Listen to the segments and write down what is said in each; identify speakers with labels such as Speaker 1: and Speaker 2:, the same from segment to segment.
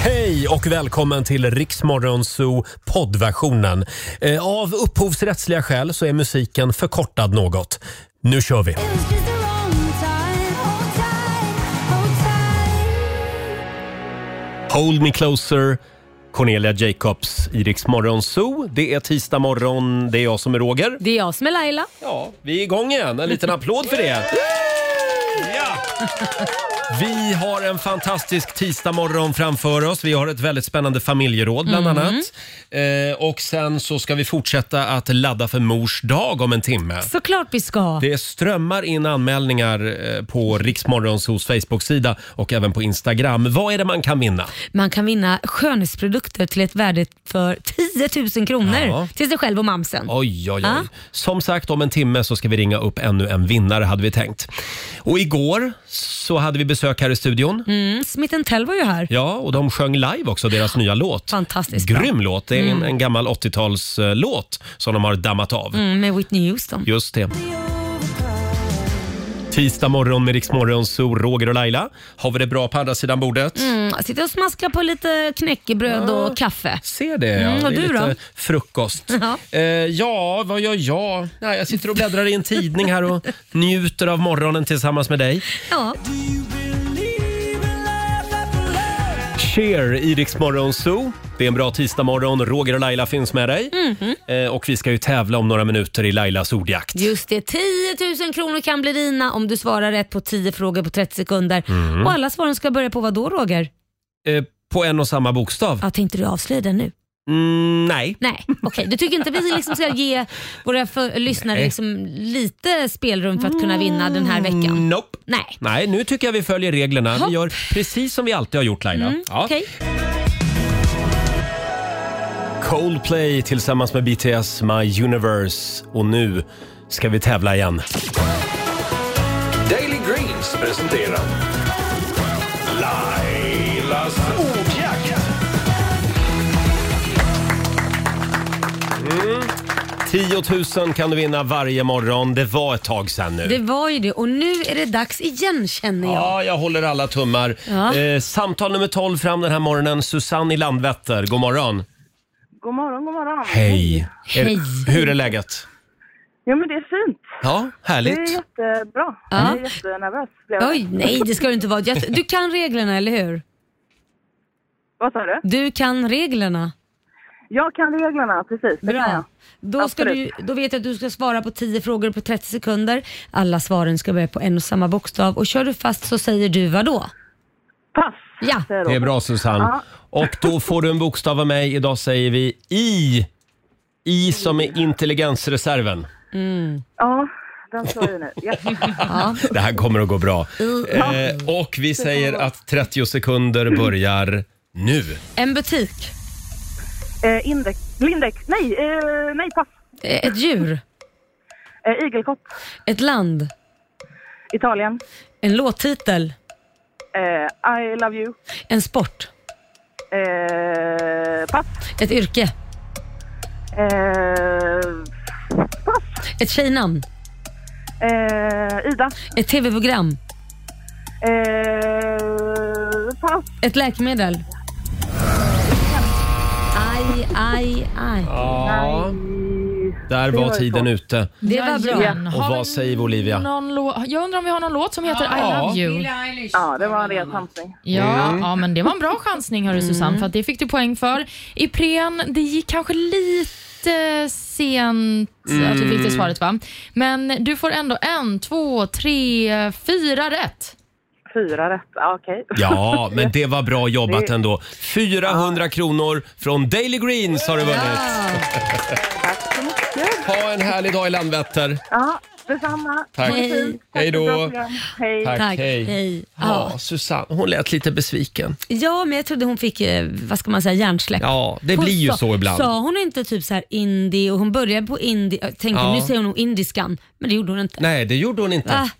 Speaker 1: Hej och välkommen till Riksmorgonzoo poddversionen. Eh, Av upphovsrättsliga skäl så är musiken förkortad något. Nu kör vi! Hold me closer, Cornelia Jacobs i Riksmorgonzoo. Det är tisdag morgon, det är jag som är Roger.
Speaker 2: Det är jag som är Laila.
Speaker 1: Ja, vi är igång igen. En liten applåd för det. Ja. Vi har en fantastisk tisdagmorgon framför oss. Vi har ett väldigt spännande familjeråd bland annat. Eh, och sen så ska vi fortsätta att ladda för mors dag om en timme.
Speaker 2: Såklart vi ska.
Speaker 1: Det strömmar in anmälningar eh, på Riksmorgonsos Facebook-sida och även på Instagram. Vad är det man kan vinna?
Speaker 2: Man kan vinna skönhetsprodukter till ett värde för 10 000 kronor
Speaker 1: Ja.
Speaker 2: till sig själv och mamsen.
Speaker 1: Oj, oj, oj.
Speaker 2: Ja.
Speaker 1: Som sagt, om en timme så ska vi ringa upp ännu en vinnare hade vi tänkt. Och igår så hade vi besök här i studion.
Speaker 2: Mm, Smith Tell var ju här.
Speaker 1: Ja, och de sjöng live också, deras nya låt.
Speaker 2: Fantastiskt bra.
Speaker 1: Grym låt. Det är en, en gammal 80-talslåt som de har dammat av.
Speaker 2: Mm, med Whitney Houston.
Speaker 1: Just det. Tisdag morgon med Riksmorgon, så Roger och Laila. Har vi det bra på andra sidan bordet?
Speaker 2: Mm, sitter och smaskar på lite knäckebröd och kaffe.
Speaker 1: Ser det, ja.
Speaker 2: Mm, och
Speaker 1: det är
Speaker 2: du
Speaker 1: lite
Speaker 2: då?
Speaker 1: frukost.
Speaker 2: Ja.
Speaker 1: Eh, ja, vad gör jag? Nej, jag sitter och bläddrar i en tidning här och njuter av morgonen tillsammans med dig.
Speaker 2: Ja.
Speaker 1: Cher i Rix Morgon Zoo. Det är en bra tisdagmorgon. Roger och Laila finns med dig.
Speaker 2: Mhm.
Speaker 1: Eh, och vi ska ju tävla om några minuter i Lailas ordjakt.
Speaker 2: Just det, 10 000 kronor kan bli dina om du svarar rätt på 10 frågor på 30 sekunder. Och alla svaren ska börja på vad då Roger?
Speaker 1: Eh, på en och samma bokstav?
Speaker 2: Ja, tänkte du avslöja den nu?
Speaker 1: Mm, nej.
Speaker 2: Nej, okej. Du tycker inte vi liksom ska ge våra för- lyssnare
Speaker 1: Nej.
Speaker 2: liksom lite spelrum för att kunna vinna den här veckan?
Speaker 1: Nope.
Speaker 2: Nej.
Speaker 1: Nej, nu tycker jag vi följer reglerna.
Speaker 2: Hopp. Mm,
Speaker 1: Vi gör precis som vi alltid har gjort Laila. Ja.
Speaker 2: Okej.
Speaker 1: Coldplay tillsammans med BTS My Universe. Och nu ska vi tävla igen.
Speaker 3: Daily Greens presenterar Lailas ordjakt.
Speaker 1: 10 000 Mm. kan du vinna varje morgon. Det var ett tag sedan nu.
Speaker 2: Det var ju det och nu är det dags igen känner jag.
Speaker 1: Ja, jag håller alla tummar.
Speaker 2: Ja.
Speaker 1: Eh, samtal nummer 12 fram den här morgonen. Susanne i Landvetter, god morgon.
Speaker 4: God morgon, god morgon.
Speaker 1: Hej. Är,
Speaker 2: Hej.
Speaker 1: Hur är läget?
Speaker 4: Jo, men det är fint.
Speaker 1: Ja,
Speaker 4: Det är
Speaker 1: härligt.
Speaker 4: jättebra.
Speaker 2: Ja.
Speaker 4: Jag är jättenervös. blev jag.
Speaker 2: Oj, nej det ska du inte vara. Jag- Du kan reglerna, eller hur?
Speaker 4: Vad sa du?
Speaker 2: Du kan reglerna.
Speaker 4: Jag kan reglerna, precis. Det kan jag.
Speaker 2: Bra. Då, ska du,
Speaker 4: Absolut.
Speaker 2: då vet jag att du ska svara på 10 frågor på 30 sekunder. Alla svaren ska börja på en och samma bokstav och kör du fast så säger du vad då?
Speaker 4: Pass,
Speaker 2: Ja.
Speaker 4: säger
Speaker 1: Det är
Speaker 4: Robert.
Speaker 1: bra Susanne.
Speaker 4: Ja.
Speaker 1: Och då får du en bokstav av mig. Idag säger vi I. I som är intelligensreserven.
Speaker 4: Ja, den står ju nu. Ja.
Speaker 2: ja.
Speaker 1: Det här kommer att gå bra. Eh, och vi säger att 30 sekunder börjar nu.
Speaker 2: En butik.
Speaker 4: Eh, index, Lindex. Nej, eh, nej pass.
Speaker 2: Eh, Ett djur.
Speaker 4: Eh, igelkott.
Speaker 2: Ett land.
Speaker 4: Italien.
Speaker 2: En låttitel.
Speaker 4: Eh, I love you.
Speaker 2: En sport.
Speaker 4: Eh, pass.
Speaker 2: Ett yrke.
Speaker 4: Eh, pass.
Speaker 2: Ett tjejnamn.
Speaker 4: Eh, Ida.
Speaker 2: Ett tv-program.
Speaker 4: Eh, pass.
Speaker 2: Ett läkemedel. Aj, aj, aj.
Speaker 1: Ja, där
Speaker 4: Det
Speaker 1: var
Speaker 4: var ju
Speaker 1: tiden
Speaker 4: svårt.
Speaker 1: ute.
Speaker 2: Det var bra.
Speaker 5: Jajamän.
Speaker 1: Och
Speaker 5: Har vi
Speaker 1: vad säger Olivia?
Speaker 5: Någon lå- jag undrar om vi har någon låt som heter I love you.
Speaker 4: Ja, det var en rejäl chansning.
Speaker 5: Ja,
Speaker 1: Mm.
Speaker 5: ja, men det var en bra chansning
Speaker 2: Mm.
Speaker 5: hörru Susanne, för att det fick du poäng för. Ipren, det gick kanske lite sent att du fick
Speaker 1: Mm.
Speaker 5: det svaret va? Men du får ändå en, två, tre, fyra rätt.
Speaker 4: Fyra rätt. Ja, Okej.
Speaker 1: Ja, men det var bra jobbat ändå. 400 kronor från Daily Greens har du vunnit.
Speaker 4: Tack så mycket.
Speaker 1: Ha en härlig dag i Landvetter.
Speaker 4: Ja, detsamma.
Speaker 1: Tack.
Speaker 4: Ha det
Speaker 2: Hej.
Speaker 4: fint. Tack
Speaker 1: Hej
Speaker 4: för ett
Speaker 1: då.
Speaker 4: bra program. Hej.
Speaker 1: Tack,
Speaker 2: Tack.
Speaker 1: hej.
Speaker 2: Hej.
Speaker 1: Ja,
Speaker 2: Ja.
Speaker 1: Susanne, hon lät lite besviken.
Speaker 2: ja, men jag trodde hon fick, eh, vad ska man säga, hjärnsläpp.
Speaker 1: Ja, det
Speaker 2: Hon
Speaker 1: blir ju
Speaker 2: sa-
Speaker 1: så ibland.
Speaker 2: Sa hon inte typ så här indie och hon började på indie, jag tänkte
Speaker 1: Ja.
Speaker 2: nu säger hon nog indiskan, men det gjorde hon inte.
Speaker 1: Nej, det gjorde hon inte.
Speaker 2: Va?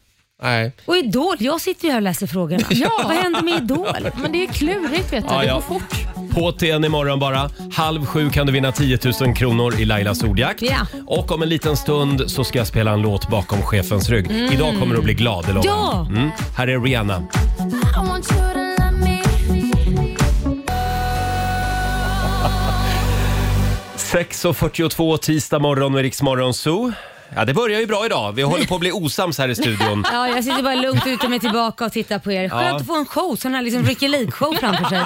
Speaker 1: Nej.
Speaker 2: Och Idol, jag sitter ju här och läser frågorna.
Speaker 5: Ja.
Speaker 2: Vad händer med Idol?
Speaker 5: Men det är klurigt vet du,
Speaker 1: Ja,
Speaker 5: det
Speaker 1: ja.
Speaker 5: går fort.
Speaker 1: På TN imorgon bara. Halv sju kan du vinna 10 000 kronor i Lailas ordjakt.
Speaker 2: Ja.
Speaker 1: Och om en liten stund så ska jag spela en låt bakom chefens rygg. Idag kommer du att bli glad, det lovar
Speaker 2: Ja.
Speaker 1: jag. mm. Här är Rihanna. 6.42 tisdag morgon med Riksmorgon Zoo. Ja, det börjar ju bra idag. Vi håller på att bli osams här i studion.
Speaker 2: Ja, jag sitter bara lugnt och lutar mig tillbaka och tittar på er. Skönt
Speaker 1: Ja.
Speaker 2: att få en show, sån här liksom Ricky Lake-show framför sig.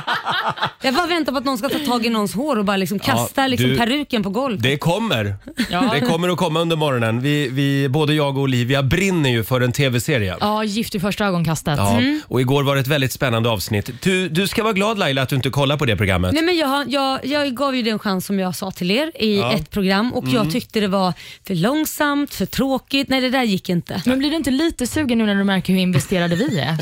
Speaker 2: Jag bara väntar på att någon ska ta tag i någons hår och bara liksom kasta liksom
Speaker 1: du-
Speaker 2: peruken på golvet.
Speaker 1: Det kommer.
Speaker 5: Ja.
Speaker 1: Det kommer att komma under morgonen. Vi, vi, både jag och Olivia brinner ju för en tv-serie.
Speaker 5: Ja, Gift i första ögonkastet.
Speaker 1: Ja,
Speaker 2: Mm.
Speaker 1: och igår var det ett väldigt spännande avsnitt. Du, du ska vara glad Laila att du inte kollar på det programmet.
Speaker 2: Nej, men jag, har- jag, jag gav ju den chans som jag sa till er i
Speaker 1: Ja. Mm.
Speaker 2: ett program och jag tyckte det var för långsamt, för tråkigt. Nej, det där gick inte.
Speaker 5: Men blir du inte lite sugen nu när du märker hur investerade vi är?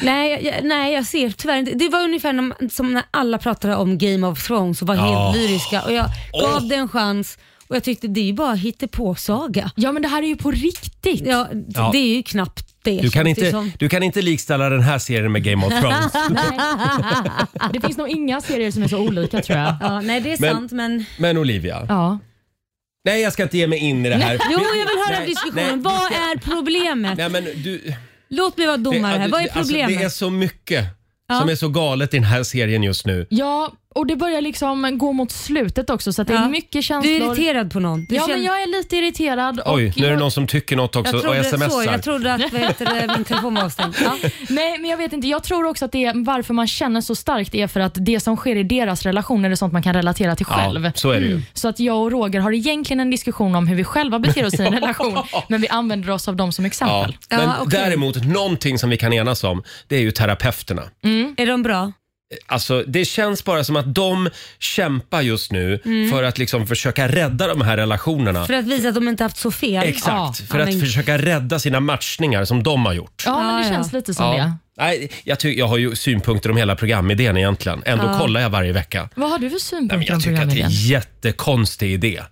Speaker 2: Nej, jag- jag, nej, jag ser tyvärr inte. Det var ungefär när, som när alla pratade om Game of Thrones och var
Speaker 1: Ja.
Speaker 2: helt lyriska och jag gav det en chans och jag tyckte det är ju bara hittepåsaga.
Speaker 5: Ja, men det här är ju på riktigt.
Speaker 2: Ja, d-
Speaker 1: Ja.
Speaker 2: Det är ju knappt det.
Speaker 1: Du kan,
Speaker 2: känns det
Speaker 1: inte,
Speaker 2: som.
Speaker 1: du kan inte likställa den här serien med Game of Thrones.
Speaker 5: Det finns nog inga serier som är så olika tror jag.
Speaker 2: Ja, nej, det är
Speaker 1: Men-
Speaker 2: sant men...
Speaker 1: Men Olivia,
Speaker 5: Ja.
Speaker 1: nej jag ska inte ge mig in i det här.
Speaker 2: Jo, jag vill
Speaker 1: Nej,
Speaker 2: höra
Speaker 1: nej,
Speaker 2: diskussionen. Vad är problemet?
Speaker 1: Nej, men du,
Speaker 2: Låt mig vara domare här.
Speaker 1: det-
Speaker 2: Vad är
Speaker 1: det- alltså,
Speaker 2: problemet?
Speaker 1: det är så mycket
Speaker 2: Ja.
Speaker 1: som är så galet i den här serien just nu.
Speaker 5: ja, och det börjar liksom gå mot slutet också så att det är
Speaker 2: Ja.
Speaker 5: mycket
Speaker 2: Du är
Speaker 5: känslor.
Speaker 2: irriterad på någon. Du
Speaker 5: ja,
Speaker 2: känner-
Speaker 5: men jag är lite irriterad. och
Speaker 1: Oj, nu är det
Speaker 5: jag-
Speaker 1: någon som tycker något också
Speaker 2: Jag
Speaker 1: och
Speaker 2: trodde,
Speaker 1: smsar.
Speaker 2: så, jag trodde att vad heter det, min telefon var avstängd. Ja.
Speaker 5: Nej, men jag vet inte. Jag tror också att det är varför man känner så starkt är för att det som sker i deras relation är det sånt man kan relatera till själv.
Speaker 1: Ja, så är det
Speaker 2: Mm.
Speaker 1: ju.
Speaker 5: Så att jag och Roger har egentligen en diskussion om hur vi själva beter oss i en relation, men vi använder oss av dem som
Speaker 1: Ja.
Speaker 5: exempel.
Speaker 2: Ja,
Speaker 1: Men
Speaker 2: okej.
Speaker 1: däremot, någonting som vi kan enas om, det är ju terapeuterna.
Speaker 2: Är de bra?
Speaker 1: Alltså, det känns bara som att de kämpar just nu för att liksom försöka rädda de här relationerna.
Speaker 2: Mm. För att visa att de inte haft så fel?
Speaker 1: Exakt,
Speaker 5: Ja,
Speaker 1: för
Speaker 2: ja,
Speaker 1: att
Speaker 2: men-
Speaker 1: försöka rädda sina matchningar som de har gjort.
Speaker 5: Ja, men det
Speaker 2: Ja, ja.
Speaker 5: känns lite som det.
Speaker 1: Nej, jag, ty- jag har ju synpunkter om hela programidén egentligen. Ändå kollar jag varje vecka.
Speaker 5: Vad har
Speaker 1: Nej,
Speaker 5: du för
Speaker 1: men
Speaker 5: synpunkter
Speaker 1: jag
Speaker 5: om
Speaker 1: tycker att det är
Speaker 5: programidén?
Speaker 1: en jättekonstig idé.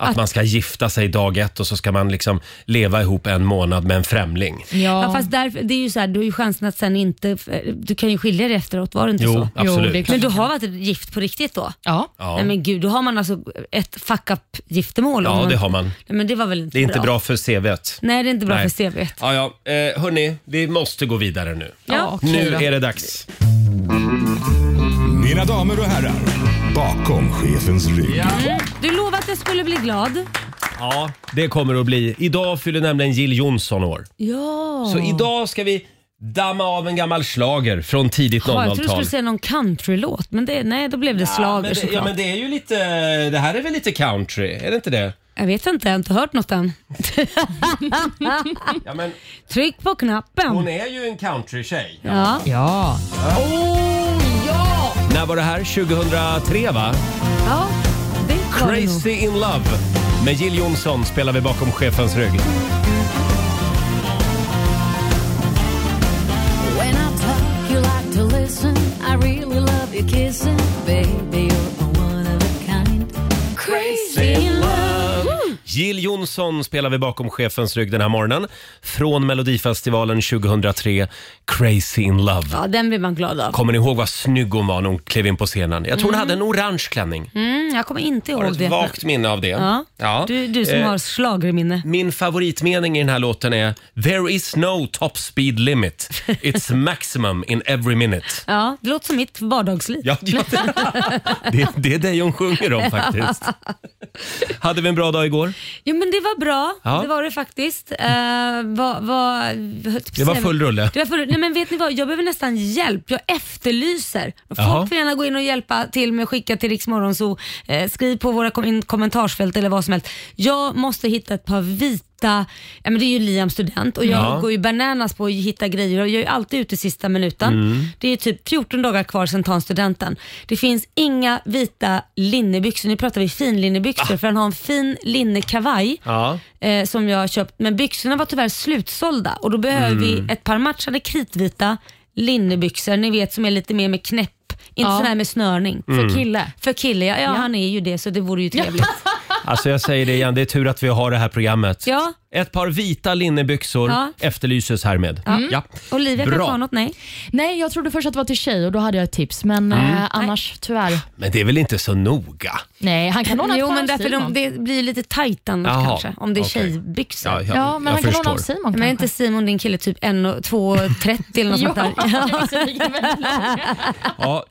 Speaker 1: Att, man ska gifta sig dag ett och så ska man liksom leva ihop en månad med en främling.
Speaker 5: Ja,
Speaker 2: Ja, fast därför, det är ju så här, du har ju chansen att sen inte... Du kan ju skilja dig efteråt, var det inte så?
Speaker 5: Jo,
Speaker 1: Alltså, absolut.
Speaker 5: det är klart.
Speaker 2: Men du har varit gift på riktigt då?
Speaker 5: ja.
Speaker 1: Ja.
Speaker 2: Nej men gud, då har man alltså ett fuck up giftermål.
Speaker 1: Ja,
Speaker 2: om
Speaker 1: det har man.
Speaker 2: Nej, men det var väl inte
Speaker 1: Det är inte
Speaker 2: bra?
Speaker 1: bra för CVt.
Speaker 2: Nej, det är inte bra
Speaker 1: Nej.
Speaker 2: för CV1.
Speaker 1: Ja, ja. Eh, hörni, vi måste gå vidare nu.
Speaker 5: Ja, okej
Speaker 1: nu
Speaker 5: då.
Speaker 1: är det dags.
Speaker 3: Mina damer och herrar, bakom chefens rygg.
Speaker 2: Mm. Du lovade att jag skulle bli glad.
Speaker 1: Ja, det kommer att bli. Idag fyller nämligen Jill Johnson år.
Speaker 2: Ja.
Speaker 1: Så idag ska vi damma av en gammal schlager från tidigt
Speaker 2: Ja, jag trodde du
Speaker 1: 00-tal.
Speaker 2: skulle säga någon countrylåt, men det, nej, då blev det
Speaker 1: Ja,
Speaker 2: slager
Speaker 1: men det,
Speaker 2: såklart.
Speaker 1: ja, men det är ju lite... Det här är väl lite country? Är det inte det?
Speaker 2: Jag vet inte, jag har inte hört något än.
Speaker 1: Ja, men
Speaker 2: Tryck på knappen.
Speaker 1: hon är ju en countrytjej. Oh,
Speaker 2: Ja.
Speaker 5: Ja.
Speaker 1: När var det här? 2003 va?
Speaker 2: ja, det var det nog.
Speaker 1: Crazy in love med Jill Johnson spelar vi bakom chefens rygg.
Speaker 6: When I talk, you like to listen. I really love your kissing, baby. You're a one of a kind. Crazy in love.
Speaker 1: Jill Johnson spelar vi bakom chefens rygg den här morgonen. Från Melodifestivalen 2003, Crazy in love.
Speaker 2: Ja, den blir man glad av.
Speaker 1: Kommer ni ihåg vad snygg hon var när hon klev in på scenen? Jag tror hon hade en orange klänning.
Speaker 2: Mm, jag kommer inte
Speaker 1: Har
Speaker 2: ihåg
Speaker 1: du
Speaker 2: det.
Speaker 1: ett vagt minne av det?
Speaker 2: Ja. Du, du som
Speaker 1: Eh,
Speaker 2: har schlagerminne.
Speaker 1: Min favoritmening i den här låten är “There is no top speed limit. It's maximum in every minute”.
Speaker 2: Ja, det låter som mitt vardagsliv.
Speaker 1: Ja, ja, det, det, det är dig hon sjunger om faktiskt. Hade vi en bra dag igår?
Speaker 2: Jo men det var bra,
Speaker 1: Ja.
Speaker 2: det var det faktiskt. Eh, vad- vad- typ
Speaker 1: Det var
Speaker 2: säga-
Speaker 1: full rulle.
Speaker 2: Det var full, nej men vet ni vad, jag behöver nästan hjälp. Jag efterlyser. Folk
Speaker 1: Jaha.
Speaker 2: får gärna gå in och hjälpa till med att skicka till Riksmorgon så eh, skriv på våra kom- in- kommentarsfält eller vad som helst. Jag måste hitta ett par vita, ja, men det är ju Liam student och jag
Speaker 1: Ja.
Speaker 2: går ju bananas på att hitta grejer och jag är ju alltid ute sista minuten. Det är ju typ 14 dagar kvar sen tar studenten. Det finns inga vita linnebyxor, nu pratar vi finlinnebyxor för han har en fin linnekavaj
Speaker 1: Ja.
Speaker 2: eh, som jag har köpt. Men byxorna var tyvärr slutsålda och då behöver
Speaker 1: Mm.
Speaker 2: vi ett par matchande kritvita linnebyxor, ni vet som är lite mer med knäpp, inte
Speaker 5: Ja.
Speaker 2: sån här med snörning.
Speaker 1: Mm.
Speaker 5: För kille.
Speaker 2: För kille, ja, ja, han är ju det så det vore ju trevligt.
Speaker 1: Alltså jag säger det igen, det är tur att vi har det här programmet.
Speaker 2: Ja.
Speaker 1: Ett par vita linnebyxor
Speaker 2: Ja.
Speaker 1: efterlyses härmed. Ja.
Speaker 2: Olivia
Speaker 1: Bra.
Speaker 2: kan ha något, nej?
Speaker 5: Nej, jag trodde först att det var till tjej och då hade jag ett tips, men
Speaker 1: Mm.
Speaker 5: eh, annars tyvärr.
Speaker 1: Men det är väl inte så noga?
Speaker 5: Nej, han kan ordna ett
Speaker 2: Jo
Speaker 5: par
Speaker 2: men
Speaker 5: av
Speaker 2: därför
Speaker 5: Simon.
Speaker 2: de, det blir lite tajt annars
Speaker 1: Jaha,
Speaker 2: kanske, om det är
Speaker 1: okej.
Speaker 2: tjejbyxor.
Speaker 1: Ja, ja,
Speaker 5: Ja, men
Speaker 1: jag
Speaker 5: han kan låna
Speaker 1: förstår.
Speaker 5: av Simon
Speaker 2: Men är
Speaker 5: kanske.
Speaker 2: inte Simon din kille typ 1 och- 2,30 eller något sånt där?
Speaker 5: Ja, jag är så nyfiken.
Speaker 1: Ja.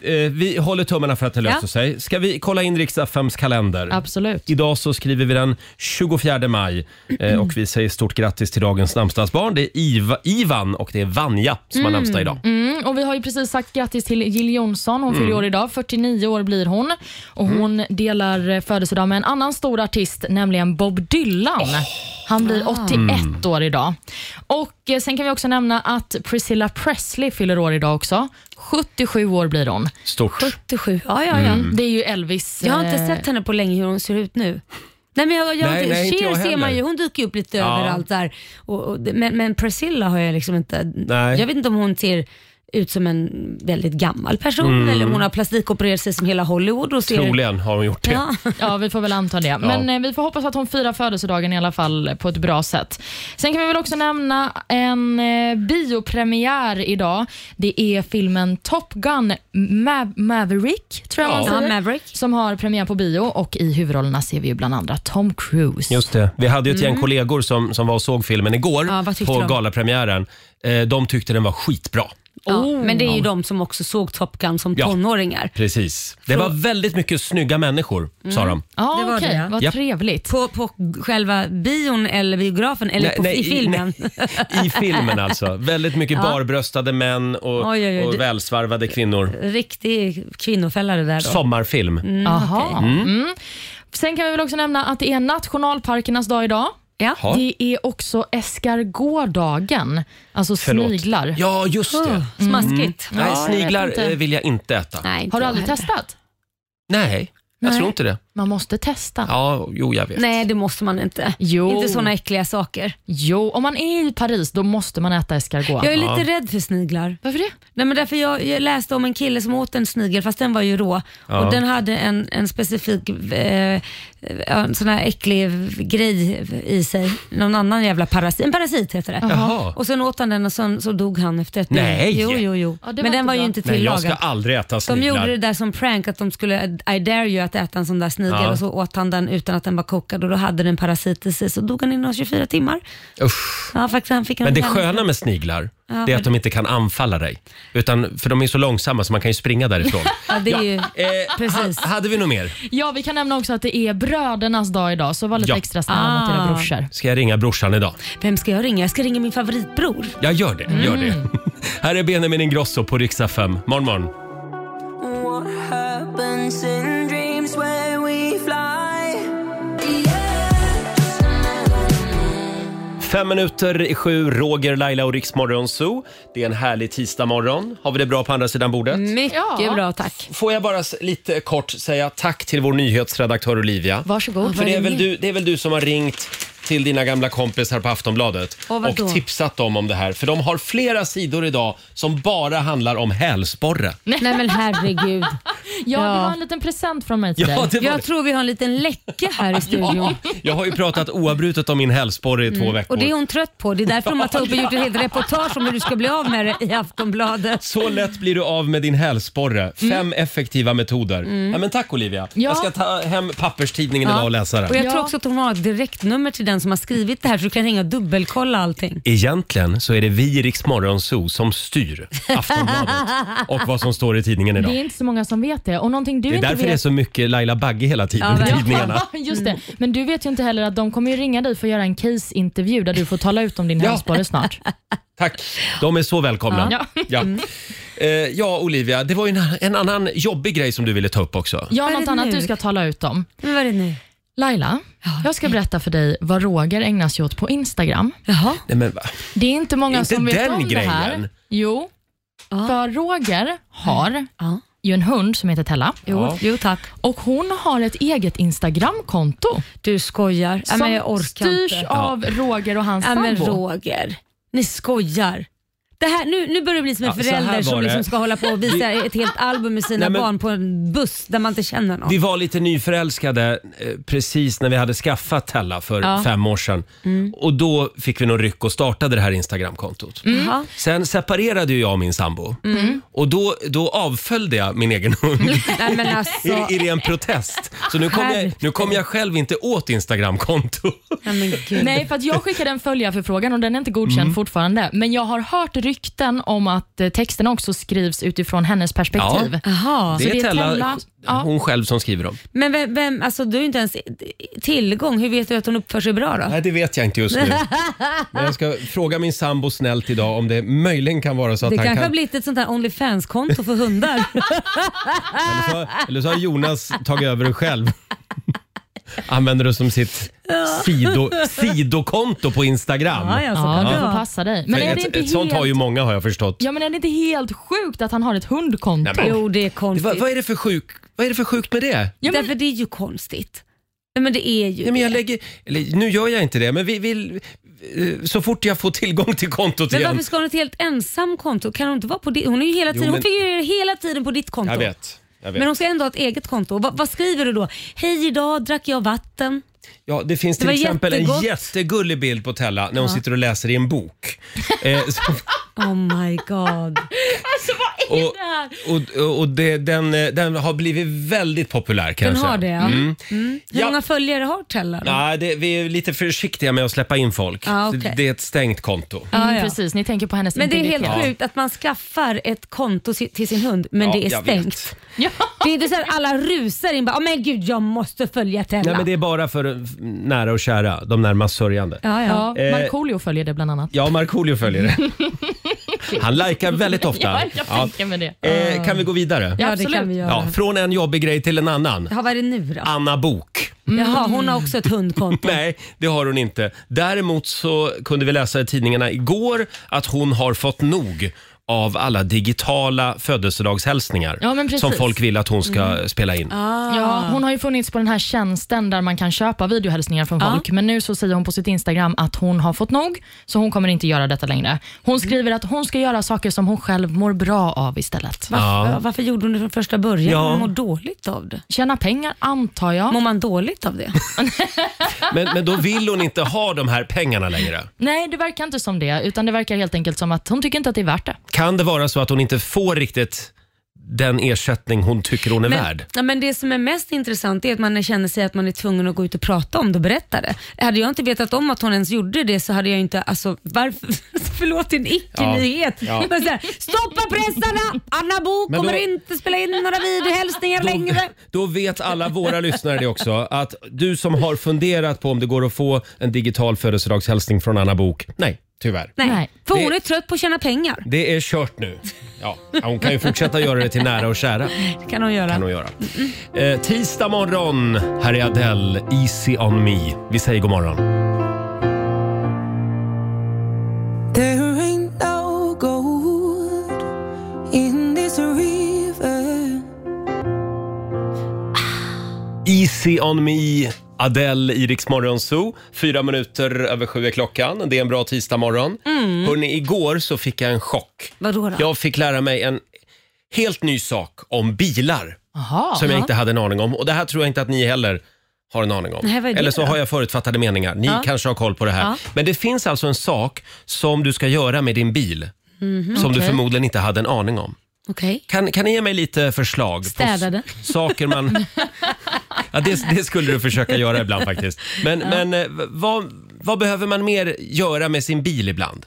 Speaker 1: eh, vi håller tummarna för att det
Speaker 2: Ja.
Speaker 1: löser sig. Ska vi kolla in riks kalender?
Speaker 5: Absolut.
Speaker 1: Idag så skriver vi den 24 maj eh, och vi säger stort grattis till dagens namnsdagsbarn. Det är Iva, Ivan och det är Vanja som har namnsdag idag.
Speaker 5: Mm, och Vi har ju precis sagt grattis till Jill Johnson. Hon
Speaker 1: Mm.
Speaker 5: fyller år idag. 49 år blir hon. Och Hon delar eh, födelsedag med en annan stor artist, nämligen Bob Dylan. Han
Speaker 2: Ah.
Speaker 5: blir 81
Speaker 1: Mm.
Speaker 5: år idag. Och eh, Sen kan vi också nämna att Priscilla Presley fyller år idag också. 77 år blir hon.
Speaker 1: Stort.
Speaker 2: 87. Ja, ja, ja.
Speaker 1: Mm.
Speaker 5: Det är ju Elvis.
Speaker 2: Jag har inte
Speaker 5: eh,
Speaker 2: sett henne på länge hur hon ser ut nu. Nej, men jag, jag,
Speaker 1: Nej, nej, inte
Speaker 2: Cher
Speaker 1: jag
Speaker 2: ser man
Speaker 1: heller.
Speaker 2: ju, hon dyker ju upp lite
Speaker 1: Ja.
Speaker 2: överallt där. Och, och, men, men Priscilla har jag liksom inte,
Speaker 1: Nej.
Speaker 2: jag vet inte om hon ser ut som en väldigt gammal person
Speaker 1: Mm.
Speaker 2: eller om hon har plastikopererat sig som hela Hollywood. Och ser,
Speaker 1: Troligen har hon gjort det.
Speaker 2: Ja.
Speaker 5: Ja, vi får väl anta det. Men eh, vi får hoppas att hon firar födelsedagen i alla fall på ett bra sätt. Sen kan vi väl också nämna en eh, biopremiär idag. Det är filmen Top Gun Ma- Maverick, tror jag
Speaker 1: Ja.
Speaker 5: man
Speaker 2: Ja,
Speaker 5: säger,
Speaker 2: Maverick.
Speaker 5: som har premiär på bio och i huvudrollerna ser vi ju bland andra Tom Cruise.
Speaker 1: Just det. Vi hade ju ett gäng kollegor som, som var och såg filmen igår
Speaker 2: Mm. Ja, vad tyckte
Speaker 1: på
Speaker 2: de?
Speaker 1: galapremiären. Eh, de tyckte den var skitbra.
Speaker 2: Ja, men det är ju de som också såg Top Gun som
Speaker 1: Oh. Ja.
Speaker 2: tonåringar.
Speaker 1: Precis. Det var väldigt mycket snygga människor,
Speaker 2: Mm.
Speaker 1: sa de.
Speaker 5: Ja,
Speaker 2: Det var
Speaker 5: okej.
Speaker 2: det, ja.
Speaker 5: Vad
Speaker 1: Japp.
Speaker 5: trevligt.
Speaker 2: På, på själva bion eller biografen eller på, i filmen.
Speaker 1: nej, I filmen alltså. Väldigt mycket barbröstade män och,
Speaker 2: Oj, oj, oj.
Speaker 1: och välsvarvade kvinnor.
Speaker 2: Riktig kvinnofälla det där då.
Speaker 1: Sommarfilm.
Speaker 2: Mm.
Speaker 5: Aha. Mm. Sen kan vi väl också nämna att det är nationalparkernas dag idag.
Speaker 2: Ja.
Speaker 1: Ja.
Speaker 5: Det är också escargotdagen, alltså
Speaker 1: Förlåt.
Speaker 5: sniglar.
Speaker 1: Ja, just det.
Speaker 2: Ah. Oh,
Speaker 1: Mm.
Speaker 2: Smaskigt.
Speaker 1: Nej,
Speaker 5: Ja, jag
Speaker 1: sniglar
Speaker 5: vet inte.
Speaker 1: eh, vill jag inte äta. Nej,
Speaker 2: Nej, inte
Speaker 5: Har du
Speaker 2: jag
Speaker 5: aldrig
Speaker 2: heller.
Speaker 5: testat?
Speaker 1: jag
Speaker 5: Nej.
Speaker 1: tror inte det.
Speaker 5: Man måste testa.
Speaker 1: Ja, jo, jag vet.
Speaker 2: Nej, det måste man inte.
Speaker 5: Jo.
Speaker 2: Inte såna äckliga saker.
Speaker 5: Jo, om man är i Paris då måste man äta escargot.
Speaker 2: Jag är lite rädd för sniglar.
Speaker 5: Varför det?
Speaker 2: Nej, men därför jag, jag läste om en kille som åt en snigel, fast den var ju rå. Och Den hade en, en specifik eh, en sån här äcklig grej i sig. Någon annan jävla parasit. En parasit heter det.
Speaker 1: Jaha.
Speaker 2: Och Sen åt han den och sen, så dog han efter ett
Speaker 1: Nej.
Speaker 2: Jo, jo, jo.
Speaker 5: Ja, det var
Speaker 2: men den
Speaker 5: inte
Speaker 2: var ju
Speaker 5: bra.
Speaker 2: inte
Speaker 1: Nej, jag
Speaker 2: tillagad.
Speaker 1: ska aldrig äta
Speaker 2: De gjorde det
Speaker 1: sniglar.
Speaker 2: där som prank, att de skulle I dare you att äta en sån där snigel
Speaker 1: Ja.
Speaker 2: och så åt han den utan att den var kokad och då hade den parasit i sig så dog han inom 24 timmar.
Speaker 1: Usch.
Speaker 2: Ja, faktiskt, han fick en
Speaker 1: Men det
Speaker 2: hjärn-
Speaker 1: sköna med sniglar, det är att de inte kan anfalla dig. Utan, för de är så långsamma så man kan ju springa därifrån.
Speaker 2: Ja, det är ju...
Speaker 1: Eh,
Speaker 2: Precis.
Speaker 1: ha- hade vi något mer?
Speaker 5: Ja, vi kan nämna också att det är brödernas dag idag, så var lite
Speaker 1: Ja.
Speaker 5: extra snälla mot era
Speaker 2: Ah.
Speaker 5: brorsor.
Speaker 1: Ska jag ringa brorsan idag?
Speaker 2: Vem ska jag ringa? Jag ska ringa min favoritbror.
Speaker 1: Jag gör det. Gör det.
Speaker 2: Mm.
Speaker 1: Här är Benjamin Ingrosso på riksdag 5. Morgon, morgon.
Speaker 7: What happens in dreams where we fly?
Speaker 1: Fem minuter i sju, Roger, Laila och Riksmorgon Zoo. Det är en härlig tisdagmorgon. Har vi det bra på andra sidan bordet?
Speaker 2: Mycket
Speaker 5: Ja.
Speaker 2: bra tack.
Speaker 1: Får jag bara s- lite kort säga tack till vår nyhetsredaktör Olivia.
Speaker 5: Varsågod.
Speaker 1: För det är, väl du, det är väl du som har ringt till dina gamla kompisar på Aftonbladet
Speaker 2: Och
Speaker 1: och
Speaker 2: vadå?
Speaker 1: tipsat dem om det här. För de har flera sidor idag som bara handlar om hälsporre.
Speaker 2: Nej men herregud.
Speaker 5: Ja, det
Speaker 2: Ja.
Speaker 5: var en liten present från mig till dig.
Speaker 1: det var
Speaker 2: Jag
Speaker 1: det.
Speaker 2: tror vi har en liten läcka här i studion.
Speaker 1: Jag har ju pratat oavbrutet om min hälsporre i två veckor.
Speaker 2: Mm. Och det är hon trött på. Det är därför de har tagit upp och gjort ett helt reportage om hur du ska bli av med det i Aftonbladet.
Speaker 1: Så lätt blir du av med din hälsporre. Fem effektiva metoder. Ja, men tack Olivia. Jag ska ta hem papperstidningen idag och läsa
Speaker 2: Och
Speaker 1: den.
Speaker 2: jag
Speaker 5: Ja.
Speaker 2: tror också att hon har ett direktnummer till den som har skrivit det här så du kan ringa och dubbelkolla allting.
Speaker 1: Egentligen så är det vi i Rix Morgonzoo som styr Aftonbladet och vad som står i tidningen
Speaker 5: Det är
Speaker 1: idag.
Speaker 5: inte så många som vet det. Och någonting du
Speaker 1: Det är
Speaker 5: inte
Speaker 1: därför det är
Speaker 5: vet...
Speaker 1: så mycket Laila Bagge hela
Speaker 2: Ja,
Speaker 1: tiden i
Speaker 2: verkligen.
Speaker 1: tidningarna.
Speaker 5: Ja, just
Speaker 2: Mm.
Speaker 5: det. Men du vet ju inte heller att de kommer ju ringa dig för att göra en case-intervju där du får tala ut om din
Speaker 1: Ja.
Speaker 5: hälsporre snart.
Speaker 1: Tack. De är så välkomna. Ja,
Speaker 5: Ja.
Speaker 1: ja. Eh, ja Olivia, det var ju en, en annan jobbig grej som du ville ta upp också.
Speaker 5: Ja,
Speaker 2: Vad är
Speaker 5: något
Speaker 2: det
Speaker 5: annat
Speaker 2: nu?
Speaker 5: du ska tala ut om.
Speaker 2: Men vad är det nu?
Speaker 5: Laila, jag ska berätta för dig vad Roger ägnar sig åt på Instagram.
Speaker 2: Jaha.
Speaker 1: Nej, men, va?
Speaker 5: Det är inte många
Speaker 1: Inte
Speaker 5: som vet
Speaker 1: den
Speaker 5: om det här.
Speaker 1: grejen.
Speaker 5: Jo,
Speaker 2: Ah.
Speaker 5: för Roger har
Speaker 2: Ja.
Speaker 5: ju en hund som heter Tella
Speaker 2: Ah. Jo, jo tack.
Speaker 5: och hon har ett eget Instagramkonto
Speaker 2: Du skojar. Ja,
Speaker 5: som
Speaker 2: men jag orkar
Speaker 5: styrs
Speaker 2: inte.
Speaker 5: av Roger och hans
Speaker 2: Ja, men
Speaker 5: sambo.
Speaker 2: Roger, ni skojar. Det här, nu, nu börjar det bli som en
Speaker 1: Ja, så här
Speaker 2: förälder
Speaker 1: var
Speaker 2: som
Speaker 1: det.
Speaker 2: liksom ska hålla på och visa ett helt album med sina
Speaker 1: Nej, men-
Speaker 2: barn på en buss där man inte känner någon.
Speaker 1: Vi var lite nyförälskade eh, precis när vi hade skaffat Tella för fem år sedan. Och då fick vi någon ryck och startade det här Instagramkontot.
Speaker 2: Jaha.
Speaker 1: Sen separerade ju jag och min sambo och då, då avföljde jag min egen hund
Speaker 2: Nej, men alltså,
Speaker 1: i, i ren protest. Så nu kommer jag, nu kom jag själv inte åt Instagramkonto.
Speaker 2: nej, men gud.
Speaker 1: Mm.
Speaker 5: Nej, för att jag skickade en följarförfrågan och den är inte godkänd fortfarande. Men jag har hört rykten om att eh, texterna också skrivs utifrån hennes perspektiv.
Speaker 2: Jaha.
Speaker 5: Så
Speaker 1: Det är
Speaker 5: det är
Speaker 1: Tella,
Speaker 5: Tella- ja.
Speaker 1: hon själv som skriver dem.
Speaker 2: Men vem, vem, alltså du har ju inte ens tillgång. Hur vet du att hon uppför sig bra då?
Speaker 1: Nej, det vet jag inte just nu. Men jag ska fråga min sambo snällt idag om det möjligen kan vara så att
Speaker 2: Det
Speaker 1: han
Speaker 2: kanske har
Speaker 1: kan...
Speaker 2: blivit ett sånt här Onlyfans-konto för hundar.
Speaker 1: Eller så, eller så har Jonas tagit över det själv. Använder det som sitt sido, sidokonto på Instagram.
Speaker 2: ja, ja, så
Speaker 5: Ja,
Speaker 2: kan
Speaker 5: du
Speaker 2: det
Speaker 5: får
Speaker 2: vara.
Speaker 5: passa dig. Men
Speaker 1: För
Speaker 5: är det
Speaker 1: ett,
Speaker 5: inte
Speaker 1: ett sånt har
Speaker 5: helt-
Speaker 1: ju många har jag förstått.
Speaker 5: Ja men är det inte helt sjukt att han har ett hundkonto?
Speaker 1: Nej, men-
Speaker 2: Jo, det är konstigt.
Speaker 1: Vad, vad, är det för sjuk, vad är det för sjukt med det?
Speaker 5: Ja, men-
Speaker 2: Därför det är ju konstigt. Nej, men det är ju
Speaker 1: Nej, men jag
Speaker 2: det.
Speaker 1: lägger, eller, nu gör jag inte det, men vi vill, eh, så fort jag får tillgång till kontot
Speaker 2: Men
Speaker 1: igen.
Speaker 2: varför ska hon ha ett helt ensam konto? Kan hon inte vara på ditt? Hon är ju hela tiden,
Speaker 1: men-
Speaker 2: hon figurerar hela tiden på ditt konto.
Speaker 1: Jag vet. Jag vet.
Speaker 2: Men hon ska ändå ha ett eget konto. Va, vad skriver du då? Hej, idag drack jag vatten.
Speaker 1: Ja, det finns till
Speaker 2: Det var
Speaker 1: exempel en
Speaker 2: jättegott.
Speaker 1: jättegullig bild på Tella när hon sitter och läser i en bok. Eh, så,
Speaker 2: Oh my god.
Speaker 1: och och, och, och det, den, eh, den har blivit väldigt populär kan
Speaker 2: Den
Speaker 1: jag säga.
Speaker 2: har det ja. Mm. Hur
Speaker 1: Ja.
Speaker 2: många följare har Tella då?
Speaker 1: Nej, det, vi är lite försiktiga med att släppa in folk.
Speaker 2: Ah, okej.
Speaker 1: Så Det är ett stängt konto.
Speaker 2: Ja,
Speaker 5: Mm,
Speaker 2: ja.
Speaker 5: Precis, ni tänker på hennes
Speaker 2: Men det är
Speaker 5: integritet.
Speaker 2: helt sjukt att man skaffar ett konto si- till sin hund men
Speaker 1: Ja,
Speaker 2: det är
Speaker 1: jag
Speaker 2: stängt.
Speaker 5: Ja.
Speaker 2: Det är inte så att alla rusar in bara, "Åh, men gud jag måste följa Tella.
Speaker 1: Nej, men det är bara för eh, nära och kära, de närmast sörjande.
Speaker 2: ja, ja.
Speaker 5: Ja,
Speaker 1: Eh,
Speaker 5: Markoolio följer det bland annat.
Speaker 1: Ja, Markoolio följer det. Han likar väldigt ofta.
Speaker 5: Ja, jag tänker mig det.
Speaker 1: Eh, kan vi gå vidare?
Speaker 2: Ja, det
Speaker 5: absolut.
Speaker 2: kan vi göra.
Speaker 1: Ja, från en jobbig grej till en annan.
Speaker 2: Ja, vad är det nu då?
Speaker 1: Anna Bok.
Speaker 2: Jaha, hon har också ett hundkonto.
Speaker 1: Nej, det har hon inte. Däremot så kunde vi läsa i tidningarna igår att hon har fått nog av alla digitala födelsedagshälsningar
Speaker 5: Ja, men precis. Mm.
Speaker 1: som folk vill att hon ska spela in.
Speaker 5: Ja, hon har ju funnits på den här tjänsten där man kan köpa videohälsningar från folk, men nu så säger hon på sitt Instagram att hon har fått nog, så hon kommer inte göra detta längre. Hon skriver att hon ska göra saker som hon själv mår bra av istället.
Speaker 2: Varför, varför gjorde hon det från första början?
Speaker 1: Ja.
Speaker 2: Hon mår dåligt av det.
Speaker 5: Tjäna pengar, antar jag.
Speaker 2: Mår man dåligt av det?
Speaker 1: Men, men då vill hon inte ha de här pengarna längre.
Speaker 5: Nej, det verkar inte som det, utan det verkar helt enkelt som att hon tycker inte att det är värt det.
Speaker 1: Kan det vara så att hon inte får riktigt den ersättning hon tycker hon är värd?
Speaker 2: ja, men det som är mest intressant är att man känner sig att man är tvungen att gå ut och prata om det och berätta det. Hade jag inte vetat om att hon ens gjorde det så hade jag inte, alltså varför, förlåt en icke-nyhet.
Speaker 1: Ja.
Speaker 2: Men så här, Stoppa pressarna! Anna Bo
Speaker 1: Men då-
Speaker 2: kommer inte spela in några videohälsningar längre.
Speaker 1: Då vet alla våra lyssnare det också, att du som har funderat på om det går att få en digital födelsedagshälsning från Anna Bok. Nej, tyvärr.
Speaker 2: Nej,
Speaker 5: Nej.
Speaker 2: för hon
Speaker 1: Det-
Speaker 2: är trött på att tjäna pengar.
Speaker 1: Det är kört nu. Ja, hon kan ju fortsätta göra det till nära och kära.
Speaker 2: Det kan hon göra.
Speaker 1: Kan hon göra. Eh, tisdag morgon, här är Adele, Easy on me. Vi säger god morgon.
Speaker 7: There ain't no gold in this river.
Speaker 1: Easy on me, Adele i Rix Morgon Zoo. Fyra minuter över sju är klockan. Det är en bra tisdagmorgon. Mm. Hörrni, igår så fick jag en chock.
Speaker 2: Vadå då?
Speaker 1: Jag fick lära mig en helt ny sak om bilar
Speaker 5: Jaha.
Speaker 1: som jag inte hade en aning om. Och det här tror jag inte att ni heller har en aning om.
Speaker 2: Nej, vad är det
Speaker 1: Eller så
Speaker 2: då?
Speaker 1: har jag förutfattade meningar. Ni kanske har koll på det här.
Speaker 2: Ja.
Speaker 1: Men det finns alltså en sak som du ska göra med din bil som du
Speaker 2: Mhm. okej.
Speaker 1: förmodligen inte hade en aning om.
Speaker 2: Okej.
Speaker 1: Kan, kan ni ge mig lite förslag? på s-
Speaker 2: Städa den.
Speaker 1: Saker man... ja, det, det skulle du försöka göra ibland faktiskt. Men, men eh, vad, vad behöver man mer göra med sin bil ibland?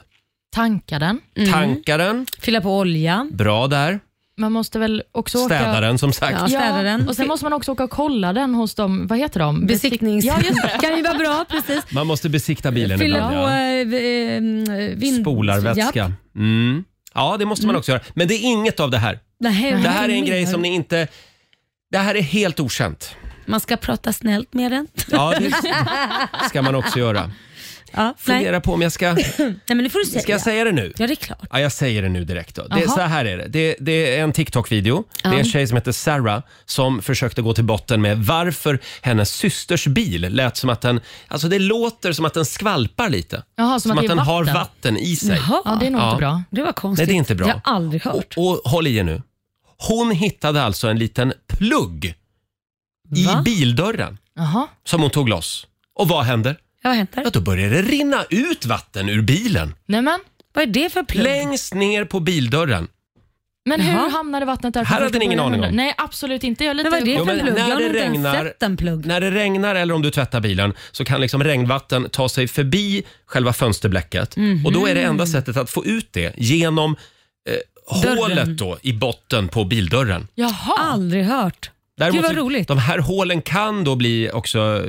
Speaker 5: Tanka den.
Speaker 2: Mm.
Speaker 1: Tanka den,
Speaker 2: Fylla på olja.
Speaker 1: bra där.
Speaker 5: Man måste väl också
Speaker 1: Städa
Speaker 5: åka...
Speaker 1: den som sagt.
Speaker 2: Ja, städa den.
Speaker 5: Och sen måste man också åka och kolla den hos dem, vad heter de?
Speaker 2: Besiktnings...
Speaker 5: Ja, just det.
Speaker 2: kan ju vara bra, precis.
Speaker 1: Man måste besikta bilen
Speaker 2: Fylla
Speaker 1: ibland.
Speaker 2: på
Speaker 1: ja.
Speaker 2: eh, eh, vind...
Speaker 1: Spolarvätska.
Speaker 2: Japp.
Speaker 1: Mm. Ja, det måste man också göra. Men det är inget av det här.
Speaker 2: Nej,
Speaker 1: Det
Speaker 2: vad
Speaker 1: här är en
Speaker 2: menar
Speaker 1: grej
Speaker 2: du?
Speaker 1: som ni inte... Det här är helt okänt.
Speaker 2: Man ska prata snällt med den.
Speaker 1: Ja, det ska man också göra.
Speaker 2: Ja, nej. nej,
Speaker 1: Fundera på om jag ska...
Speaker 2: men det får du säga.
Speaker 1: Ska jag säga det nu?
Speaker 2: Ja, det är klart.
Speaker 1: Ja, jag säger det nu direkt. Då. Det,
Speaker 5: Jaha.
Speaker 1: så här är det. det. Det är en TikTok-video. Det är en tjej som heter Sarah som försökte gå till botten med varför hennes systers bil lät som att den... Alltså det låter som att den skvalpar lite.
Speaker 5: Jaha, som att det är
Speaker 1: den har
Speaker 5: vatten.
Speaker 1: vatten i sig.
Speaker 2: Jaha,
Speaker 5: Ja, det är nog
Speaker 1: Ja.
Speaker 5: inte bra.
Speaker 2: det var konstigt.
Speaker 1: Nej, det är inte bra.
Speaker 2: Jag har aldrig hört.
Speaker 1: Och, och håll i er nu. Hon hittade alltså en liten plugg i
Speaker 2: Va?
Speaker 1: bildörren
Speaker 5: Jaha.
Speaker 1: som hon tog loss. Och vad händer?
Speaker 2: Ja, vad händer?
Speaker 1: Ja, då börjar det rinna ut vatten ur bilen.
Speaker 5: Nej men,
Speaker 2: Vad är det för plugg?
Speaker 1: Längst ner på bildörren.
Speaker 5: Men hur
Speaker 2: Jaha.
Speaker 5: hamnade vattnet där?
Speaker 1: Här hade ni ingen aning om.
Speaker 5: Nej, absolut inte. Jag är lite
Speaker 2: Men vad är det
Speaker 1: Jo,
Speaker 2: för
Speaker 1: men
Speaker 2: plugg? Jag
Speaker 1: när
Speaker 2: har
Speaker 1: det
Speaker 2: nog inte ens
Speaker 1: regnar-
Speaker 2: sett en plugg.
Speaker 1: När det regnar eller om du tvättar bilen så kan liksom regnvatten ta sig förbi själva fönsterblecket.
Speaker 2: Mhm.
Speaker 1: Och då är det enda sättet att få ut det genom eh,
Speaker 2: Dörren.
Speaker 1: hålet då, i botten på bildörren.
Speaker 5: Jaha.
Speaker 2: Aldrig hört. Gud vad
Speaker 1: så-
Speaker 2: roligt.
Speaker 1: De här hålen kan då bli också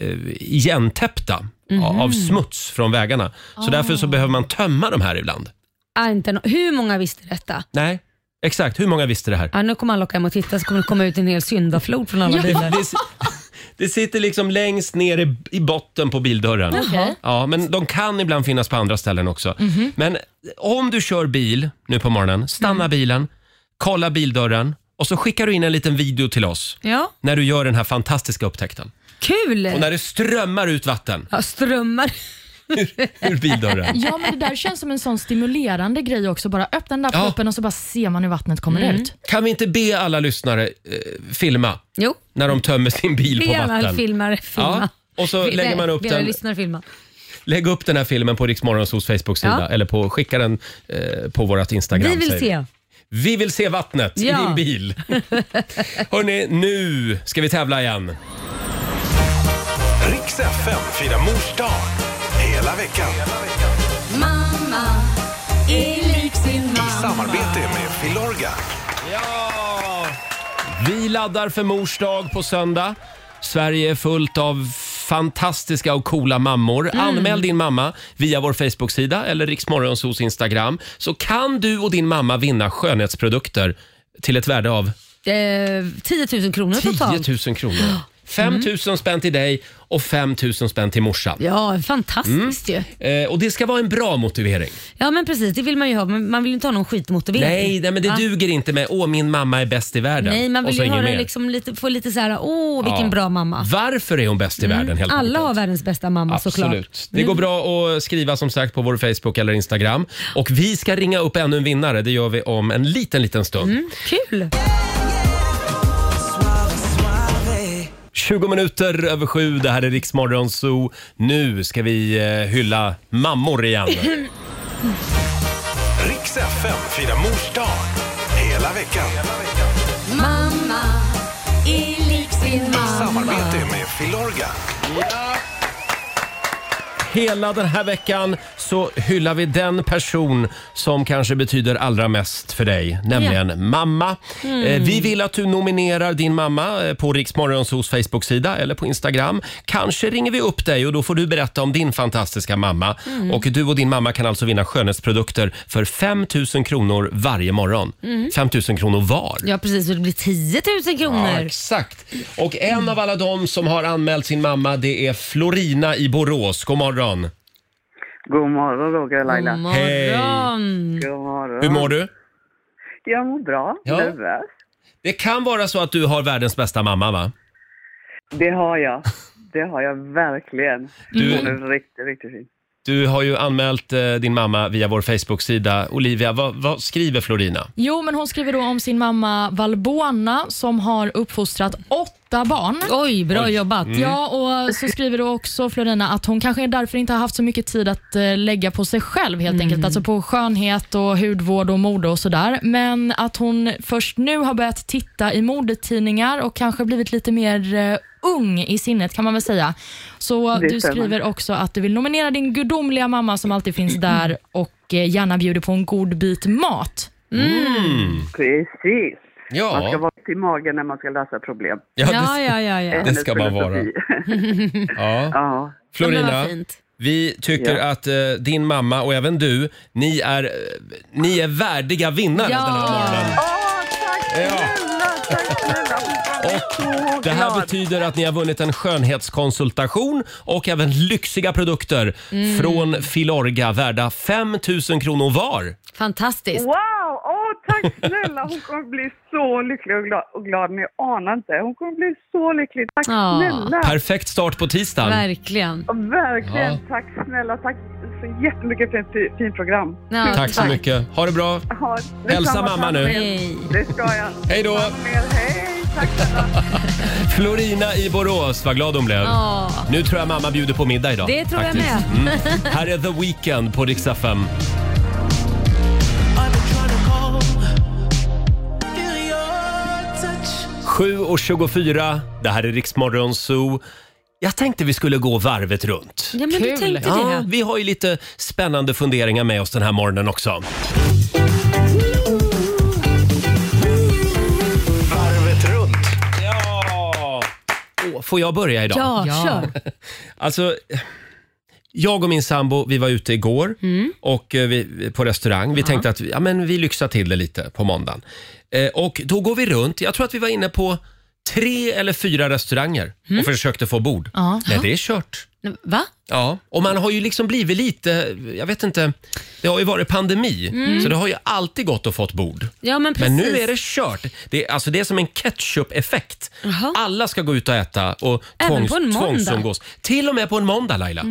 Speaker 1: eh, igentäppta a-
Speaker 2: Mhm.
Speaker 1: av smuts från vägarna. Så därför så behöver man tömma de här ibland.
Speaker 2: Ah, inte no- Hur många visste detta?
Speaker 1: Nej, exakt. Hur många visste det här?
Speaker 2: Ah, nu kommer alla åka hem och titta så kommer det komma ut en hel syndaflod från alla bilar.
Speaker 1: Det, si- det sitter liksom längst ner i, i botten på bildörren.
Speaker 5: Okej.
Speaker 1: Ja, men de kan ibland finnas på andra ställen också.
Speaker 2: Mhm.
Speaker 1: Men om du kör bil nu på morgonen, stanna
Speaker 2: Mm.
Speaker 1: bilen, kolla bildörren och så skickar du in en liten video till oss
Speaker 2: Ja,
Speaker 1: när du gör den här fantastiska upptäckten. Och
Speaker 2: kul!
Speaker 1: när det strömmar ut vatten
Speaker 2: Ja, strömmar.
Speaker 1: ur bildörren.
Speaker 5: Ja, men det där känns som en sån stimulerande grej också. Bara öppna den där
Speaker 1: Ja.
Speaker 5: proppen och så bara ser man hur vattnet kommer
Speaker 2: Mm.
Speaker 5: ut.
Speaker 1: Kan vi inte be alla lyssnare eh, filma
Speaker 2: Jo,
Speaker 1: när de tömmer sin bil
Speaker 2: vi
Speaker 1: på
Speaker 2: alla
Speaker 1: vatten?
Speaker 2: filmar.
Speaker 1: Ja,
Speaker 2: Filma.
Speaker 1: och så
Speaker 2: Vi-
Speaker 1: lägger man upp
Speaker 2: vi alla
Speaker 1: den,
Speaker 2: lyssnar och filmar.
Speaker 1: lägg upp den här filmen på Riksmorgonsos Facebook-sida
Speaker 2: Ja.
Speaker 1: eller på, skicka den eh, på vårt Instagram.
Speaker 2: Vi vill
Speaker 1: säger vi.
Speaker 2: se.
Speaker 1: Vi vill se vattnet i
Speaker 2: Ja.
Speaker 1: din bil. Hörni, nu ska vi tävla igen.
Speaker 3: Riks FM firar mors dag hela veckan. I samarbete med Filorga.
Speaker 1: Ja! Vi laddar för mors dag på söndag. Sverige är fullt av fantastiska och coola mammor.
Speaker 2: Mm.
Speaker 1: Anmäl din mamma via vår Facebook-sida eller Riksmorgonsos Instagram så kan du och din mamma vinna skönhetsprodukter till ett värde av
Speaker 2: Eh, 10 000 kronor
Speaker 1: 10
Speaker 2: totalt.
Speaker 1: 000 kronor.
Speaker 2: Mm.
Speaker 1: 5 000 spänn till dig och 5 000 spänn till morsan.
Speaker 2: Ja, fantastiskt ju.
Speaker 1: Eh, och det ska vara en bra motivering.
Speaker 2: Ja men precis, det vill man ju ha. Men man vill ju inte ha någon skitmotivering.
Speaker 1: Nej, nej men det
Speaker 2: Va?
Speaker 1: duger inte med åh min mamma är bäst i världen.
Speaker 2: Nej, man
Speaker 1: och
Speaker 2: vill
Speaker 1: så
Speaker 2: ju
Speaker 1: ingen
Speaker 2: höra
Speaker 1: mer.
Speaker 2: liksom lite, få lite så här, åh vilken
Speaker 1: Ja.
Speaker 2: bra mamma. Mm.
Speaker 1: Varför är hon bäst i världen helt
Speaker 2: Alla
Speaker 1: enkelt?
Speaker 2: har världens bästa mamma
Speaker 1: Absolut.
Speaker 2: såklart. Mm.
Speaker 1: Det går bra att skriva som sagt på vår Facebook eller Instagram. Och vi ska ringa upp ännu en vinnare. Det gör vi om en liten, liten stund.
Speaker 2: Mm. Kul!
Speaker 1: 20 minuter över sju. Det här är Riksmorgon Zoo. Nu ska vi eh, hylla mammor igen.
Speaker 3: Riks FM firar mors dag hela veckan. I samarbete med Filorga.
Speaker 1: Hela den här veckan så hyllar vi den person som kanske betyder allra mest för dig, nämligen mamma. Eh, Vi vill att du nominerar din mamma eh, på Riksmorgonsos Facebook-sida eller på Instagram. Kanske ringer vi upp dig och då får du berätta om din fantastiska mamma. Och du och din mamma kan alltså vinna skönhetsprodukter för 5 000 kronor varje morgon. 5 000 kronor var.
Speaker 2: Ja precis, och det blir 10 000
Speaker 1: Ja,
Speaker 2: kronor.
Speaker 1: exakt. Och en av alla de som har anmält sin mamma det är Florina i Borås. God morgon.
Speaker 8: God morgon Roger och Laila.
Speaker 2: God
Speaker 1: Hej.
Speaker 2: morgon!
Speaker 8: God morgon.
Speaker 1: Mm. Hur mår du?
Speaker 8: Jag mår bra.
Speaker 1: Ja.
Speaker 8: Nervös.
Speaker 1: Det kan vara så att du har världens bästa mamma va?
Speaker 8: Det har jag. Det har jag verkligen.
Speaker 1: Du-
Speaker 4: Mm-hmm.
Speaker 8: Hon är riktigt, riktigt fin.
Speaker 1: Du har ju anmält eh, din mamma via vår Facebook-sida. Olivia, vad, vad skriver Florina?
Speaker 5: Jo, men hon skriver då om sin mamma Valbona som har uppfostrat åtta barn.
Speaker 2: Oj, bra jobbat.
Speaker 1: Mm.
Speaker 8: Mm.
Speaker 5: Ja, och så skriver då också Florina att hon kanske därför inte har haft så mycket tid att eh, lägga på sig själv helt enkelt,
Speaker 8: Mm.
Speaker 5: alltså på skönhet och hudvård och mode och sådär. Men att hon först nu har börjat titta i modetidningar och kanske blivit lite mer eh, ung i sinnet kan man väl säga. Så
Speaker 8: Det
Speaker 5: du
Speaker 8: stämmer.
Speaker 5: skriver också att du vill nominera din gudomliga mamma som alltid finns där och eh, gärna bjuder på en god bit mat.
Speaker 8: Precis. Man ska
Speaker 1: Ja,
Speaker 8: vara till magen när man ska lösa problem.
Speaker 1: ja,
Speaker 2: Ja,
Speaker 1: det,
Speaker 2: ja, ja. ja.
Speaker 1: Det ska man vara. ja.
Speaker 8: ja.
Speaker 2: Men det
Speaker 1: Florina,
Speaker 2: var fint.
Speaker 1: vi tycker att eh, din mamma och även du, ni är, eh, ni är värdiga vinnare
Speaker 5: Ja.
Speaker 1: den här morgonen.
Speaker 8: Åh, tack snälla, tack snälla.
Speaker 1: Och
Speaker 8: Så
Speaker 1: det här
Speaker 8: glad.
Speaker 1: betyder att ni har vunnit en skönhetskonsultation och även lyxiga produkter från Filorga värda 5 000 kronor var.
Speaker 2: Fantastiskt.
Speaker 8: Wow! Åh, tack snälla! Hon kommer bli så lycklig och glad, och glad. Ni anar inte. Hon kommer bli så lycklig. Tack
Speaker 2: Ja.
Speaker 8: snälla!
Speaker 1: Perfekt start på tisdagen.
Speaker 2: Verkligen.
Speaker 8: Verkligen.
Speaker 1: Ja.
Speaker 8: Tack snälla. Tack så jättemycket för ett fi- fint program.
Speaker 2: Ja,
Speaker 1: Tack så mycket. Ha det bra.
Speaker 8: Ha, detsamma,
Speaker 1: Hälsa mamma
Speaker 8: tack
Speaker 1: nu.
Speaker 8: med er.
Speaker 2: Hej.
Speaker 8: Det ska jag.
Speaker 1: Hej då.
Speaker 8: Tack med er. Hej! Tack snälla.
Speaker 1: Florina i Borås, vad glad hon blev.
Speaker 2: Ja,
Speaker 1: Nu tror jag mamma bjuder på middag idag.
Speaker 2: det tror jag
Speaker 1: faktiskt. Mm.
Speaker 2: med.
Speaker 1: Här är The Weeknd på Riksa 5. 7.24, det här är Riksmorgon Zoo. Jag tänkte vi skulle gå varvet runt.
Speaker 2: Ja, men du
Speaker 5: Kul.
Speaker 2: tänkte
Speaker 1: Ja,
Speaker 2: det.
Speaker 1: vi har ju lite spännande funderingar med oss den här morgonen också.
Speaker 3: Varvet runt.
Speaker 1: Ja! Åh, får jag börja idag?
Speaker 2: Ja, kör.
Speaker 1: Alltså, jag och min sambo vi var ute igår och eh, vi, på restaurang. Vi tänkte att vi- ja, men vi lyxar till det lite på måndagen. Eh, och då går vi runt. Jag tror att vi var inne på tre eller fyra restauranger och försökte få bord.
Speaker 5: Ja.
Speaker 1: Nej, det är kört.
Speaker 2: Va?
Speaker 1: Ja, och man har ju liksom blivit lite, jag vet inte, det har ju varit pandemi, så det har ju alltid gått att fått bord.
Speaker 2: Ja, men precis.
Speaker 1: Men nu är det kört. Det är, alltså, det är som en ketchup-effekt.
Speaker 2: Jaha.
Speaker 1: Alla ska gå ut och äta och
Speaker 2: Även
Speaker 1: tvångs,
Speaker 2: på en måndag? Mhm.
Speaker 1: tvångsumgås. Till och med på en måndag Laila,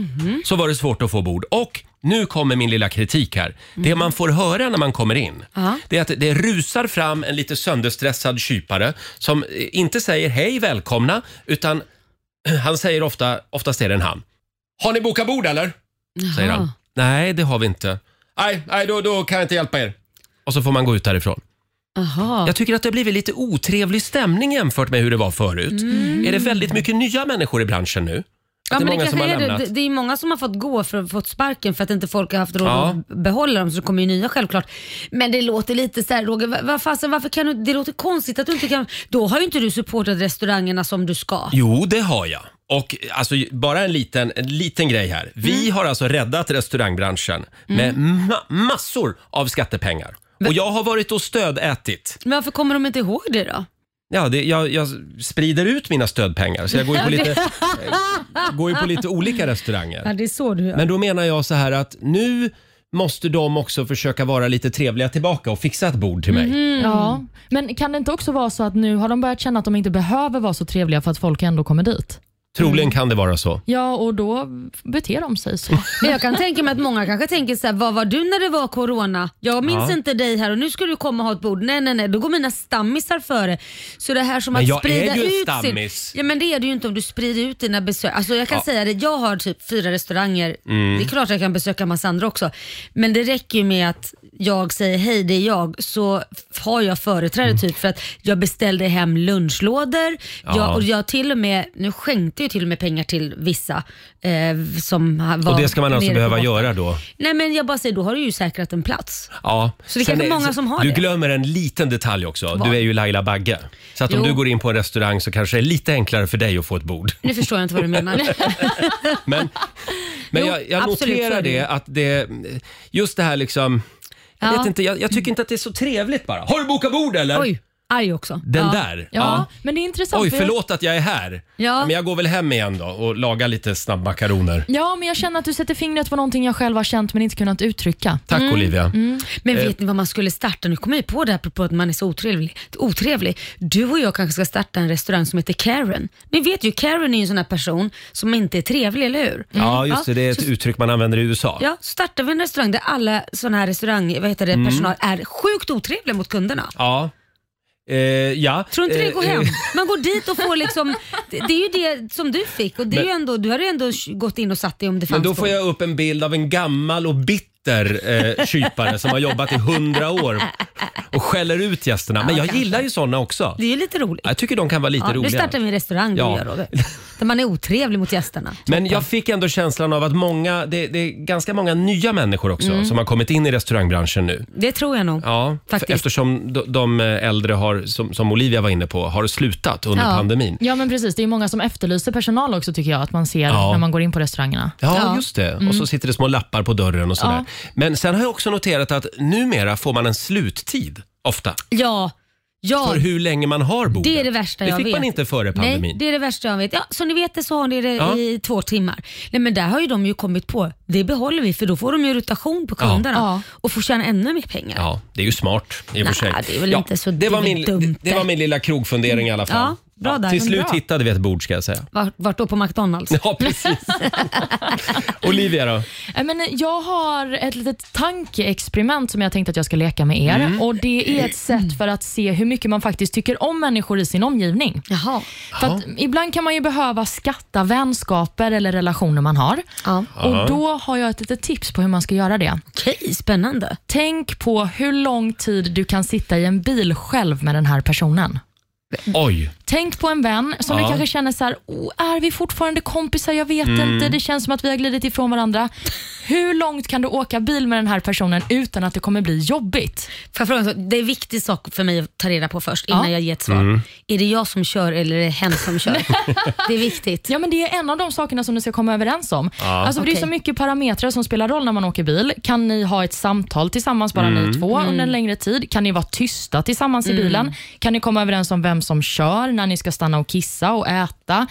Speaker 1: så var det svårt att få bord. Och nu kommer min lilla kritik här.
Speaker 2: Mhm.
Speaker 1: Det man får höra när man kommer in, det är att det rusar fram en lite sönderstressad kypare som eh, inte säger hej välkomna, utan han säger ofta, oftast är det en han. Har ni bokat bord eller? Säger han. Nej, det har vi inte. Nej, nej då, då kan jag inte hjälpa er. Och så får man gå ut därifrån.
Speaker 2: Jaha.
Speaker 1: Jag tycker att det har blivit lite otrevlig stämning jämfört med hur det var förut. Är det väldigt mycket nya människor i branschen nu? Att
Speaker 2: Mm.
Speaker 1: det är många
Speaker 2: Ja, men det,
Speaker 1: som har
Speaker 2: kanske är
Speaker 1: lämnat?
Speaker 2: det. det är många som har fått gå för att fått sparken för att inte folk har haft råd
Speaker 1: Ja.
Speaker 2: att behålla dem så det kommer ju nya självklart. Men det låter lite så här, Roger, va- va, fasen, varför kan du, det låter konstigt att du inte kan, då har ju inte du supportat restaurangerna som du ska.
Speaker 1: Jo, det har jag. Och alltså, bara en liten, en liten grej här. Vi
Speaker 2: Mm.
Speaker 1: har alltså räddat restaurangbranschen med ma- massor av skattepengar. Och jag har varit och stödätit.
Speaker 2: Men varför kommer de inte ihåg det då?
Speaker 1: Ja, det, jag, jag sprider ut mina stödpengar så jag går ju på lite, eh, går ju på lite olika restauranger.
Speaker 2: Ja, det är så du gör.
Speaker 1: Men då menar jag så här att nu måste de också försöka vara lite trevliga tillbaka och fixa ett bord till mig.
Speaker 2: Mhm.
Speaker 5: Ja. Men kan det inte också vara så att nu har de börjat känna att de inte behöver vara så trevliga för att folk ändå kommer dit?
Speaker 1: Troligen kan det vara så.
Speaker 5: Ja, och då beter de sig så.
Speaker 2: Men jag kan tänka mig att många kanske tänker så här, vad var du när det var corona? Jag minns
Speaker 1: Ja.
Speaker 2: inte dig här och nu ska du komma och ha ett bord. Nej, nej, nej, då går mina stammisar före. Så det här som
Speaker 1: Men
Speaker 2: att
Speaker 1: jag
Speaker 2: sprida
Speaker 1: är ju
Speaker 2: ut
Speaker 1: stammis.
Speaker 2: Sin... Ja, men det är du ju inte om du sprider ut dina besök. Alltså jag kan säga det, jag har typ fyra restauranger.
Speaker 1: Mm.
Speaker 2: Det är klart jag kan besöka massa andra också. Men det räcker ju med att jag säger hej, det är jag, så f- har jag företräde
Speaker 1: Mm.
Speaker 2: typ för att jag beställde hem lunchlådor
Speaker 1: Ja.
Speaker 2: jag, och jag till och med, nu skänkte jag till och med pengar till vissa eh, som ha- var
Speaker 1: Och det ska man alltså
Speaker 2: nere på
Speaker 1: behöva
Speaker 2: botten.
Speaker 1: göra då?
Speaker 2: Nej men jag bara säger, då har du ju säkrat en plats.
Speaker 1: Ja.
Speaker 2: Så det är kanske
Speaker 1: Sen
Speaker 2: många som har
Speaker 1: Du
Speaker 2: det.
Speaker 1: glömmer en liten detalj också.
Speaker 2: Vad?
Speaker 1: Du är ju Laila Bagge. Så att om
Speaker 2: Jo.
Speaker 1: du går in på en restaurang så kanske det är lite enklare för dig att få ett bord.
Speaker 2: Nu förstår jag inte vad du menar.
Speaker 1: Men, men
Speaker 2: Jo,
Speaker 1: jag, jag
Speaker 2: absolut, så
Speaker 1: noterar
Speaker 2: är det ju.
Speaker 1: det att det, just det här liksom, jag
Speaker 2: Ja.
Speaker 1: vet inte, jag, jag tycker inte att det är så trevligt bara. Har du bokat bord eller?
Speaker 2: Oj, arg också.
Speaker 1: Den
Speaker 2: ja.
Speaker 1: där.
Speaker 5: Ja, men det är intressant.
Speaker 1: Oj,
Speaker 5: för jag-
Speaker 1: förlåt att jag är här.
Speaker 2: Ja.
Speaker 1: Men jag går väl hem igen då och lagar lite snabbmakaroner.
Speaker 5: Ja, men jag känner att du sätter fingret på någonting jag själv har känt men inte kunnat uttrycka.
Speaker 1: Tack
Speaker 2: Mm.
Speaker 1: Olivia.
Speaker 2: Men
Speaker 1: eh,
Speaker 2: vet ni vad man skulle starta? Nu kommer jag ju på det här apropå att man är så otrevlig. otrevlig. Du och jag kanske ska starta en restaurang som heter Karen. Ni vet ju, Karen är ju en sån här person som inte är trevlig, eller hur? Mm.
Speaker 1: Ja, just det. Det är ett
Speaker 2: så-
Speaker 1: uttryck man använder i USA.
Speaker 2: Ja, startar vi en restaurang där alla såna här restaurang, vad heter det,
Speaker 1: Mm.
Speaker 2: personal är sjukt otrevliga mot kunderna.
Speaker 1: Ja. Eh, ja.
Speaker 2: Tror inte det
Speaker 1: Eh,
Speaker 2: går
Speaker 1: eh,
Speaker 2: hem? Man går dit och får liksom, det, det är ju det som du fick och det är ju ändå, du har ju ändå gått in och satt dig om det fanns
Speaker 1: Men då får
Speaker 2: folk.
Speaker 1: jag upp en bild av en gammal och bitter eh, kypare som har jobbat i hundra år och skäller ut gästerna. Men jag
Speaker 2: kanske.
Speaker 1: gillar ju sådana också.
Speaker 2: Det är ju lite roligt.
Speaker 1: Jag tycker de kan vara lite
Speaker 2: Ja, nu
Speaker 1: roliga.
Speaker 2: startar vi en restaurang
Speaker 1: Ja.
Speaker 2: ja. Roger, där man är otrevlig mot gästerna.
Speaker 1: Men jag fick ändå känslan av att många, det, det är ganska många nya människor också
Speaker 2: Mm.
Speaker 1: som har kommit in i restaurangbranschen nu.
Speaker 2: Det tror jag nog.
Speaker 1: Ja,
Speaker 2: Faktiskt.
Speaker 1: eftersom de, de äldre har, som, som Olivia var inne på, har slutat under
Speaker 2: Ja.
Speaker 1: pandemin.
Speaker 5: Ja, men precis. Det är många som efterlyser personal också tycker jag att man ser
Speaker 1: Ja.
Speaker 5: när man går in på restaurangerna.
Speaker 1: Ja, just det. Och
Speaker 2: Mm.
Speaker 1: så sitter det små lappar på dörren och sådär. Men sen har jag också noterat att numera får man en sluttid ofta
Speaker 2: Ja, ja.
Speaker 1: för hur länge man har bord.
Speaker 2: Det är det värsta
Speaker 1: Det
Speaker 2: jag
Speaker 1: fick
Speaker 2: vet.
Speaker 1: man inte före pandemin.
Speaker 2: Nej, det är det värsta jag vet. Ja, som ni vet det så har ni det
Speaker 1: Ja.
Speaker 2: i två timmar. Nej, men där har ju de ju kommit på, det behåller vi för då får de ju rotation på kunderna
Speaker 5: Ja.
Speaker 2: och får tjäna ännu mer pengar.
Speaker 1: Ja, det är ju smart i och för sig.
Speaker 2: Nej, det är väl
Speaker 1: ja,
Speaker 2: inte så- det
Speaker 1: det,
Speaker 2: är
Speaker 1: var
Speaker 2: väl
Speaker 1: min,
Speaker 2: dumt
Speaker 1: det, det var min lilla krogfundering i alla fall.
Speaker 2: Ja, bra där.
Speaker 1: till
Speaker 2: Men
Speaker 1: slut
Speaker 2: bra.
Speaker 1: hittade vi ett bord ska jag säga.
Speaker 2: Vart, vart då på McDonalds?
Speaker 1: Ja, precis. Olivia då?
Speaker 5: Äh, Men jag har ett litet tankeexperiment som jag tänkte att jag ska leka med er.
Speaker 1: Mm.
Speaker 5: Och Det är ett sätt för att se hur mycket man faktiskt tycker om människor i sin omgivning.
Speaker 2: Jaha.
Speaker 5: För att ibland kan man ju behöva skatta vänskaper eller relationer man har.
Speaker 2: Ja.
Speaker 5: Och Då har jag ett litet tips på hur man ska göra det.
Speaker 2: Okej, spännande.
Speaker 5: Tänk på hur lång tid du kan sitta i en bil själv med den här personen.
Speaker 1: Oj.
Speaker 5: Tänk på en vän som
Speaker 1: Ja.
Speaker 5: du kanske känner så här, oh, är vi fortfarande kompisar? Jag vet inte, det känns som att vi har glidit ifrån varandra. Hur långt kan du åka bil med den här personen utan att det kommer bli jobbigt?
Speaker 2: Får jag fråga, en sak? det är en viktig sak för mig att ta reda på först innan
Speaker 5: Ja.
Speaker 2: jag ger ett svar.
Speaker 1: Mm.
Speaker 2: Är det jag som kör eller är det hen som kör? det är viktigt.
Speaker 5: Ja, men det är en av de sakerna som ni ska komma överens om. Alltså, för Det är så
Speaker 2: Okej.
Speaker 5: mycket parametrar som spelar roll när man åker bil. Kan ni ha ett samtal tillsammans, bara ni två, under en längre tid? Kan ni vara tysta tillsammans i bilen? Kan ni komma överens om vem som kör, när ni ska stanna och kissa och äta?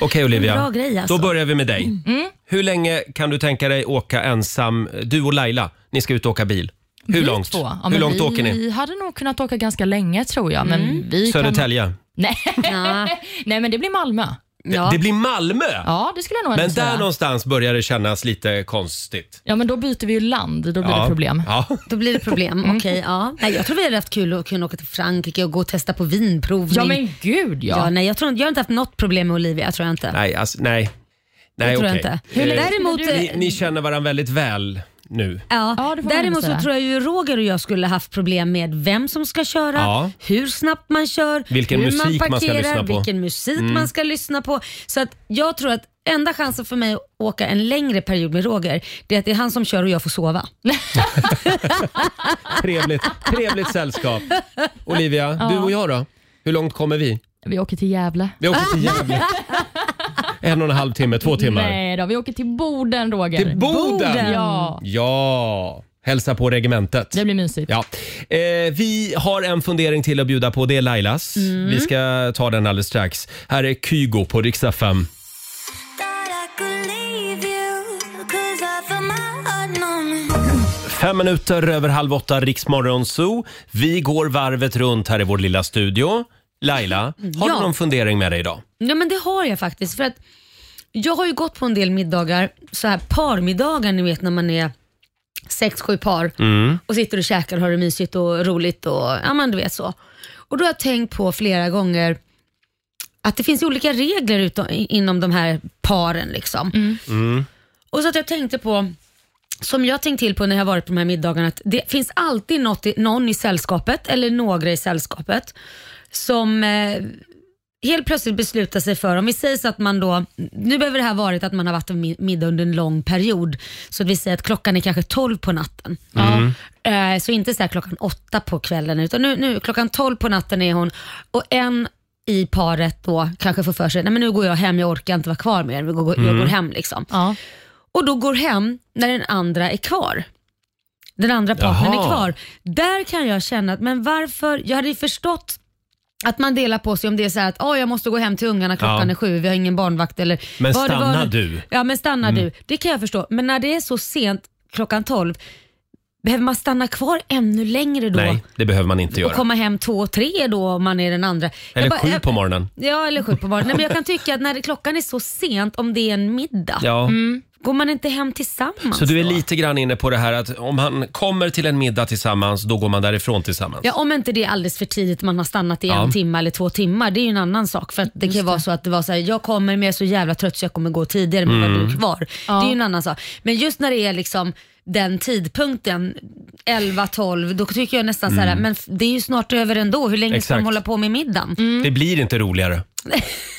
Speaker 1: Okej Olivia,
Speaker 2: Bra grej, alltså.
Speaker 1: då börjar vi med dig.
Speaker 5: Mm.
Speaker 1: Hur länge kan du tänka dig åka ensam, du och Laila, ni ska ut och åka bil? Hur
Speaker 5: Vi
Speaker 1: långt,
Speaker 5: två. Ja,
Speaker 1: Hur
Speaker 5: men
Speaker 1: långt
Speaker 5: vi,
Speaker 1: åker ni? Mm.
Speaker 5: Vi hade nog kunnat åka ganska länge tror jag. Men vi Kan...
Speaker 1: Södertälje?
Speaker 5: Nej.
Speaker 2: Ja.
Speaker 5: Nej, men det blir Malmö.
Speaker 2: Ja.
Speaker 1: Det blir Malmö!
Speaker 5: Ja, det skulle jag nog ändå
Speaker 1: Men
Speaker 5: säga.
Speaker 1: där någonstans börjar det kännas lite konstigt.
Speaker 5: Ja, men då byter vi ju land. Då blir det problem.
Speaker 1: Ja.
Speaker 2: Då blir det problem.
Speaker 1: Mm.
Speaker 2: Okej, ja. Nej, jag tror vi hade haft kul att kunna åka till Frankrike och gå och testa på vinprovning.
Speaker 5: Ja, men gud ja.
Speaker 2: Ja, nej, jag, tror, inte- jag har inte haft något problem med Olivia, tror jag inte.
Speaker 1: Nej, alltså, nej. Nej,
Speaker 2: det tror jag
Speaker 1: okej.
Speaker 2: inte.
Speaker 1: Eh,
Speaker 2: Däremot,
Speaker 1: ni, ni känner varandra väldigt väl nu.
Speaker 2: Ja,
Speaker 5: Ja, det får man ändå
Speaker 2: däremot så
Speaker 5: säga.
Speaker 2: tror jag ju Roger och jag skulle haft problem med vem som ska köra,
Speaker 1: Ja.
Speaker 2: hur snabbt man kör,
Speaker 1: Vilken
Speaker 2: hur man
Speaker 1: musik
Speaker 2: parkerar,
Speaker 1: man ska lyssna på. Mm.
Speaker 2: vilken musik man ska lyssna på. Så att jag tror att enda chansen för mig att åka en längre period med Roger, det är att det är han som kör och jag får sova.
Speaker 1: Trevligt, trevligt sällskap. Olivia, du och jag då? Hur långt kommer vi?
Speaker 5: Vi åker till Gävle.
Speaker 1: Vi åker till Gävle. En och en halv timme, två timmar.
Speaker 5: Nej då, vi åker till Boden Roger.
Speaker 1: Till Boden!
Speaker 2: Boden.
Speaker 5: Ja,
Speaker 1: Ja, hälsa på regementet.
Speaker 5: det blir mysigt.
Speaker 1: Ja. Eh, vi har en fundering till att bjuda på. Det är Lailas.
Speaker 2: Mm.
Speaker 1: Vi ska ta den alldeles strax. Här är Kygo på riksdag 5. Fem minuter över halv åtta, Riksmorgon Zoo. Vi går varvet runt här i vår lilla studio. Laila, har
Speaker 2: Mm. Ja.
Speaker 1: du någon fundering med dig idag?
Speaker 2: Ja men det har jag faktiskt. För att jag har ju gått på en del middagar, så här parmiddagar ni vet när man är sex, sju par och sitter och käkar och har det mysigt och roligt och ja men du vet så. Och då har jag tänkt på flera gånger att det finns ju olika regler utom, i- inom de här paren liksom. Och så att jag tänkte på, som jag tänkt till på när jag har varit på de här middagarna, att det finns alltid något, i- någon i sällskapet eller några i sällskapet som eh, helt plötsligt besluta sig för, om vi säger så att man då, nu behöver det här varit att man har varit en mi- middag under en lång period, så att vi säger att klockan är kanske 12 på natten. Eh, Så inte så här klockan åtta på kvällen, utan nu, nu klockan 12 på natten är hon och en i paret då kanske får för sig, nej men nu går jag hem, jag orkar inte vara kvar mer, jag går, jag går hem liksom.
Speaker 5: Ja.
Speaker 2: Och då går hem när den andra är kvar. Den andra partnern
Speaker 1: Jaha.
Speaker 2: är kvar. Där kan jag känna att, men varför, jag hade ju förstått att man delar på sig om det är så här att oh, jag måste gå hem till ungarna klockan
Speaker 1: Ja.
Speaker 2: är sju, vi har ingen barnvakt eller
Speaker 1: Men
Speaker 2: vad det var
Speaker 1: stanna
Speaker 2: nu-
Speaker 1: du. Mm.
Speaker 2: Ja men stanna du, det kan jag förstå. Men när det är så sent klockan tolv, behöver man stanna kvar ännu längre då?
Speaker 1: Nej, det behöver man inte
Speaker 2: Och
Speaker 1: göra.
Speaker 2: komma hem två, tre då om man är den andra. Jag
Speaker 1: Eller
Speaker 2: bara-
Speaker 1: sju
Speaker 2: jag-
Speaker 1: på morgonen.
Speaker 2: Ja eller sju på morgonen. Nej, men jag kan tycka att när det- klockan är så sent, om det är en middag,
Speaker 1: Ja.
Speaker 2: går man inte hem tillsammans
Speaker 1: Så du är
Speaker 2: då?
Speaker 1: lite grann inne på det här att om han kommer till en middag tillsammans, då går man därifrån tillsammans.
Speaker 2: Ja, om inte det är alldeles för tidigt, man har stannat i en
Speaker 1: Ja.
Speaker 2: timme eller två timmar, det är ju en annan sak. För att det kan ju vara så att det var så här, jag kommer men jag är så jävla trött så jag kommer gå tidigare men mm. du är kvar. Det är ju en annan sak. Men just när det är liksom den tidpunkten, 11-12, då tycker jag nästan så här, men f- det är ju snart över ändå, hur länge ska
Speaker 1: Mm. Exakt.
Speaker 2: de hålla på med middagen?
Speaker 5: Mm.
Speaker 1: Det blir inte roligare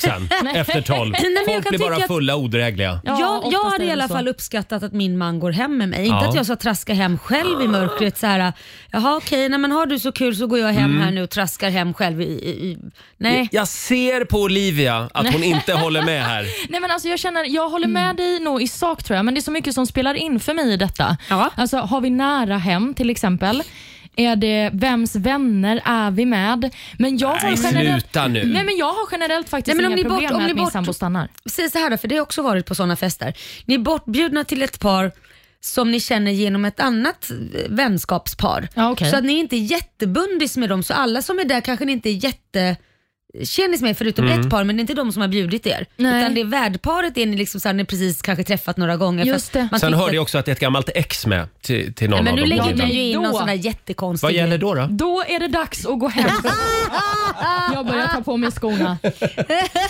Speaker 1: sen, efter tolv.
Speaker 2: men jag
Speaker 1: Folk
Speaker 2: kan
Speaker 1: blir bara
Speaker 2: tycka att-
Speaker 1: fulla och odrägliga.
Speaker 2: jag
Speaker 5: Ja,
Speaker 2: jag
Speaker 5: oftast är
Speaker 2: hade
Speaker 5: det
Speaker 2: i alla
Speaker 5: så.
Speaker 2: fall uppskattat att min man går hem med mig. Inte
Speaker 1: Ja.
Speaker 2: att jag ska traska hem själv i mörkret. Så här, Jaha okej, nej men har du så kul så går jag
Speaker 1: Mm.
Speaker 2: hem här nu och traskar hem själv. I, i, i. Nej.
Speaker 1: Jag ser på Olivia att hon inte håller med här.
Speaker 5: Nej, men alltså jag, känner, jag håller med
Speaker 1: Mm.
Speaker 5: dig nog i sak tror jag, men det är så mycket som spelar in för mig i detta.
Speaker 2: Ja.
Speaker 5: Alltså, har vi nära hem till exempel? Är det vems vänner är vi med? Men jag har
Speaker 1: Nej,
Speaker 5: generellt,
Speaker 1: sluta nu.
Speaker 5: Nej, men jag har generellt
Speaker 2: Nej,
Speaker 5: faktiskt
Speaker 2: men om
Speaker 5: inga
Speaker 2: ni bort-
Speaker 5: problem
Speaker 2: om
Speaker 5: med
Speaker 2: ni
Speaker 5: att min
Speaker 2: bort-
Speaker 5: sambo stannar.
Speaker 2: Säg så här då, för det har jag också varit på sådana fester. Ni är bortbjudna till ett par som ni känner genom ett annat eh, vänskapspar.
Speaker 5: Ja, okej.
Speaker 2: Så att ni är inte jättebundis med dem, så alla som är där kanske ni inte är jätte Kännis med förutom
Speaker 1: Mm.
Speaker 2: ett par men det är inte de som har bjudit er.
Speaker 5: Nej.
Speaker 2: Utan det är värdparet är ni liksom så här, ni precis kanske träffat några gånger.
Speaker 5: Just
Speaker 2: för att
Speaker 5: det.
Speaker 2: Man
Speaker 1: Sen
Speaker 2: tyckte-
Speaker 1: hörde jag också att det är ett gammalt ex med till, till någon
Speaker 2: Nej, Men
Speaker 1: av
Speaker 2: nu
Speaker 1: dem.
Speaker 2: lägger
Speaker 1: Laila.
Speaker 2: ni ju in någon
Speaker 5: Då.
Speaker 2: sån där jättekonstig
Speaker 1: Vad gäller då? då?
Speaker 5: Då är det dags att gå hem. jag börjar ta på mig skorna.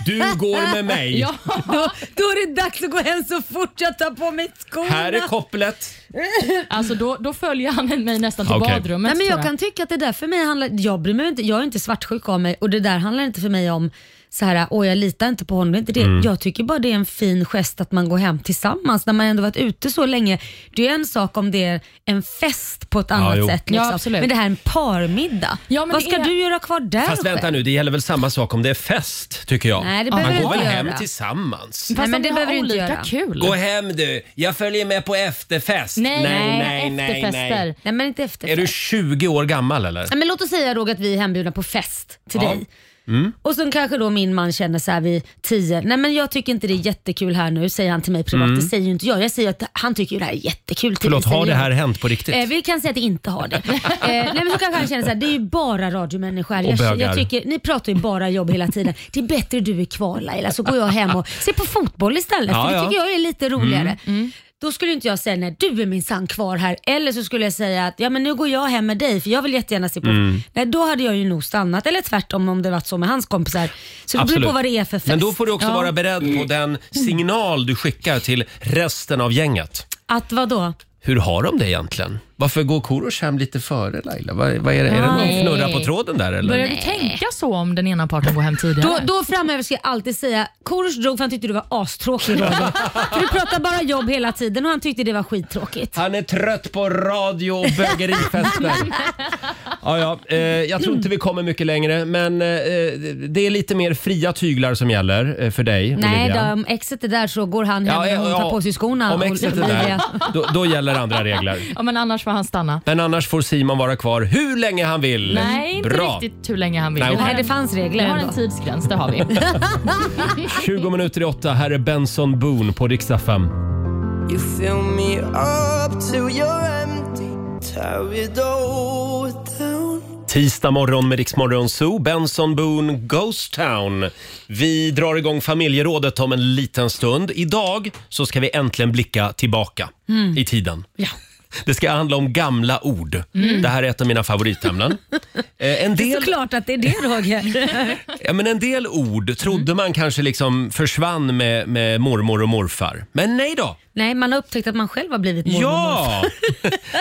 Speaker 1: Du går med mig.
Speaker 5: Ja.
Speaker 2: Då, då är det dags att gå hem så fort jag tar på mig skorna.
Speaker 1: Här är kopplet.
Speaker 5: Alltså då, då följer han mig nästan till
Speaker 1: Okej.
Speaker 5: badrummet.
Speaker 2: Nej, men jag
Speaker 5: tror
Speaker 2: kan tycka att det där för mig handlar, jag bryr mig inte, jag är inte svartsjuk av mig och det där handlar inte för mig om så här, åh jag litar inte på honom. Det är inte det. Jag tycker bara det är en fin gest att man går hem tillsammans när man ändå varit ute så länge. Det är en sak om det är en fest på ett annat
Speaker 1: jo.
Speaker 2: sätt. Liksom.
Speaker 5: Ja, absolut.
Speaker 2: men det här är en parmiddag.
Speaker 5: Ja, men
Speaker 2: Vad
Speaker 5: det
Speaker 2: ska
Speaker 5: är-
Speaker 2: du göra kvar där
Speaker 1: Fast vänta
Speaker 2: själv?
Speaker 1: nu, det gäller väl samma sak om det är fest, tycker jag.
Speaker 2: Nej, det
Speaker 1: Man går
Speaker 2: behöver du
Speaker 1: väl
Speaker 2: inte
Speaker 1: hem
Speaker 2: göra.
Speaker 1: tillsammans?
Speaker 5: jag. Fast
Speaker 2: Nej, men
Speaker 5: om
Speaker 2: det
Speaker 5: vi
Speaker 2: behöver
Speaker 5: har
Speaker 2: du inte
Speaker 5: olika
Speaker 2: göra.
Speaker 5: kul.
Speaker 1: Gå hem du, jag följer med på efterfest.
Speaker 5: Nej, nej,
Speaker 1: nej, nej,
Speaker 5: efterfester.
Speaker 2: Nej men inte efter
Speaker 1: Är du
Speaker 2: fest.
Speaker 1: 20 år gammal eller?
Speaker 2: Nej, men låt oss säga Roger att vi är hembjudna på fest till
Speaker 1: Ja. Mm.
Speaker 2: dig. Och sen kanske då min man känner så här vid tio, nej men jag tycker inte det är jättekul här nu, säger han till mig privat. Det säger ju inte jag. Jag säger att han tycker ju det här är jättekul. till
Speaker 1: Mm. Förlåt,
Speaker 2: mig,
Speaker 1: har det
Speaker 2: säger
Speaker 1: här
Speaker 2: jag.
Speaker 1: hänt på riktigt?
Speaker 2: Eh, vi kan säga att det inte har det. eh, nej men så kanske han känner så här, det är ju bara radiomänniskor.
Speaker 1: Och
Speaker 2: Jag,
Speaker 1: bögar.
Speaker 2: jag tycker, ni pratar ju bara jobb hela tiden. Det är bättre du är kvar Laila, så går jag hem och ser på fotboll istället.
Speaker 1: Ja,
Speaker 2: för det
Speaker 1: ja. Mm.
Speaker 2: tycker jag är lite roligare. Då skulle inte jag säga nej, du är minsann kvar här. Eller så skulle jag säga att ja, men nu går jag hem med dig för jag vill jättegärna se på
Speaker 1: Mm.
Speaker 2: Nej, då hade jag ju nog stannat. Eller tvärtom om det varit så med hans kompisar. Så det beror på vad det är för fest.
Speaker 1: Men då får du också
Speaker 5: Ja.
Speaker 1: vara beredd på den signal du skickar till resten av gänget.
Speaker 2: Att vadå?
Speaker 1: Hur har de det egentligen? Varför går Korosh hem lite före Laila? Vad, vad är, det? är det någon
Speaker 2: Nej.
Speaker 1: fnurra på tråden där eller?
Speaker 5: Börjar du tänka så om den ena parten går hem tidigare?
Speaker 2: Då, då framöver ska jag alltid säga Korosh drog för han tyckte du var astråkig Roger. för du pratar bara jobb hela tiden och han tyckte det var skittråkigt.
Speaker 1: Han är trött på radio och bögerifester. ja, ja, eh, jag tror inte vi kommer mycket längre, men eh, det är lite mer fria tyglar som gäller eh, för dig,
Speaker 2: Nej då,
Speaker 1: Olivia.
Speaker 2: om exet är där så går han hem och hon tar på sig skorna.
Speaker 1: Om
Speaker 2: och- liksom
Speaker 1: exet är där,
Speaker 2: Olivia.
Speaker 1: då, då gäller andra regler.
Speaker 5: Ja, men annars får han stanna.
Speaker 1: Men annars får Simon vara kvar hur länge han vill.
Speaker 5: Nej, inte
Speaker 1: Bra.
Speaker 5: riktigt hur länge han vill.
Speaker 1: Nej,
Speaker 5: Vi har
Speaker 1: okej.
Speaker 2: Nej, det
Speaker 5: en-
Speaker 2: fanns
Speaker 5: Vi
Speaker 2: regler
Speaker 5: har
Speaker 2: ändå.
Speaker 5: en tidsgräns, det har vi.
Speaker 1: 20 minuter i åtta, här är Benson Boone på riksdag 5.
Speaker 7: You fill me up till you're empty. Tear it all down.
Speaker 1: Tisdag morgon med Riksmorgon Zoo, Benson Boone, Ghost Town. Vi drar igång familjerådet om en liten stund. Idag så ska vi äntligen blicka tillbaka
Speaker 5: Mm.
Speaker 1: i tiden. Det ska handla om gamla ord.
Speaker 5: Mm.
Speaker 1: Det här är ett av mina favoritämnen. Eh, en, del,
Speaker 2: Såklart att det är det Roger.
Speaker 1: ja, men en del ord trodde
Speaker 5: Mm.
Speaker 1: man kanske liksom försvann med, med mormor och morfar. Men nej då!
Speaker 2: Nej, man har upptäckt att man själv har blivit mormor.
Speaker 1: Ja!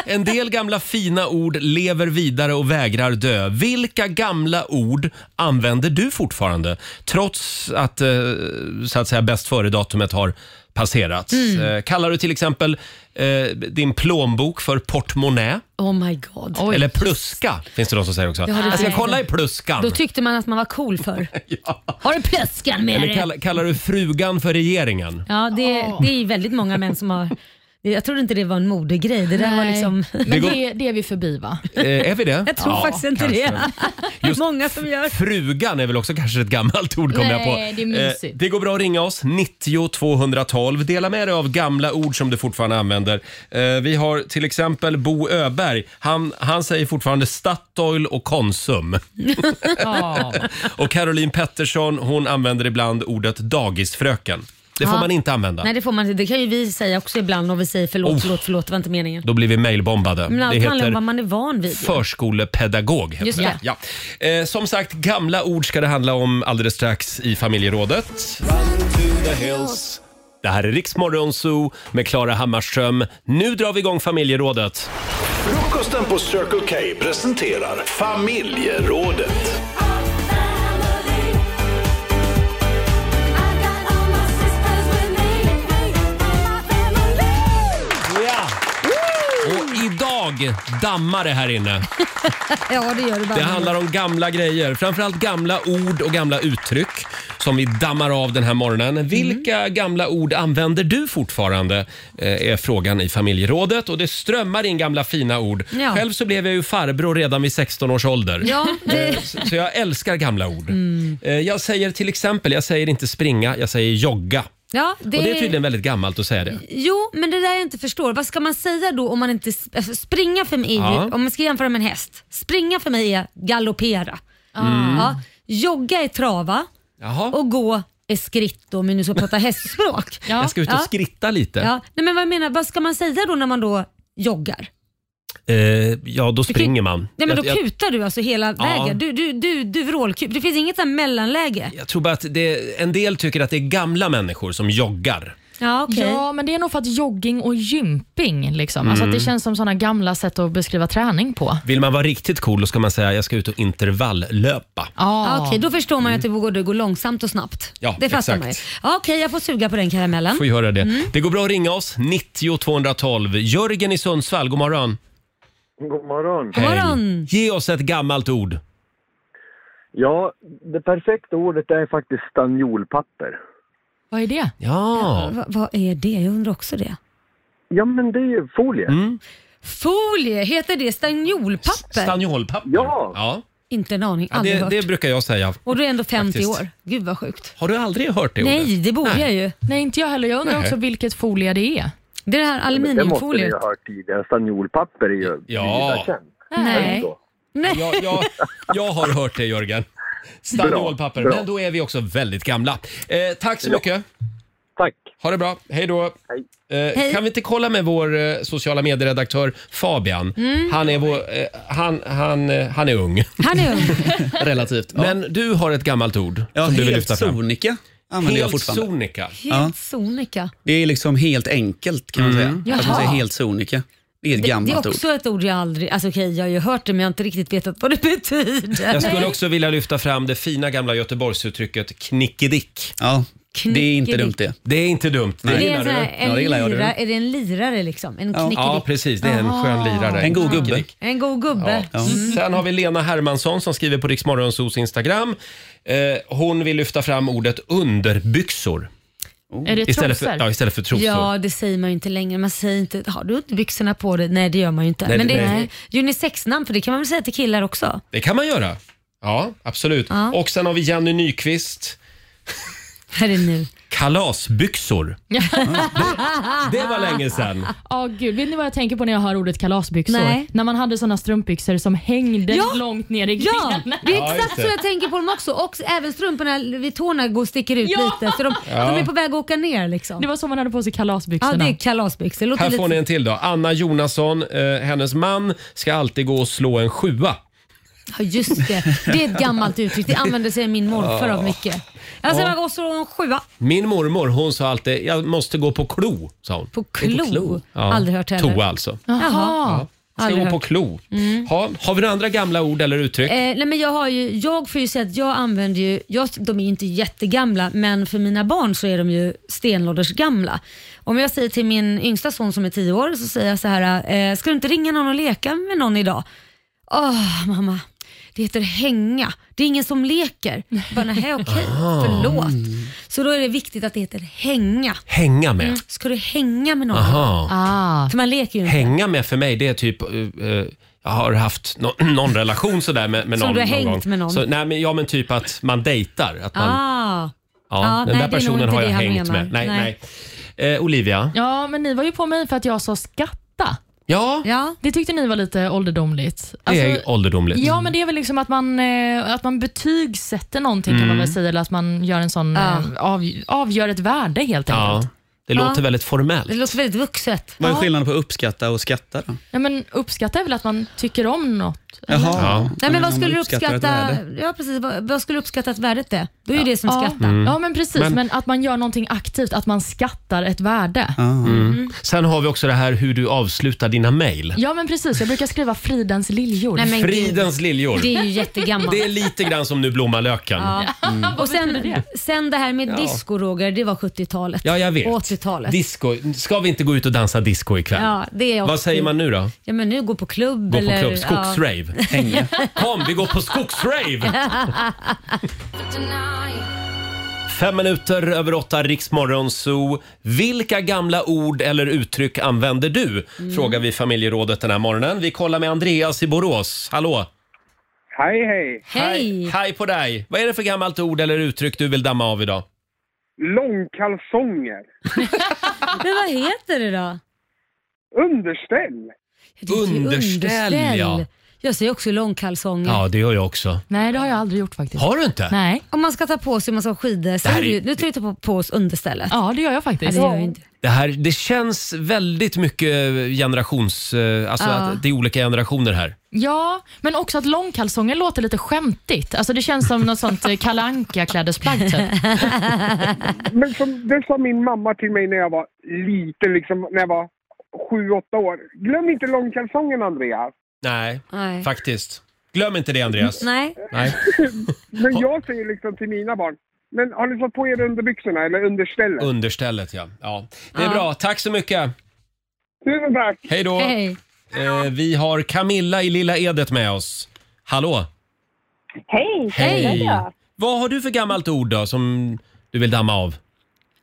Speaker 1: En del gamla fina ord lever vidare och vägrar dö. Vilka gamla ord använder du fortfarande? Trots att, eh, så att säga, bäst före-datumet har passerat.
Speaker 2: Mm.
Speaker 1: Eh, Kallar du till exempel eh, din plånbok för portmonnä?
Speaker 2: Oh my god.
Speaker 5: Oj.
Speaker 1: Eller pluska, finns det de som säger också. Jag ska kolla i pluskan.
Speaker 2: Då tyckte man att man var cool för.
Speaker 1: Ja.
Speaker 2: Har du plöskan med
Speaker 1: Eller
Speaker 2: dig?
Speaker 1: kallar, kallar du frugan för regeringen?
Speaker 2: Ja, det, det är ju väldigt många män som har... Jag trodde inte det var en modegrej. Det där var
Speaker 5: Nej.
Speaker 2: liksom...
Speaker 5: Men
Speaker 1: går-
Speaker 5: det, det är vi förbi va?
Speaker 1: Eh, är vi det?
Speaker 2: Jag tror faktiskt inte det. Det är många som gör.
Speaker 1: Frugan är väl också kanske ett gammalt ord kom
Speaker 5: Nej,
Speaker 1: jag på.
Speaker 5: det är mysigt.
Speaker 1: Eh, det går bra att ringa oss, 90 212. Dela med dig av gamla ord som du fortfarande använder. Eh, vi har till exempel Bo Öberg. Han, han säger fortfarande Statoil och Konsum.
Speaker 5: Ja.
Speaker 1: Och Caroline Pettersson, hon använder ibland ordet dagisfröken. Det får
Speaker 2: Ja.
Speaker 1: man inte använda.
Speaker 2: Nej, det får man inte. Det kan ju vi säga också ibland om vi säger förlåt,
Speaker 1: Oh.
Speaker 2: förlåt, förlåt. Det var inte meningen.
Speaker 1: Då blir vi mailbombade.
Speaker 2: Men
Speaker 1: det
Speaker 2: allt handlar om vad man är van vid. ju.
Speaker 1: Förskolepedagog heter
Speaker 2: Just
Speaker 1: det. Ja. Eh, som sagt, gamla ord ska det handla om alldeles strax i familjerådet. Det här är Riksmorgon Zoo med Klara Hammarström. Nu drar vi igång familjerådet.
Speaker 3: Frukosten på Circle K presenterar Familjerådet.
Speaker 1: Ja. Och idag dammar det här inne.
Speaker 2: Ja, det gör det bara.
Speaker 1: Det handlar om gamla grejer, framförallt gamla ord och gamla uttryck som vi dammar av den här
Speaker 2: Mm.
Speaker 1: morgonen. Vilka gamla ord använder du fortfarande? eh, är frågan i familjerådet och det strömmar in gamla fina ord.
Speaker 2: Ja.
Speaker 1: Själv så blev jag ju farbror redan vid 16 års ålder.
Speaker 2: Ja, Mm. det-
Speaker 1: Eh, Så så jag älskar gamla ord. Eh, Jag säger till exempel, jag säger inte springa, jag säger jogga.
Speaker 2: Ja, det,
Speaker 1: Och det är tydligen väldigt gammalt att säga det.
Speaker 2: Jo, men det där jag inte förstår. Vad ska man säga då om man inte... Alltså, springa för mig är ju,
Speaker 1: Ja.
Speaker 2: om man ska jämföra med en häst. Springa för mig är galoppera.
Speaker 1: Mm.
Speaker 2: Ja, jogga är trava
Speaker 1: Jaha,
Speaker 2: och gå är skritt då, om vi nu ska prata hästspråk.
Speaker 5: Ja.
Speaker 1: jag ska ut och
Speaker 2: Ja.
Speaker 1: skritta lite.
Speaker 2: Ja, nej, men vad jag menar, vad ska man säga då när man då joggar?
Speaker 1: Eh, ja då
Speaker 2: kan-
Speaker 1: springer man.
Speaker 2: Nej, men
Speaker 1: Jag-
Speaker 2: då
Speaker 1: jag-
Speaker 2: kutar du alltså hela
Speaker 1: Ja.
Speaker 2: vägen. Du, du, du, du vrålkup. Det finns inget så här mellanläge.
Speaker 1: Jag tror bara att det, en del tycker att det är gamla människor som joggar.
Speaker 2: Ja, okej.
Speaker 5: Ja, men det är nog för att jogging och gymping, liksom. alltså att
Speaker 1: Mm.
Speaker 5: det känns som sådana gamla sätt att beskriva träning på.
Speaker 1: Vill man vara riktigt cool då ska man säga jag ska ut och intervalllöpa.
Speaker 5: Ah.
Speaker 2: Ja, Okej, då förstår man ju att det går, det går långsamt och snabbt.
Speaker 1: Mm. Ja,
Speaker 2: det fattar man ju.
Speaker 1: exakt.
Speaker 2: Ja, Okej, jag får suga på den karamellen.
Speaker 1: Får göra det.
Speaker 2: Mm.
Speaker 1: Det går bra att ringa oss, 90 212. Jörgen i Sundsvall, god morgon.
Speaker 9: God morgon.
Speaker 2: God morgon.
Speaker 1: Ge oss ett gammalt ord.
Speaker 9: Ja, det perfekta ordet är faktiskt stanniolpapper.
Speaker 5: Vad är det?
Speaker 1: Ja.
Speaker 2: Va, vad är det? Jag undrar också det.
Speaker 9: Ja, men det är ju folie.
Speaker 10: Mm.
Speaker 2: Folie, heter det stagnolpapper?
Speaker 1: Stanniolpapper.
Speaker 9: Ja.
Speaker 1: ja.
Speaker 2: Inte en aning,
Speaker 1: ja
Speaker 2: aldrig
Speaker 1: det,
Speaker 2: hört.
Speaker 1: det brukar jag säga.
Speaker 2: och du är ändå 50
Speaker 1: Faktiskt.
Speaker 2: år. Gud vad sjukt.
Speaker 1: Har du aldrig hört det
Speaker 2: Nej,
Speaker 1: ordet?
Speaker 2: det borde jag ju.
Speaker 5: Nej, inte jag heller. Jag undrar också vilket folie det är.
Speaker 2: Det är det här
Speaker 9: Det måste ni
Speaker 2: aluminiumfoliet.
Speaker 9: ju ha hört tidigare. Stanniolpapper är ju
Speaker 1: Ja.
Speaker 9: vida känt.
Speaker 2: Nej.
Speaker 9: Ändå.
Speaker 2: Nej.
Speaker 1: Jag, jag, jag har hört det Jörgen. Stagnolpapper.
Speaker 9: Bra, bra.
Speaker 1: Men då är vi också väldigt gamla. Eh, tack så
Speaker 9: Ja.
Speaker 1: mycket.
Speaker 9: Tack.
Speaker 1: Ha det bra. Hej då. Eh,
Speaker 2: Hej.
Speaker 1: Kan vi inte kolla med vår eh, sociala medieredaktör Fabian?
Speaker 2: Mm.
Speaker 1: Han, är vår, eh, han, han, eh, han är ung,
Speaker 2: Han är ung.
Speaker 10: Relativt. Ja.
Speaker 1: men du har ett gammalt ord
Speaker 10: ja,
Speaker 1: som du vill
Speaker 10: helt
Speaker 1: lyfta fram.
Speaker 10: sonika använder jag
Speaker 1: Helt
Speaker 10: fortfarande.
Speaker 1: sonika.
Speaker 10: Ja.
Speaker 2: Helt sonika.
Speaker 10: Det är liksom helt enkelt kan man säga. Att
Speaker 2: Jaha.
Speaker 10: man säger helt sonika. Mm. Det är ett
Speaker 2: Det
Speaker 10: gammalt
Speaker 2: är också ett ord jag aldrig... Alltså okej, jag har ju hört det men jag har inte riktigt vetat vad det betyder.
Speaker 1: Jag skulle också vilja lyfta fram det fina gamla Göteborgsuttrycket knickedick.
Speaker 10: ord. Ja, det är inte dumt
Speaker 2: Knickedick.
Speaker 10: det.
Speaker 1: Det är inte dumt. Det
Speaker 2: Det är
Speaker 1: gillar
Speaker 2: en,
Speaker 1: du.
Speaker 2: sån här,
Speaker 1: väl?
Speaker 2: en
Speaker 10: Ja, det gillar jag, det
Speaker 2: lira,
Speaker 10: gör
Speaker 2: är det en lirare liksom? En knickedick?
Speaker 1: Ja, precis. Det är en skön lirare.
Speaker 10: En god gubbe.
Speaker 1: Knickedick.
Speaker 2: En god gubbe? Mm.
Speaker 10: Ja.
Speaker 1: Sen har vi Lena Hermansson som skriver på Riksmorgonsos Instagram. Eh, hon vill lyfta fram ordet underbyxor
Speaker 5: Är det
Speaker 1: istället för,
Speaker 5: trosor?
Speaker 1: ja, istället för
Speaker 2: Ja.
Speaker 1: trosor.
Speaker 2: det säger man ju inte längre. Man säger inte, har du inte byxorna på dig? Nej, det gör man ju inte.
Speaker 1: Nej,
Speaker 2: Men
Speaker 1: det-
Speaker 2: det är
Speaker 1: nej.
Speaker 2: ett unisexnamn, för det kan man väl säga till killar också?
Speaker 1: Det kan man göra. Ja, absolut.
Speaker 2: Ja.
Speaker 1: Och sen har vi Jenny Nyqvist.
Speaker 2: Här är det nu.
Speaker 1: Kalasbyxor. det, det var länge sedan.
Speaker 5: Ja, Ah, gud. Vet ni vad jag tänker på när jag hör ordet kalasbyxor?
Speaker 2: Nej.
Speaker 5: När man hade såna strumpbyxor som hängde
Speaker 2: Ja.
Speaker 5: långt ner i
Speaker 2: Ja,
Speaker 5: knäna.
Speaker 2: det
Speaker 1: Ja, just
Speaker 2: är exakt
Speaker 1: det.
Speaker 2: så jag tänker på dem också. Och även strumporna vid tårna går, sticker ut
Speaker 5: Ja.
Speaker 2: lite, så de, de är på väg att åka ner liksom.
Speaker 5: Det var så man hade på sig
Speaker 2: Ja,
Speaker 5: kalasbyxorna.
Speaker 2: det är kalasbyxor. Låter
Speaker 1: Här får ni
Speaker 2: lite...
Speaker 1: en till då. Anna Jonasson, eh, hennes man ska alltid gå och slå en sjua.
Speaker 2: Ja, just det. Det är ett gammalt uttryck. Det använder sig min morfar av mycket. Jag ska bara gå och slå en sjua
Speaker 1: Min mormor hon sa alltid jag måste gå på klo. Sa hon.
Speaker 2: på klo.
Speaker 1: Ja.
Speaker 2: Aldrig hört heller.
Speaker 1: Toa alltså.
Speaker 5: Jaha.
Speaker 1: Ska
Speaker 2: Aldrig
Speaker 1: gå på
Speaker 2: hört. Mm.
Speaker 1: klo. Ha, har vi några andra gamla ord eller uttryck?
Speaker 2: Eh, nej men jag, har ju, jag får ju säga att jag använder ju, jag, de är ju inte jättegamla men för mina barn så är de ju stenlådersgamla. Om jag säger till min yngsta son som är 10 år så säger jag så här, eh, ska du inte ringa någon och leka med någon idag? Åh mamma, det heter hänga. Det är ingen som leker. Jag Bara nähä okej, förlåt. Så då är det viktigt att det heter hänga.
Speaker 1: Hänga med.
Speaker 2: Ska du hänga med någon?
Speaker 1: Aha.
Speaker 5: Ah.
Speaker 2: För man leker ju inte.
Speaker 1: Hänga med för mig det är typ eh, eh, jag har haft no någon relation sådär med, med
Speaker 2: Som
Speaker 1: någon.
Speaker 2: du har hängt
Speaker 1: gång.
Speaker 2: med någon?
Speaker 1: Så, nej, men, ja men typ att man dejtar. Att man,
Speaker 2: Ah.
Speaker 1: ja,
Speaker 2: ja,
Speaker 1: den
Speaker 2: nej, det är
Speaker 1: där
Speaker 2: nog
Speaker 1: personen
Speaker 2: inte
Speaker 1: har jag
Speaker 2: det han
Speaker 1: hängt
Speaker 2: menar.
Speaker 1: med. Nej, nej.
Speaker 2: Nej.
Speaker 1: Eh, Olivia?
Speaker 5: Ja, men ni var ju på mig för att jag sa skatta.
Speaker 1: Ja,
Speaker 2: Ja.
Speaker 5: Det tyckte ni var lite ålderdomligt.
Speaker 1: det
Speaker 5: Alltså-
Speaker 1: är ålderdomligt.
Speaker 5: Ja, men det är väl liksom att man, eh, att man betygsätter någonting kan
Speaker 1: Mm.
Speaker 5: man väl säga, eller att man gör en sån,
Speaker 2: Ja.
Speaker 5: eh, av, avgör ett värde helt
Speaker 1: Ja,
Speaker 5: enkelt. Ja.
Speaker 1: det låter väldigt formellt.
Speaker 2: Det låter väldigt vuxet.
Speaker 10: Vad är skillnaden på uppskatta och skatta då?
Speaker 5: men uppskatta är väl att man tycker om något.
Speaker 10: Jaha.
Speaker 1: Ja.
Speaker 2: Nej, men
Speaker 10: Om man
Speaker 2: vad skulle du
Speaker 10: uppskattar ett
Speaker 2: uppskatta?
Speaker 10: värde.
Speaker 2: Ja, precis. Vad, vad skulle du uppskatta att värdet är? Då är ju det som
Speaker 5: Ja.
Speaker 2: skattar.
Speaker 1: Mm.
Speaker 5: Ja, men precis.
Speaker 1: Men-
Speaker 5: Men, att man gör någonting aktivt, att man skattar ett värde.
Speaker 10: Ah.
Speaker 1: Sen har vi också det här hur du avslutar dina mejl.
Speaker 5: Ja, men precis. Jag brukar skriva fridens liljor.
Speaker 2: Nej, men gud,
Speaker 1: Fridens liljor.
Speaker 2: det är ju jättegammalt.
Speaker 1: Det är lite grann som nu blommar löken. Ja,
Speaker 2: Och sen det? sen det här med disco Roger, det var 70-talet.
Speaker 1: jag vet.
Speaker 2: 80-talet.
Speaker 1: Disco. Ska vi inte gå ut och dansa disco ikväll?
Speaker 2: ja, det är 80.
Speaker 1: Vad säger man nu då?
Speaker 2: Ja men nu gå på klubb
Speaker 1: Gå på
Speaker 2: eller...
Speaker 1: klubb, skogsrave.
Speaker 10: Hänga.
Speaker 1: Kom, vi går på skogsrave! Fem minuter över åtta, Riksmorgon Zoo. Vilka gamla ord eller uttryck använder du? Frågar vi familjerådet den här morgonen. Vi kollar med Andreas i Borås. Hallå!
Speaker 9: Hej, hej.
Speaker 2: Ja. Hej!
Speaker 1: Hej på dig! Vad är det för gammalt ord eller uttryck du vill damma av idag?
Speaker 9: Långkalsonger.
Speaker 2: Men vad heter det då?
Speaker 9: Underställ.
Speaker 2: Det är ju
Speaker 1: Underställ, ja.
Speaker 2: Jag säger också långkalsonger.
Speaker 1: Ja, det gör jag också.
Speaker 2: Nej, det har jag aldrig gjort faktiskt.
Speaker 1: Har du inte?
Speaker 5: Nej.
Speaker 2: Om man ska ta på sig en massa skidor, så
Speaker 1: Det här
Speaker 2: är det
Speaker 1: är-
Speaker 2: ju, nu tar vi på, på oss understället.
Speaker 5: Ja, det gör jag faktiskt.
Speaker 2: det gör jag inte.
Speaker 1: Det, här, det känns väldigt mycket generations... eh, Alltså
Speaker 5: Ja.
Speaker 1: att det är olika generationer här.
Speaker 5: Ja, men också att långkalsonger låter lite skämtigt. Alltså Det känns som något sånt eh, Kalle Anka-klädesplagg. Typ.
Speaker 11: Men som, det sa min mamma till mig när jag var liten, liksom, när jag var sju, åtta år. Glöm inte långkalsongen, Andreas.
Speaker 1: Nej,
Speaker 2: Nej.
Speaker 1: faktiskt. Glöm inte det Andreas.
Speaker 2: Nej.
Speaker 1: Nej.
Speaker 11: Men jag säger liksom till mina barn, men har ni satt på er underbyxorna eller understället?
Speaker 1: Understället ja. ja. Det är
Speaker 11: Ja.
Speaker 1: bra, tack så mycket.
Speaker 11: Tusen tack!
Speaker 1: Hej då. Eh, vi har Camilla i Lilla Edet med oss. Hallå!
Speaker 12: Hej! Hej!
Speaker 1: Vad har du för gammalt ord då som du vill damma av?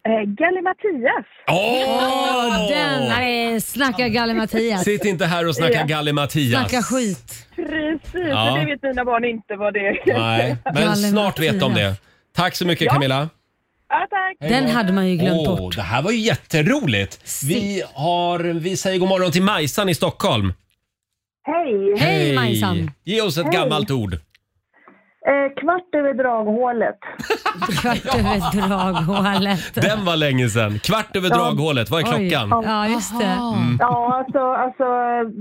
Speaker 12: Eh, Gallimatias.
Speaker 1: Åh!
Speaker 2: Denna är, snacka gallimatias.
Speaker 1: Sitt inte här och snacka
Speaker 12: Ja.
Speaker 1: gallimatias.
Speaker 2: Snacka skit.
Speaker 12: Precis,
Speaker 1: Ja.
Speaker 12: men det vet mina barn inte vad det är.
Speaker 1: Nej, men snart vet de det. Tack så mycket
Speaker 12: Ja.
Speaker 1: Camilla.
Speaker 12: Ja, tack.
Speaker 1: Hej då. Åh, Det här var ju jätteroligt. Vi, har, vi säger god morgon till Majsan i Stockholm.
Speaker 4: Hej!
Speaker 1: Ge oss ett
Speaker 4: Hej.
Speaker 1: gammalt ord.
Speaker 4: Eh, kvart över draghålet.
Speaker 2: kvart över draghålet.
Speaker 1: Den var länge sedan. Kvart över draghålet. Vad är klockan?
Speaker 2: Ja, just det.
Speaker 1: Mm.
Speaker 4: Ja, alltså, alltså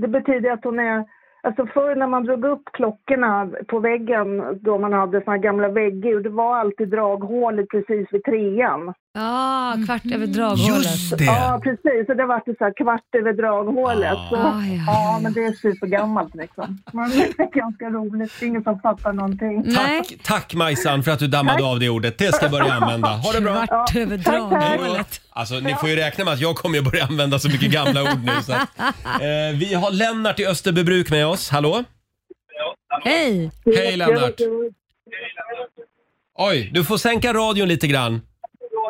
Speaker 4: det betyder att hon är... Alltså förr när man drog upp klockorna på väggen då man hade såna här gamla väggur, det var alltid draghålet precis vid trean.
Speaker 2: Ja, kvart över draghålet.
Speaker 4: Just Ja, precis. Och det var det så här kvart över draghålet. Så,
Speaker 2: Ah,
Speaker 4: ja. men det är supergammalt liksom. Men det är ganska roligt. Det är ingen som fattar någonting.
Speaker 1: Tack, tack Majsan för att du dammade av det ordet. Det ska jag börja använda. Ha det bra.
Speaker 2: Kvart över draghålet.
Speaker 1: Alltså, ni får ju räkna med att jag kommer ju börja använda så mycket gamla ord nu. Så att, eh, vi har Lennart i Österbybruk med oss. Hallå?
Speaker 2: Hej!
Speaker 1: Hej, Lennart. Oj, du får sänka radion lite grann.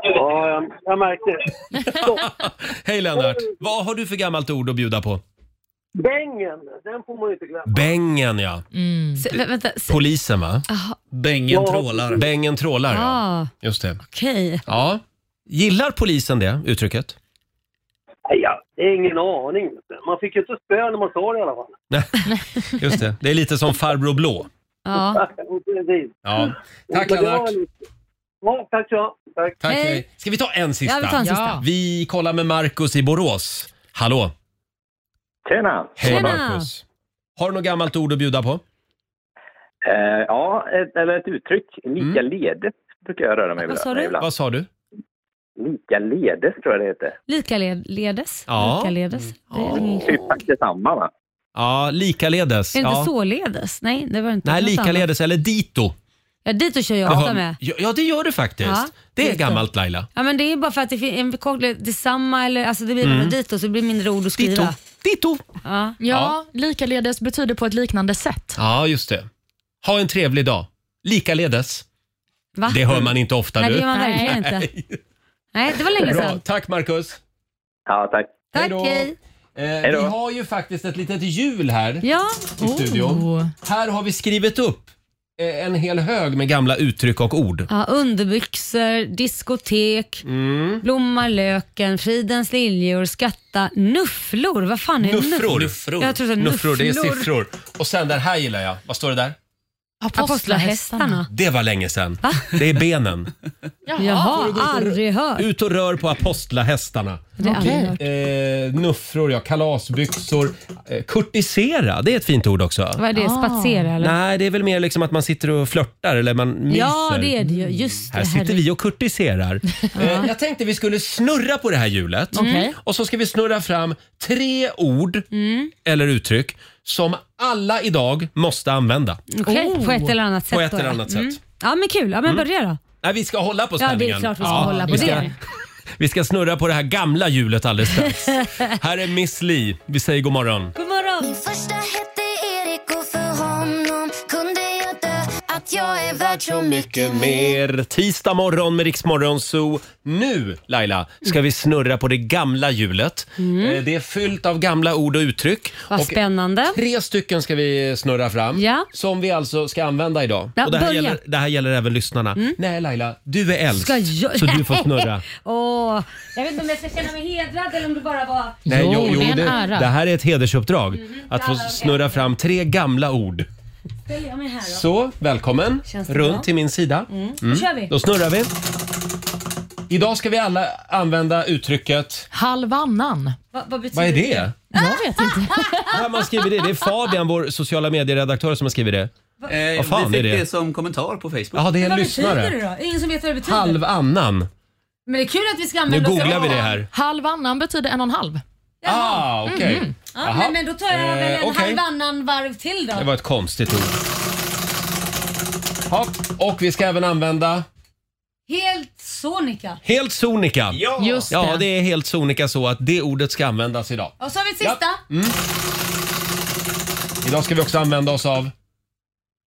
Speaker 13: Ja, jag, jag märkte.
Speaker 1: Hej Lennart. Vad har du för gammalt ord att bjuda på?
Speaker 13: Bängen, den får man inte glömma.
Speaker 1: Bängen ja.
Speaker 2: Så, vä- vänta, så,
Speaker 1: Polisen va?
Speaker 2: Aha.
Speaker 1: Bängen
Speaker 2: trålar.
Speaker 1: Bängen trålar ja.
Speaker 2: Ah,
Speaker 1: Just det.
Speaker 2: Okej.
Speaker 1: Ja. Gillar polisen det uttrycket?
Speaker 13: Nej, ja, det är ingen aning. Man fick ju inte spö när man sa det i alla fall.
Speaker 1: Just det. Det är lite som farbror blå.
Speaker 2: Ja.
Speaker 1: Ja. Tack Lennart.
Speaker 13: Ja, tack så mycket. Tack.
Speaker 1: Tack, hej. Ska vi ta en sista?
Speaker 13: Ja, vi tar en sista. Ja.
Speaker 1: Vi kollar med Markus i Borås. Hallå!
Speaker 14: Tjena!
Speaker 1: Hej
Speaker 14: Tjena.
Speaker 1: Markus! Har du något gammalt ord att bjuda på?
Speaker 14: Eh, ja, ett, eller ett uttryck. Lika ledes brukar jag röra mig
Speaker 2: Mm. Vad sa du?
Speaker 14: ibland.
Speaker 1: Vad sa du?
Speaker 14: Lika ledes tror jag det heter.
Speaker 2: Likaledes.
Speaker 1: Ja.
Speaker 2: Likaledes. Det är inget-
Speaker 14: Typ faktiskt detsamma va?
Speaker 1: Ja, likaledes.
Speaker 2: Är det inte
Speaker 1: ja.
Speaker 2: således? Nej, det var inte
Speaker 1: Nej,
Speaker 2: något annat.
Speaker 1: likaledes eller dito.
Speaker 2: Ja, dit kör jag
Speaker 1: Det
Speaker 2: ofta
Speaker 1: har-
Speaker 2: med.
Speaker 1: Ja, ja, det gör det faktiskt.
Speaker 2: Ja,
Speaker 1: det är
Speaker 2: dito.
Speaker 1: gammalt Laila.
Speaker 2: Ja, men det är bara för att det finns en förkortning, detsamma eller alltså det blir
Speaker 1: Mm.
Speaker 2: mm. dito så det blir mindre ord att skriva. Dito.
Speaker 1: dito.
Speaker 2: Ja.
Speaker 5: Ja, likaledes betyder på ett liknande sätt.
Speaker 1: Ja, just det. Ha en trevlig dag. Likaledes.
Speaker 2: Ah.
Speaker 5: Va?
Speaker 1: Det hör man inte ofta
Speaker 5: Nej,
Speaker 1: du.
Speaker 5: det gör man verkligen
Speaker 2: inte. Nej, det var länge
Speaker 1: Bra.
Speaker 2: sedan.
Speaker 1: Tack Markus.
Speaker 14: Ja, tack.
Speaker 2: Tack,
Speaker 1: då.
Speaker 2: hej.
Speaker 1: Eh,
Speaker 14: Hej
Speaker 1: vi
Speaker 14: då.
Speaker 1: har ju faktiskt ett litet hjul här
Speaker 2: Ja. Oh.
Speaker 1: i studion.
Speaker 5: Oh.
Speaker 1: Här har vi skrivit upp eh, en hel hög med gamla uttryck och ord.
Speaker 2: Ja, underbyxor, diskotek,
Speaker 1: Mm.
Speaker 2: blomma löken, fridens liljor, skatta, nufflor. Vad fan är
Speaker 1: Nuffror.
Speaker 2: nuff- Jag tror det är nufflor.
Speaker 1: Nuffror, det är siffror. Och sen den här gillar jag. Vad står det där?
Speaker 2: Apostlahästarna.
Speaker 1: Det var länge sedan. Det är benen.
Speaker 2: Jaha, aldrig hört.
Speaker 1: Ut och rör på apostlahästarna.
Speaker 2: Det har jag aldrig hört.
Speaker 1: Eh, nuffror, ja. Kalasbyxor. Eh, kurtisera, det är ett fint ord också.
Speaker 2: Vad är det? Spatsera eller?
Speaker 1: Nej, det är väl mer liksom att man sitter och flörtar eller man myser.
Speaker 2: Ja, det är det ju. Just det.
Speaker 1: Här sitter
Speaker 2: herregud.
Speaker 1: vi och kurtiserar. Eh, Jag tänkte vi skulle snurra på det här hjulet Mm.
Speaker 2: Okej.
Speaker 1: och så ska vi snurra fram tre ord
Speaker 2: Mm.
Speaker 1: eller uttryck som alla idag måste använda.
Speaker 2: Okej, på ett eller annat sätt.
Speaker 1: Oh. På ett
Speaker 2: då,
Speaker 1: eller
Speaker 2: ja.
Speaker 1: annat
Speaker 2: Mm.
Speaker 1: sätt.
Speaker 2: Ja, men kul. Ja, men
Speaker 1: Mm.
Speaker 2: börja då.
Speaker 1: Nej, vi ska hålla på
Speaker 2: Ja, det är
Speaker 1: spänningen.
Speaker 2: klart vi ska hålla på
Speaker 1: vi ska,
Speaker 2: det.
Speaker 1: Vi ska snurra på det här gamla hjulet alldeles strax. här är Miss Li. Vi säger god morgon.
Speaker 2: God morgon!
Speaker 6: Min första hette Erik och för honom kunde jag dö Att att jag är värd så
Speaker 1: mycket mer. Tisdag morgon med Riksmorgon Zoo. Nu, Laila, ska vi snurra på det gamla hjulet.
Speaker 2: Mm.
Speaker 1: Eh, Det är fyllt av gamla ord och uttryck.
Speaker 2: Vad
Speaker 1: och
Speaker 2: spännande.
Speaker 1: Tre stycken ska vi snurra fram,
Speaker 2: Ja.
Speaker 1: som vi alltså ska använda idag.
Speaker 2: Ja,
Speaker 1: och det, här
Speaker 2: börja. Mm.
Speaker 1: gäller, det här gäller även lyssnarna. Nej, Laila, du är äldst,
Speaker 2: Ska jag?
Speaker 1: så du får snurra.
Speaker 2: Åh, jag vet inte om jag ska känna mig hedrad eller om det bara var...
Speaker 1: Nej, jo, jo, det, det här är ett hedersuppdrag,
Speaker 2: Mm.
Speaker 1: att få snurra fram tre gamla ord.
Speaker 2: Ställer jag mig här då?
Speaker 1: Så, välkommen
Speaker 2: Känns det bra?
Speaker 1: runt till min sida.
Speaker 2: Mm. Då kör vi.
Speaker 1: Då snurrar vi. Idag ska vi alla använda uttrycket...
Speaker 5: Halvannan.
Speaker 2: Va, vad betyder
Speaker 1: Vad är det?
Speaker 5: Jag vet inte.
Speaker 1: Vem har skrivit det? Det är Fabian, vår sociala medieredaktör, som har skrivit det.
Speaker 10: Eh,
Speaker 1: vad fan
Speaker 10: vi
Speaker 1: är
Speaker 10: fick
Speaker 1: det?
Speaker 10: det? som kommentar på Facebook.
Speaker 1: Ja, det är en
Speaker 2: Vad betyder
Speaker 1: lyssnare.
Speaker 2: det då? Ingen som vet vad det betyder?
Speaker 1: Halvannan.
Speaker 2: Men det är kul att vi ska
Speaker 1: Nu
Speaker 2: använda oss av
Speaker 1: googlar vi det här.
Speaker 5: Halvannan betyder en och en halv.
Speaker 1: Ah, okej.
Speaker 2: Mm-hmm. Ja,
Speaker 1: Jaha.
Speaker 2: men, men då tar jag väl en
Speaker 1: Eh, okej.
Speaker 2: halvannan varv till då.
Speaker 1: Det var ett konstigt ord. Ja, och vi ska även använda
Speaker 2: Helt sonika.
Speaker 1: helt sonika.
Speaker 2: Ja. Just
Speaker 1: ja,
Speaker 2: det.
Speaker 1: det är helt sonika så att det ordet ska användas idag.
Speaker 2: Och så har vi ett sista.
Speaker 1: Mm. Idag ska vi också använda oss av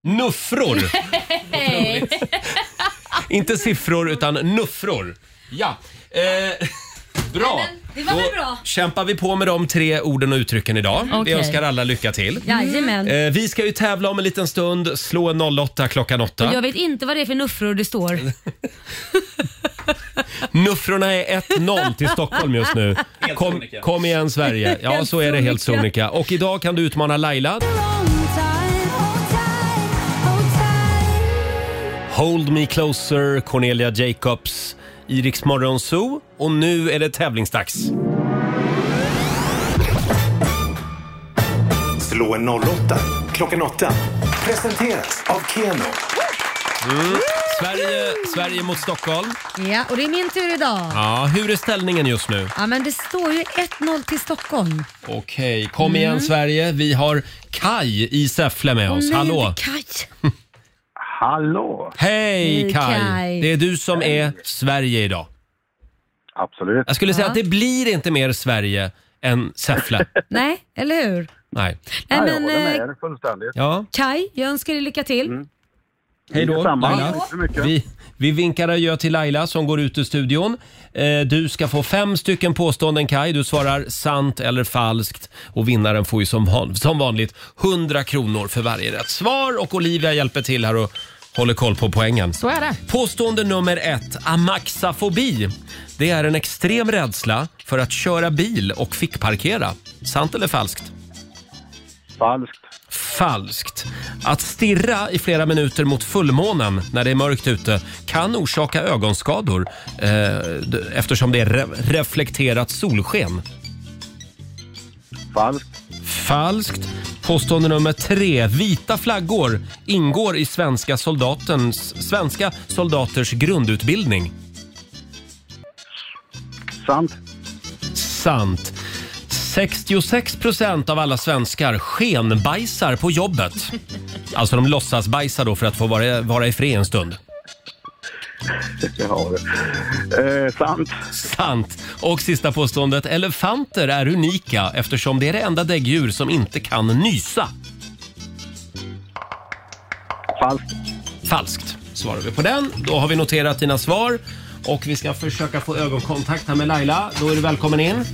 Speaker 1: nuffror.
Speaker 2: Hej.
Speaker 1: Inte siffror utan nuffror. Ja. Eh, bra.
Speaker 2: Det var väl
Speaker 1: Då
Speaker 2: bra?
Speaker 1: kämpar vi på med de tre orden och uttrycken idag. Vi
Speaker 2: Okej.
Speaker 1: önskar alla lycka till.
Speaker 2: Jajamän.
Speaker 1: Eh, vi ska ju tävla om en liten stund. Slå en 08 klockan
Speaker 2: Och
Speaker 1: 8.
Speaker 2: jag vet inte vad det är för nuffror det står.
Speaker 1: Nuffrorna är 1-0 till Stockholm just nu.
Speaker 10: Helt
Speaker 1: Kom,
Speaker 10: sonika.
Speaker 1: kom igen Sverige. Ja,
Speaker 10: Helt
Speaker 1: så är det helt
Speaker 10: sonika.
Speaker 1: sonika. Och idag kan du utmana Laila. Hold Me Closer, Cornelia Jacobs, i Rix Morgon Zoo. Och nu är det tävlingsdags.
Speaker 3: Slå en 08 klockan 8. Presenteras av Keno.
Speaker 1: Mm. Sverige, Sverige mot Stockholm.
Speaker 2: Ja, och det är min tur idag.
Speaker 1: Ja, hur är ställningen just nu?
Speaker 2: Ja, men det står ju 1-0 till Stockholm.
Speaker 1: Okej, kom
Speaker 2: Mm.
Speaker 1: igen Sverige. Vi har Kai i Säffle med
Speaker 2: Åh,
Speaker 1: oss.
Speaker 2: nej,
Speaker 1: Hallå!
Speaker 2: inte Kaj.
Speaker 1: Hallå! Hej
Speaker 2: Hej, Kai.
Speaker 1: Kai! Det är du som är Sverige idag. Absolut. Jag skulle säga
Speaker 2: Ja.
Speaker 1: att det blir inte mer Sverige än Säffle.
Speaker 2: Nej, eller hur?
Speaker 1: Nej.
Speaker 2: Nej, men, eh,
Speaker 1: fullständigt. Ja.
Speaker 2: Kaj, jag önskar dig lycka
Speaker 1: Mm.
Speaker 2: till.
Speaker 1: Hej då,
Speaker 2: Detsamma.
Speaker 1: Laila.
Speaker 2: Tack så mycket.
Speaker 1: Vi, vi vinkar adjö till Laila som går ut ur studion. Eh, du ska få fem stycken påståenden, Kai. Du svarar sant eller falskt. Och vinnaren får ju som, van, som vanligt 100 kronor för varje rätt svar. Och Olivia hjälper till här och håller koll på poängen.
Speaker 5: Så är det.
Speaker 1: Påstående nummer ett, amaxafobi. Det är en extrem rädsla för att köra bil och fickparkera. Sant eller falskt? Falskt. Falskt. Att stirra i flera minuter mot fullmånen när det är mörkt ute kan orsaka ögonskador eh, d- eftersom det är re- reflekterat solsken. Falskt. Falskt. Påstående nummer tre. Vita flaggor ingår i svenska, soldatens, svenska soldaters grundutbildning. Sant. Sant. 66 procent av alla svenskar skenbajsar på jobbet. Alltså de låtsas bajsa då för att få vara, vara i fred en stund. Ja,
Speaker 11: Eh,
Speaker 1: sant. Sant. Och sista påståendet. Elefanter är unika eftersom det är det enda däggdjur som inte kan nysa. Falskt. Falskt svarar vi på den. Då har vi noterat dina svar och vi ska försöka få ögonkontakt här med Laila. Då är du välkommen in.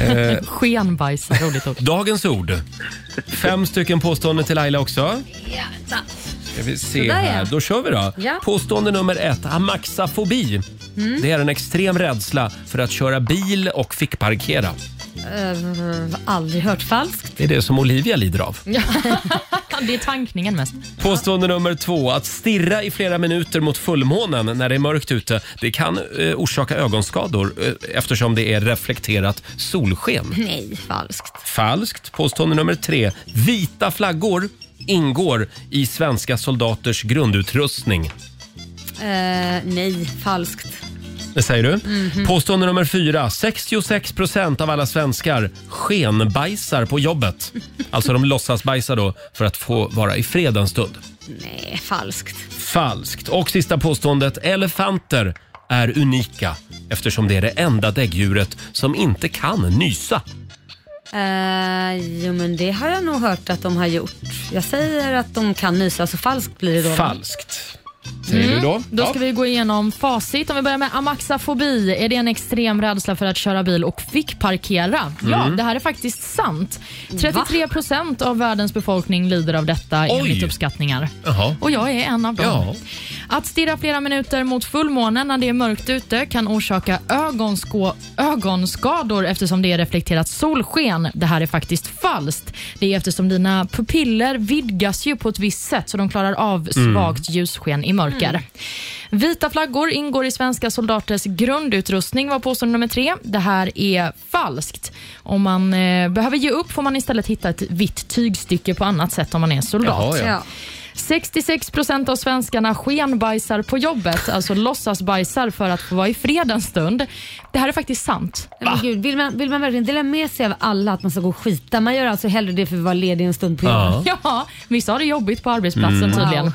Speaker 1: Eh,
Speaker 5: Skenbajs, roligt ord.
Speaker 1: Dagens ord. Fem stycken påståenden till Laila också.
Speaker 2: Ja, vänta.
Speaker 1: Ska vi se
Speaker 2: Sådär, ja.
Speaker 1: här. Då kör vi då.
Speaker 2: Ja.
Speaker 1: Påstående nummer ett. Amaxafobi.
Speaker 2: Mm.
Speaker 1: Det är en extrem rädsla för att köra bil och fick parkera.
Speaker 2: Eh, aldrig hört falskt.
Speaker 1: Det är det som Olivia lider av.
Speaker 5: det är tankningen mest.
Speaker 1: Påstående nummer två. Att stirra i flera minuter mot fullmånen när det är mörkt ute, det kan eh, orsaka ögonskador eh, eftersom det är reflekterat solsken.
Speaker 2: Nej, falskt.
Speaker 1: Falskt. Påstående nummer tre. Vita flaggor ingår i svenska soldaters grundutrustning.
Speaker 2: Eh, nej, falskt.
Speaker 1: Det säger du.
Speaker 2: Mhm.
Speaker 1: Påstående nummer fyra. 66 procent av alla svenskar skenbajsar på jobbet. Alltså de låtsas bajsa då för att få vara i fred en stund.
Speaker 2: Nej, falskt.
Speaker 1: Falskt. Och sista påståendet. Elefanter är unika eftersom det är det enda däggdjuret som inte kan nysa.
Speaker 2: Eh, jo men det har jag nog hört att de har gjort. Jag säger att de kan nysa så falskt blir det då.
Speaker 1: Falskt. Säger du då?
Speaker 5: Mm. Då
Speaker 1: Ja.
Speaker 5: ska vi gå igenom facit. Om vi börjar med amaxafobi. Är det en extrem rädsla för att köra bil och fick parkera? Ja,
Speaker 1: Mm.
Speaker 5: det här är faktiskt sant. 33 procent av världens befolkning lider av detta enligt uppskattningar.
Speaker 1: Jaha.
Speaker 5: Och jag är en av dem.
Speaker 1: Ja.
Speaker 5: Att stirra flera minuter mot fullmånen när det är mörkt ute kan orsaka ögonsko- ögonskador eftersom det är reflekterat solsken. Det här är faktiskt falskt. Det är eftersom dina pupiller vidgas ju på ett visst sätt så de klarar av
Speaker 15: Mm.
Speaker 5: svagt ljussken i mörker.
Speaker 15: Mm.
Speaker 5: Vita flaggor ingår i svenska soldaters grundutrustning var påstående nummer tre. Det här är falskt. Om man eh, behöver ge upp får man istället hitta ett vitt tygstycke på annat sätt om man är soldat.
Speaker 15: Jaha, ja. Ja.
Speaker 5: 66 procent av svenskarna skenbajsar på jobbet, alltså låtsasbajsar för att få vara i fred en stund. Det här är faktiskt sant.
Speaker 2: Nej, men gud, vill, man, vill man verkligen dela med sig av alla att man ska gå och skita? Man gör alltså hellre det för att vara ledig en stund på
Speaker 5: Ja.
Speaker 2: jobbet.
Speaker 5: ja, vissa har det jobbigt på arbetsplatsen
Speaker 2: Mm.
Speaker 5: tydligen.
Speaker 2: Wow.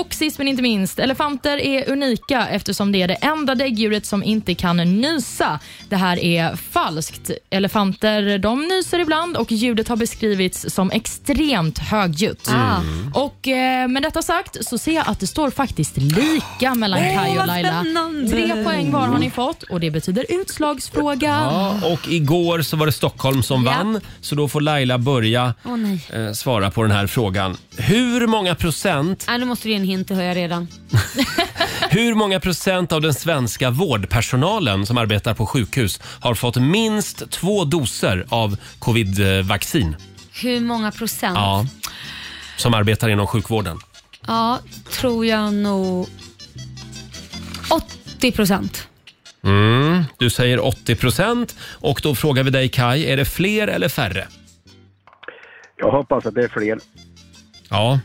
Speaker 5: Och sist men inte minst, elefanter är unika eftersom det är det enda däggdjuret som inte kan nysa. Det här är falskt. Elefanter de nyser ibland och ljudet har beskrivits som extremt högljutt.
Speaker 2: Ah,
Speaker 15: Mm.
Speaker 5: Och eh, med detta sagt så ser jag att det står faktiskt lika mellan
Speaker 15: Åh,
Speaker 5: Kaj och
Speaker 15: vad
Speaker 5: Laila.
Speaker 15: spännande.
Speaker 5: Tre poäng var har ni fått och det betyder utslagsfråga.
Speaker 1: Ja, och igår så var det Stockholm som
Speaker 5: Ja.
Speaker 1: vann, så då får Laila börja
Speaker 2: Åh nej.
Speaker 1: eh, svara på den här frågan. Hur många procent,
Speaker 2: Nej, nu måste du ge en hint, det hör jag redan.
Speaker 1: hur många procent av den svenska vårdpersonalen som arbetar på sjukhus har fått minst två doser av covid-vaccin?
Speaker 2: Hur många procent?
Speaker 1: Ja. Som arbetar inom sjukvården.
Speaker 2: Ja, tror jag nog 80 procent.
Speaker 1: Mm, du säger 80 procent och då frågar vi dig Kai, är det fler eller färre?
Speaker 9: Jag hoppas att det är fler.
Speaker 1: Ja,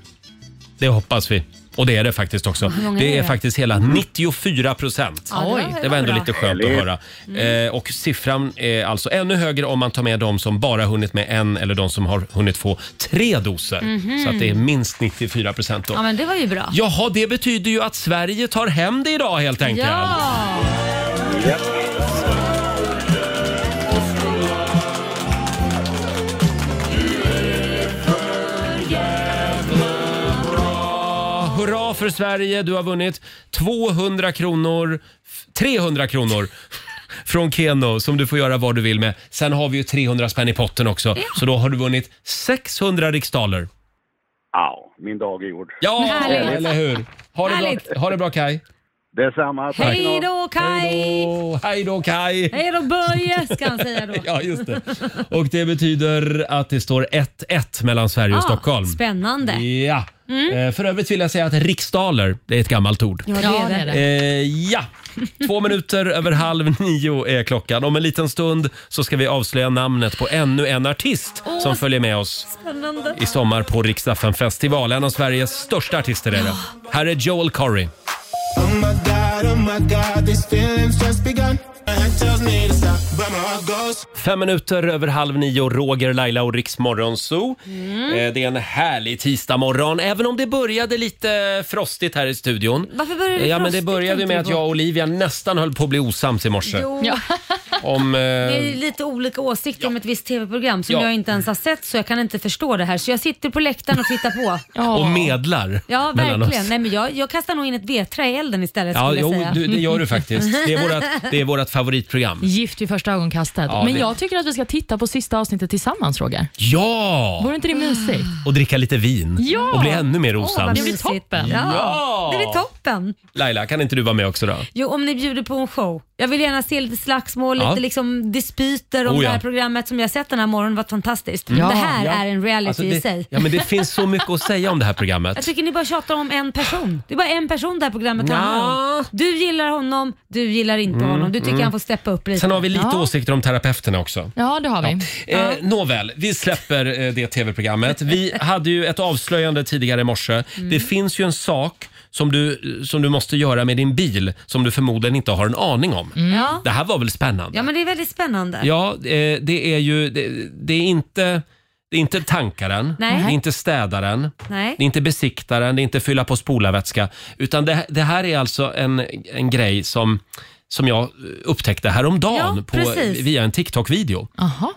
Speaker 1: det hoppas vi. Och det är det faktiskt också.
Speaker 9: Hur många
Speaker 1: Det
Speaker 9: är
Speaker 1: är
Speaker 9: det?
Speaker 1: faktiskt hela 94 procent.
Speaker 15: Ja, det var- det
Speaker 1: det var
Speaker 15: var
Speaker 1: ändå
Speaker 15: bra.
Speaker 1: lite skönt att
Speaker 15: Härligt.
Speaker 1: höra. Eh, och siffran är alltså ännu högre om man tar med de som bara hunnit med en eller de som har hunnit få tre doser.
Speaker 2: Mhm.
Speaker 1: Så att det är minst 94 procent då.
Speaker 2: Ja, men det var ju bra.
Speaker 1: Jaha, det betyder ju att Sverige tar hem det idag helt enkelt.
Speaker 2: Ja!
Speaker 1: Ja, Hurra för Sverige, du har vunnit 200 kronor, f- 300 kronor från Keno som du får göra vad du vill med. Sen har vi ju 300 spänn i potten också, så då har du vunnit 600 riksdaler.
Speaker 11: Ja, min dag är gjord.
Speaker 1: Ja,
Speaker 11: Härligt.
Speaker 1: eller hur? Ha det
Speaker 11: Härligt.
Speaker 1: bra, ha det bra Kai.
Speaker 11: Detsamma.
Speaker 1: Tack.
Speaker 2: Hej då Kaj!
Speaker 1: Hej då Kai.
Speaker 2: Hej då Börje, ska han säga då.
Speaker 1: Ja, just det. Och det betyder att det står 1-1 mellan Sverige och
Speaker 2: Ah,
Speaker 1: Stockholm.
Speaker 2: Spännande.
Speaker 1: Ja.
Speaker 2: Mm.
Speaker 1: Eh, För övrigt vill jag säga att riksdaler, det är ett gammalt ord.
Speaker 2: Ja, det är Ja, det är det.
Speaker 1: Eh, ja. Två minuter över halv nio är klockan. Om en liten stund så ska vi avslöja namnet på ännu en artist
Speaker 2: Åh.
Speaker 1: som följer med oss
Speaker 2: Spännande.
Speaker 1: i sommar på Riksdagen festival. En av Sveriges största artister är det. Här är Joel Corry.
Speaker 15: Oh my god, oh my god, these feelings just begun. My head tells me to stop, but my heart goes.
Speaker 1: Fem minuter över halv nio, Roger, Laila och Riks Morgonzoo.
Speaker 2: Mm.
Speaker 1: Eh, Det är en härlig tisdagmorgon, även om det började lite frostigt här i studion. Eh,
Speaker 2: Varför började det
Speaker 1: Ja, men det
Speaker 2: frostigt,
Speaker 1: började ju
Speaker 2: tänkte
Speaker 1: med
Speaker 2: du
Speaker 1: att
Speaker 2: på?
Speaker 1: jag och Olivia nästan höll på att bli osams i morse.
Speaker 2: Jo,
Speaker 1: Om, eh,
Speaker 2: Det är ju lite olika åsikter om ett visst tv-program som
Speaker 1: Ja.
Speaker 2: jag inte ens har sett så jag kan inte förstå det här. Så jag sitter på läktaren och tittar på.
Speaker 1: och medlar
Speaker 2: Ja,
Speaker 1: mellan
Speaker 2: verkligen.
Speaker 1: oss.
Speaker 2: Nej, men jag, jag kastar nog in ett vedträ i elden istället
Speaker 1: Ja,
Speaker 2: skulle jag
Speaker 1: jo,
Speaker 2: säga.
Speaker 1: du, det gör du faktiskt. Det är vårat, det är vårat favoritprogram.
Speaker 5: Gift vid första ögonkastet.
Speaker 1: Ja,
Speaker 5: Men
Speaker 1: det-
Speaker 5: jag tycker att vi ska titta på sista avsnittet tillsammans, Roger.
Speaker 1: Ja!
Speaker 5: Vore inte
Speaker 2: Ah.
Speaker 5: det mysigt?
Speaker 1: Och dricka lite vin
Speaker 5: Ja!
Speaker 1: och bli ännu mer
Speaker 5: Åh,
Speaker 1: osams.
Speaker 5: vad Det blir toppen.
Speaker 2: Ja.
Speaker 1: Ja!
Speaker 2: Det blir toppen.
Speaker 1: Laila, kan inte du vara med också då?
Speaker 2: Jo, om ni bjuder på en show. Jag vill gärna se lite slagsmål,
Speaker 1: Ja.
Speaker 2: lite liksom dispyter om
Speaker 1: Oh, ja.
Speaker 2: det här programmet som jag sett den här morgonen. var fantastiskt.
Speaker 1: Ja.
Speaker 2: Det här
Speaker 1: Ja.
Speaker 2: är en reality
Speaker 1: Alltså,
Speaker 2: i sig.
Speaker 1: det, ja, men det finns så mycket att säga om det här programmet.
Speaker 2: Jag tycker ni bara tjatar om en person. Det är bara en person det här programmet
Speaker 1: Nja.
Speaker 2: handlar om. Du gillar honom, du gillar inte
Speaker 1: Mm,
Speaker 2: honom. Du tycker
Speaker 1: mm.
Speaker 2: han får steppa upp lite.
Speaker 1: Sen har vi lite
Speaker 2: ja.
Speaker 1: åsikter om terapeuterna också.
Speaker 5: Ja, det har vi.
Speaker 1: Eh, Nåväl, vi släpper eh, det tv-programmet. Vi hade ju ett avslöjande tidigare i morse.
Speaker 2: Mm.
Speaker 1: Det finns ju en sak som du, som du måste göra med din bil som du förmodligen inte har en aning om.
Speaker 2: Ja.
Speaker 1: Det här var väl spännande?
Speaker 2: ja, men det är väldigt spännande.
Speaker 1: Ja, eh, det är ju... Det, det är inte... Det är inte tankaren,
Speaker 2: Nej.
Speaker 1: det är inte städaren,
Speaker 2: Nej.
Speaker 1: det är inte besiktaren, det är inte fylla på spolarvätska. Utan det, det här är alltså en, en grej som, som jag upptäckte häromdagen
Speaker 5: Ja,
Speaker 1: på,
Speaker 5: precis.
Speaker 1: via en TikTok-video.
Speaker 5: Aha.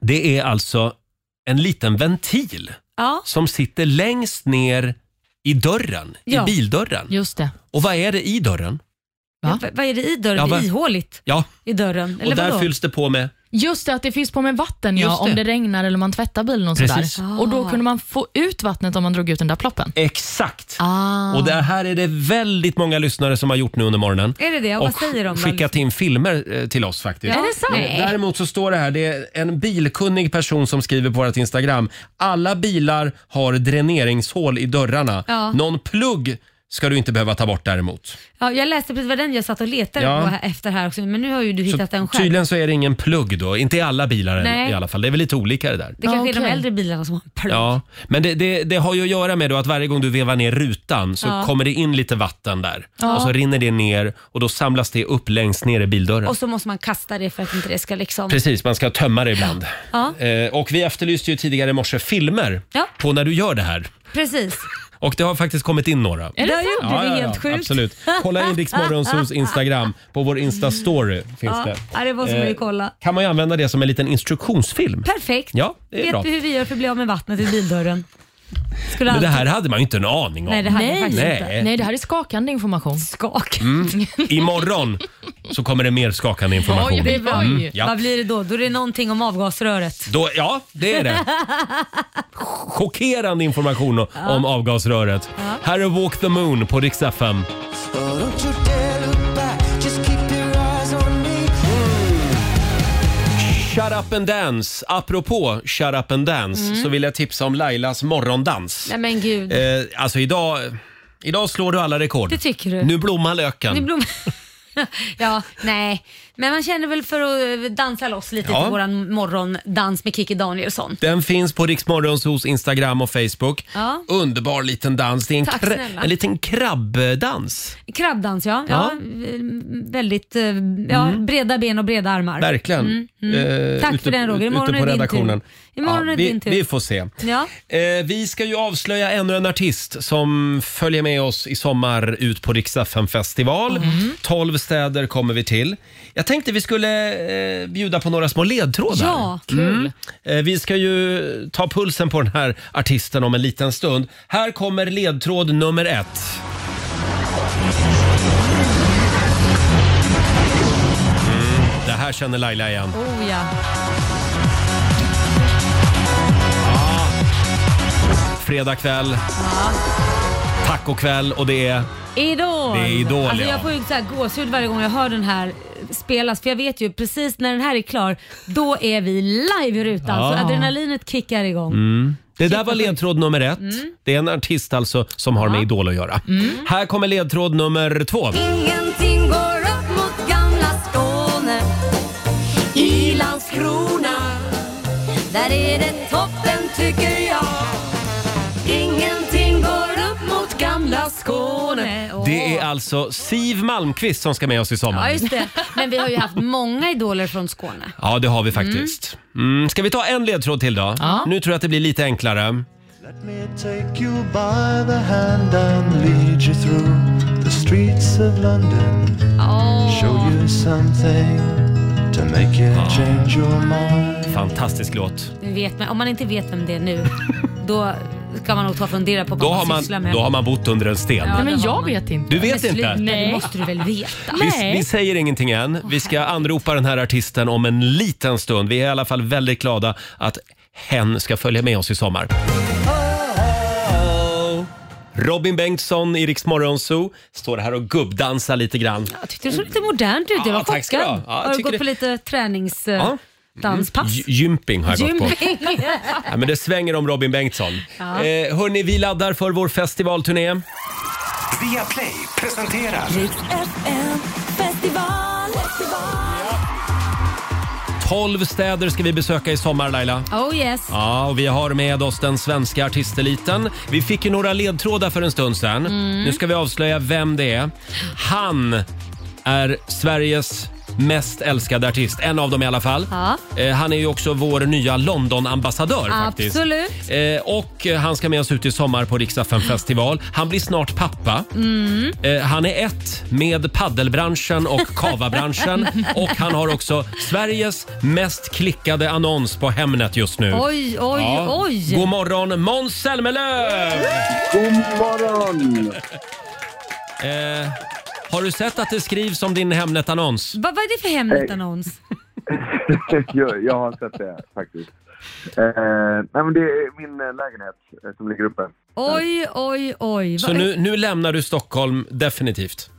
Speaker 1: Det är alltså en liten ventil
Speaker 2: Ja.
Speaker 1: som sitter längst ner i dörren,
Speaker 2: Ja.
Speaker 1: i bildörren.
Speaker 5: Just det.
Speaker 1: Och vad är det i dörren?
Speaker 2: Ja, v- vad är det i dörren?
Speaker 1: Ja, vad-
Speaker 2: Ihåligt
Speaker 1: Ja,
Speaker 2: i dörren? Eller
Speaker 1: och där
Speaker 2: vadå?
Speaker 1: fylls det på med...
Speaker 5: Just det, att det finns på med vatten ja,
Speaker 1: Just
Speaker 5: om
Speaker 1: det.
Speaker 5: det regnar eller om man tvättar bilen och
Speaker 1: Precis.
Speaker 5: sådär. Och då kunde man få ut vattnet om man drog ut den där ploppen.
Speaker 1: Exakt.
Speaker 5: Ah.
Speaker 1: Och det här är det väldigt många lyssnare som har gjort nu under morgonen.
Speaker 2: Är det det?
Speaker 1: Och
Speaker 2: Vad säger de då?
Speaker 1: skickat in filmer eh, till oss faktiskt.
Speaker 2: Ja. Är det sant? Nej.
Speaker 1: Däremot så står det här, det är en bilkunnig person som skriver på vårt Instagram. Alla bilar har dräneringshål i dörrarna.
Speaker 2: Ja.
Speaker 1: Någon plugg ska du inte behöva ta bort däremot.
Speaker 2: Ja, jag läste precis vad den jag satt och letade
Speaker 1: Ja.
Speaker 2: på här, efter här också, men nu har ju du hittat den själv.
Speaker 1: Tydligen så är det ingen plugg då, inte i alla bilar än-
Speaker 2: Nej.
Speaker 1: i alla fall. Det är väl lite olika det där.
Speaker 2: Det kanske är de äldre bilarna som har en plugg.
Speaker 1: Ja, men det, det, det har ju att göra med då att varje gång du vevar ner rutan så
Speaker 2: Ja.
Speaker 1: kommer det in lite vatten där.
Speaker 2: Ja.
Speaker 1: Och så rinner det ner och då samlas det upp längst ner i bildörren.
Speaker 2: Och så måste man kasta det för att inte det ska liksom...
Speaker 1: Precis, man ska tömma det ibland.
Speaker 2: Ja,
Speaker 1: Eh, och vi efterlyste ju tidigare i morse filmer
Speaker 2: Ja.
Speaker 1: på när du gör det här.
Speaker 2: precis.
Speaker 1: Och det har faktiskt kommit in några.
Speaker 2: Är det sant? Det är helt sjukt.
Speaker 1: Absolut. Kolla in Rix Morgonzoos Instagram. På vår Insta-story finns
Speaker 2: Ja.
Speaker 1: det. Eh,
Speaker 2: Ja, det måste man ju kolla.
Speaker 1: Kan man ju använda det som en liten instruktionsfilm.
Speaker 2: Perfekt.
Speaker 1: Ja, det är
Speaker 2: Vet
Speaker 1: bra.
Speaker 2: vi hur vi gör för att bli av med vattnet i bildörren? Skulle
Speaker 1: Men det här
Speaker 2: alltid-
Speaker 1: hade man ju inte en aning om.
Speaker 2: Nej, det hade jag faktiskt
Speaker 1: Nej.
Speaker 5: Nej. Nej, det här är skakande information.
Speaker 2: Skak.
Speaker 1: Mm. Imorgon så kommer det mer skakande information.
Speaker 2: Oj, oj, oj.
Speaker 1: Mm, ja.
Speaker 2: Vad blir det då? Då är det någonting om avgasröret.
Speaker 1: Då, ja, det är det. Chockerande information o-
Speaker 2: Ja.
Speaker 1: om avgasröret. Här är Walk the Moon på Rix FM.
Speaker 15: Don't you dare look back, just keep your eyes on me.
Speaker 1: Shut up and dance. Apropå shut up and dance
Speaker 2: Mm.
Speaker 1: så vill jag tipsa om Lailas morgondans.
Speaker 2: Nej men gud.
Speaker 1: Eh, alltså idag, idag slår du alla rekord.
Speaker 2: Det tycker du.
Speaker 1: Nu blommar löken.
Speaker 2: Ni blom... ja, nej. Men man känner väl för att eh, dansa loss lite
Speaker 1: Ja.
Speaker 2: till våran morgondans med Kiki Danielsson.
Speaker 1: Den finns på Riksmorgons hos Instagram och Facebook.
Speaker 2: Ja.
Speaker 1: Underbar liten dans. Det är en,
Speaker 2: Tack
Speaker 1: kra-
Speaker 2: snälla.
Speaker 1: en liten krabbdans.
Speaker 2: Krabbdans ja.
Speaker 1: Ja.
Speaker 2: ja.
Speaker 1: Mm.
Speaker 2: eh, Väldigt eh, ja, breda ben och breda armar.
Speaker 1: Verkligen.
Speaker 2: Mm, mm.
Speaker 1: Eh,
Speaker 2: Tack
Speaker 1: ute-
Speaker 2: för den Roger.
Speaker 1: ute
Speaker 2: Imorgon
Speaker 1: på
Speaker 2: är det
Speaker 1: redaktionen.
Speaker 2: din tur. Imorgon
Speaker 1: Ja,
Speaker 2: är det
Speaker 1: vi,
Speaker 2: din tur.
Speaker 1: vi får se.
Speaker 2: Ja.
Speaker 1: Eh, vi ska ju avslöja ännu en artist som följer med oss i sommar ut på Riksdagen festival.
Speaker 2: Mm.
Speaker 1: 12 städer kommer vi till. Jag tänkte vi skulle eh, bjuda på några små ledtrådar.
Speaker 2: Ja, kul.
Speaker 1: Eh, vi ska ju ta pulsen på den här artisten om en liten stund. Här kommer ledtråd nummer ett. Mm, det här känner Laila igen.
Speaker 2: Oh ja.
Speaker 1: Fredag kväll,
Speaker 2: ja.
Speaker 1: tacokväll och det är...
Speaker 2: Idol!
Speaker 1: Det är Idol,
Speaker 2: alltså,
Speaker 1: ja.
Speaker 2: Jag får ju så här gåshud varje gång jag hör den här spelas för jag vet ju precis när den här är klar då är vi live i rutan
Speaker 1: Ja.
Speaker 2: så adrenalinet kickar igång.
Speaker 1: Mm. Det där var ledtråd nummer ett.
Speaker 2: Mm.
Speaker 1: Det är en artist alltså som har med Idol att göra. Här kommer ledtråd nummer två.
Speaker 6: Ingenting går upp mot gamla Skåne I Landskrona Där är det toppen tycker jag Ingenting går upp mot gamla Skåne Åh.
Speaker 1: Det är alltså Siv Malmqvist som ska med oss i
Speaker 2: Ja
Speaker 1: sommar.
Speaker 2: just det, men vi har ju haft många idoler från Skåne.
Speaker 1: Ja, det har vi faktiskt. Mm. Ska vi ta en ledtråd till då? Nu tror jag att det blir lite enklare.
Speaker 15: Take you by the hand and lead you through the streets of London. Show you something to make you change your mind.
Speaker 1: Fantastisk låt.
Speaker 2: Ni Vet, men om man inte vet vem det är nu då ska man nog ta och fundera på vad
Speaker 1: Då
Speaker 2: man,
Speaker 1: har
Speaker 2: sysslar
Speaker 1: man,
Speaker 2: med.
Speaker 1: då har man bott under en sten.
Speaker 2: Ja,
Speaker 5: Nej, men
Speaker 2: det har
Speaker 5: jag
Speaker 2: man.
Speaker 5: vet inte.
Speaker 1: Du vet
Speaker 2: Men
Speaker 1: inte?
Speaker 2: sluta, Det
Speaker 5: Nej.
Speaker 2: måste du väl veta?
Speaker 1: Vi, vi säger ingenting än. Vi ska anropa den här artisten om en liten stund. Vi är i alla fall väldigt glada att hen ska följa med oss i sommar. Robin Bengtsson i Rix Morgon Zoo står här och gubbdansar lite grann.
Speaker 2: Jag tyckte det såg lite modernt ut, jag var
Speaker 1: Ja, tack ska du ha.
Speaker 2: chockad.
Speaker 1: Ja, jag
Speaker 2: har du
Speaker 1: tycker
Speaker 2: gått
Speaker 1: det-
Speaker 2: på lite eh,
Speaker 1: Ja.
Speaker 2: träningsdanspass?
Speaker 1: Gy- Gymping har jag gått på.
Speaker 2: Gymping.
Speaker 1: Ja, men det svänger om Robin Bengtsson.
Speaker 2: Ja.
Speaker 1: Eh, hörni, vi laddar för vår festivalturné.
Speaker 3: Via Play presenterar...
Speaker 6: FM festival, festival.
Speaker 1: 12 städer ska vi besöka i sommar, Laila.
Speaker 2: Oh yes.
Speaker 1: Ja, och vi har med oss den svenska artisteliten. Vi fick ju några ledtrådar för en stund sedan.
Speaker 2: Mm.
Speaker 1: Nu ska vi avslöja vem det är. Han är Sveriges mest älskade artist. En av dem i alla fall.
Speaker 2: Ja.
Speaker 1: Eh, Han är ju också vår nya London-ambassadör faktiskt.
Speaker 2: Absolut.
Speaker 1: Eh, Och eh, han ska med oss ut i sommar på Riksdagen festival. Han blir snart pappa.
Speaker 2: Mm.
Speaker 1: Eh, Han är ett med paddelbranschen och kavabranschen och han har också Sveriges mest klickade annons på Hemnet just nu.
Speaker 2: Oj, oj, oj.
Speaker 1: God morgon Måns Zelmerlöw! God morgon! Eh, har du sett att det skrivs om din Hemnet-annons?
Speaker 2: Vad vad är det för hemligt annons?
Speaker 11: jag, jag har sett det faktiskt. Eh, nej, men det är min eh, lägenhet eh, som ligger uppe.
Speaker 2: Oj, oj, oj.
Speaker 1: Så
Speaker 2: Vad-
Speaker 1: nu, nu lämnar du Stockholm definitivt?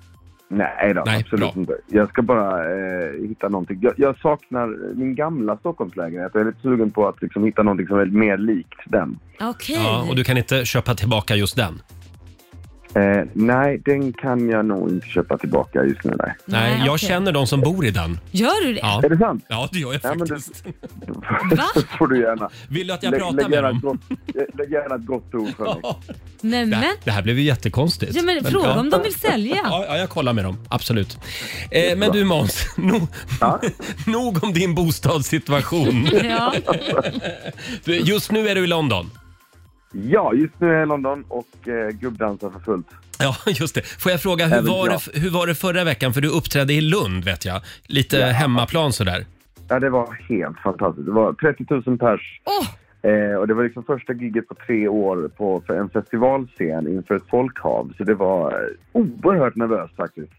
Speaker 11: Nej då, absolut inte. Jag ska bara eh, hitta någonting. Jag, jag saknar min gamla Stockholmslägenhet. Jag är lite sugen på att liksom, hitta någonting som är mer likt den.
Speaker 2: Okej.
Speaker 1: Ja, och du kan inte köpa tillbaka just den?
Speaker 11: Eh, nej, den kan jag nog inte köpa tillbaka just nu. Nej.
Speaker 1: Nej, jag känner de som bor i den.
Speaker 2: Gör du det?
Speaker 1: Ja.
Speaker 11: Är det sant?
Speaker 1: Ja, det gör jag
Speaker 11: faktiskt. det får du gärna.
Speaker 1: Vill du att jag
Speaker 11: Lägg-
Speaker 1: pratar
Speaker 11: lägg
Speaker 1: med
Speaker 11: gärna
Speaker 1: dem?
Speaker 11: ett gott- eh, Lägg gärna ett gott ord för mig.
Speaker 2: Nej,
Speaker 1: Det,
Speaker 2: men.
Speaker 1: det här blev ju jättekonstigt.
Speaker 2: Ja, men fråga om de vill sälja.
Speaker 1: Ja, ja, jag kollar med dem. Absolut. Eh, men du Måns, no, nog om din bostadssituation.
Speaker 2: Ja.
Speaker 1: Du, Just nu är du i London.
Speaker 11: Ja, just nu är jag i London och eh, gubbdansar för fullt.
Speaker 1: Ja, just det. Får jag fråga, hur
Speaker 11: Även
Speaker 1: var,
Speaker 11: jag.
Speaker 1: det, hur var det förra veckan? För du uppträdde i Lund vet jag. Lite hemmaplan sådär.
Speaker 11: Ja, det var helt fantastiskt. Det var 30 000 pers. Eh, och det var liksom första giget på tre år på för en festivalscen inför ett folkhav. Så det var eh, oerhört nervöst faktiskt.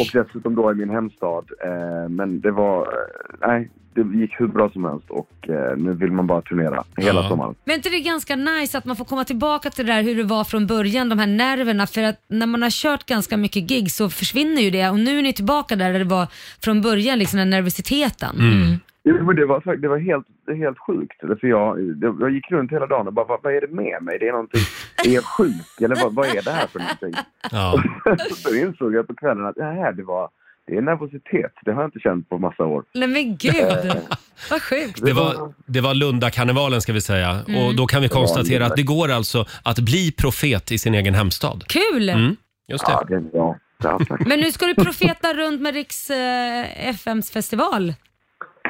Speaker 11: Och dessutom då i min hemstad. Eh, men det var, eh, nej, det gick hur bra som helst och eh, nu vill man bara turnera hela sommaren.
Speaker 2: Men är inte det är ganska nice att man får komma tillbaka till det där hur det var från början, de här nerverna. För att när man har kört ganska mycket gig så försvinner ju det och nu är ni tillbaka där, där det var från början, liksom den nervositeten.
Speaker 1: Mm.
Speaker 11: Jo, men det var, fakt- det var helt, helt sjukt. Eller, För jag, jag jag gick runt hela dagen och bara, vad, vad är det med mig? Det är någonting, är jag sjuk? Eller vad, vad är det här för någonting?
Speaker 1: Ja.
Speaker 11: Så insåg jag på kvällen att det här, det var, det är nervositet. Det har jag inte känt på massa år.
Speaker 2: Nej men gud, vad sjukt.
Speaker 1: Det var, det var Lundakarnevalen ska vi säga.
Speaker 2: Mm.
Speaker 1: Och då kan vi
Speaker 2: Det var
Speaker 1: konstatera
Speaker 2: Lunda.
Speaker 1: att det går alltså att bli profet i sin egen hemstad.
Speaker 2: Kul!
Speaker 1: Mm, just det. Ja,
Speaker 11: det är bra.
Speaker 2: Men nu ska du profeta runt med Riks eh, FMs festival.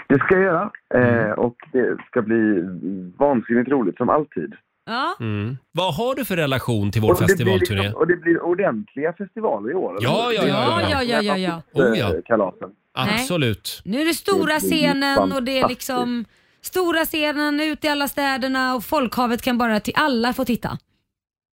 Speaker 11: Det ska jag göra.
Speaker 1: Mm.
Speaker 11: Eh, och det ska bli vansinnigt roligt som alltid.
Speaker 2: Ja.
Speaker 1: Mm. Vad har du för relation till vår
Speaker 11: det blir liksom-
Speaker 1: festivalturné?
Speaker 11: och det blir ordentliga festivaler i år. eller? Eh,
Speaker 1: Ja, ja, ja, ja, ja.
Speaker 2: Ja, ja, ja, ja.
Speaker 1: Oh, ja.
Speaker 11: Kalasen.
Speaker 2: Nej.
Speaker 1: Absolut.
Speaker 2: Nu är det stora
Speaker 11: Det blir
Speaker 2: scenen och det är
Speaker 11: fantastiskt.
Speaker 2: liksom stora scenen ut i alla städerna och folkhavet kan bara till alla få titta.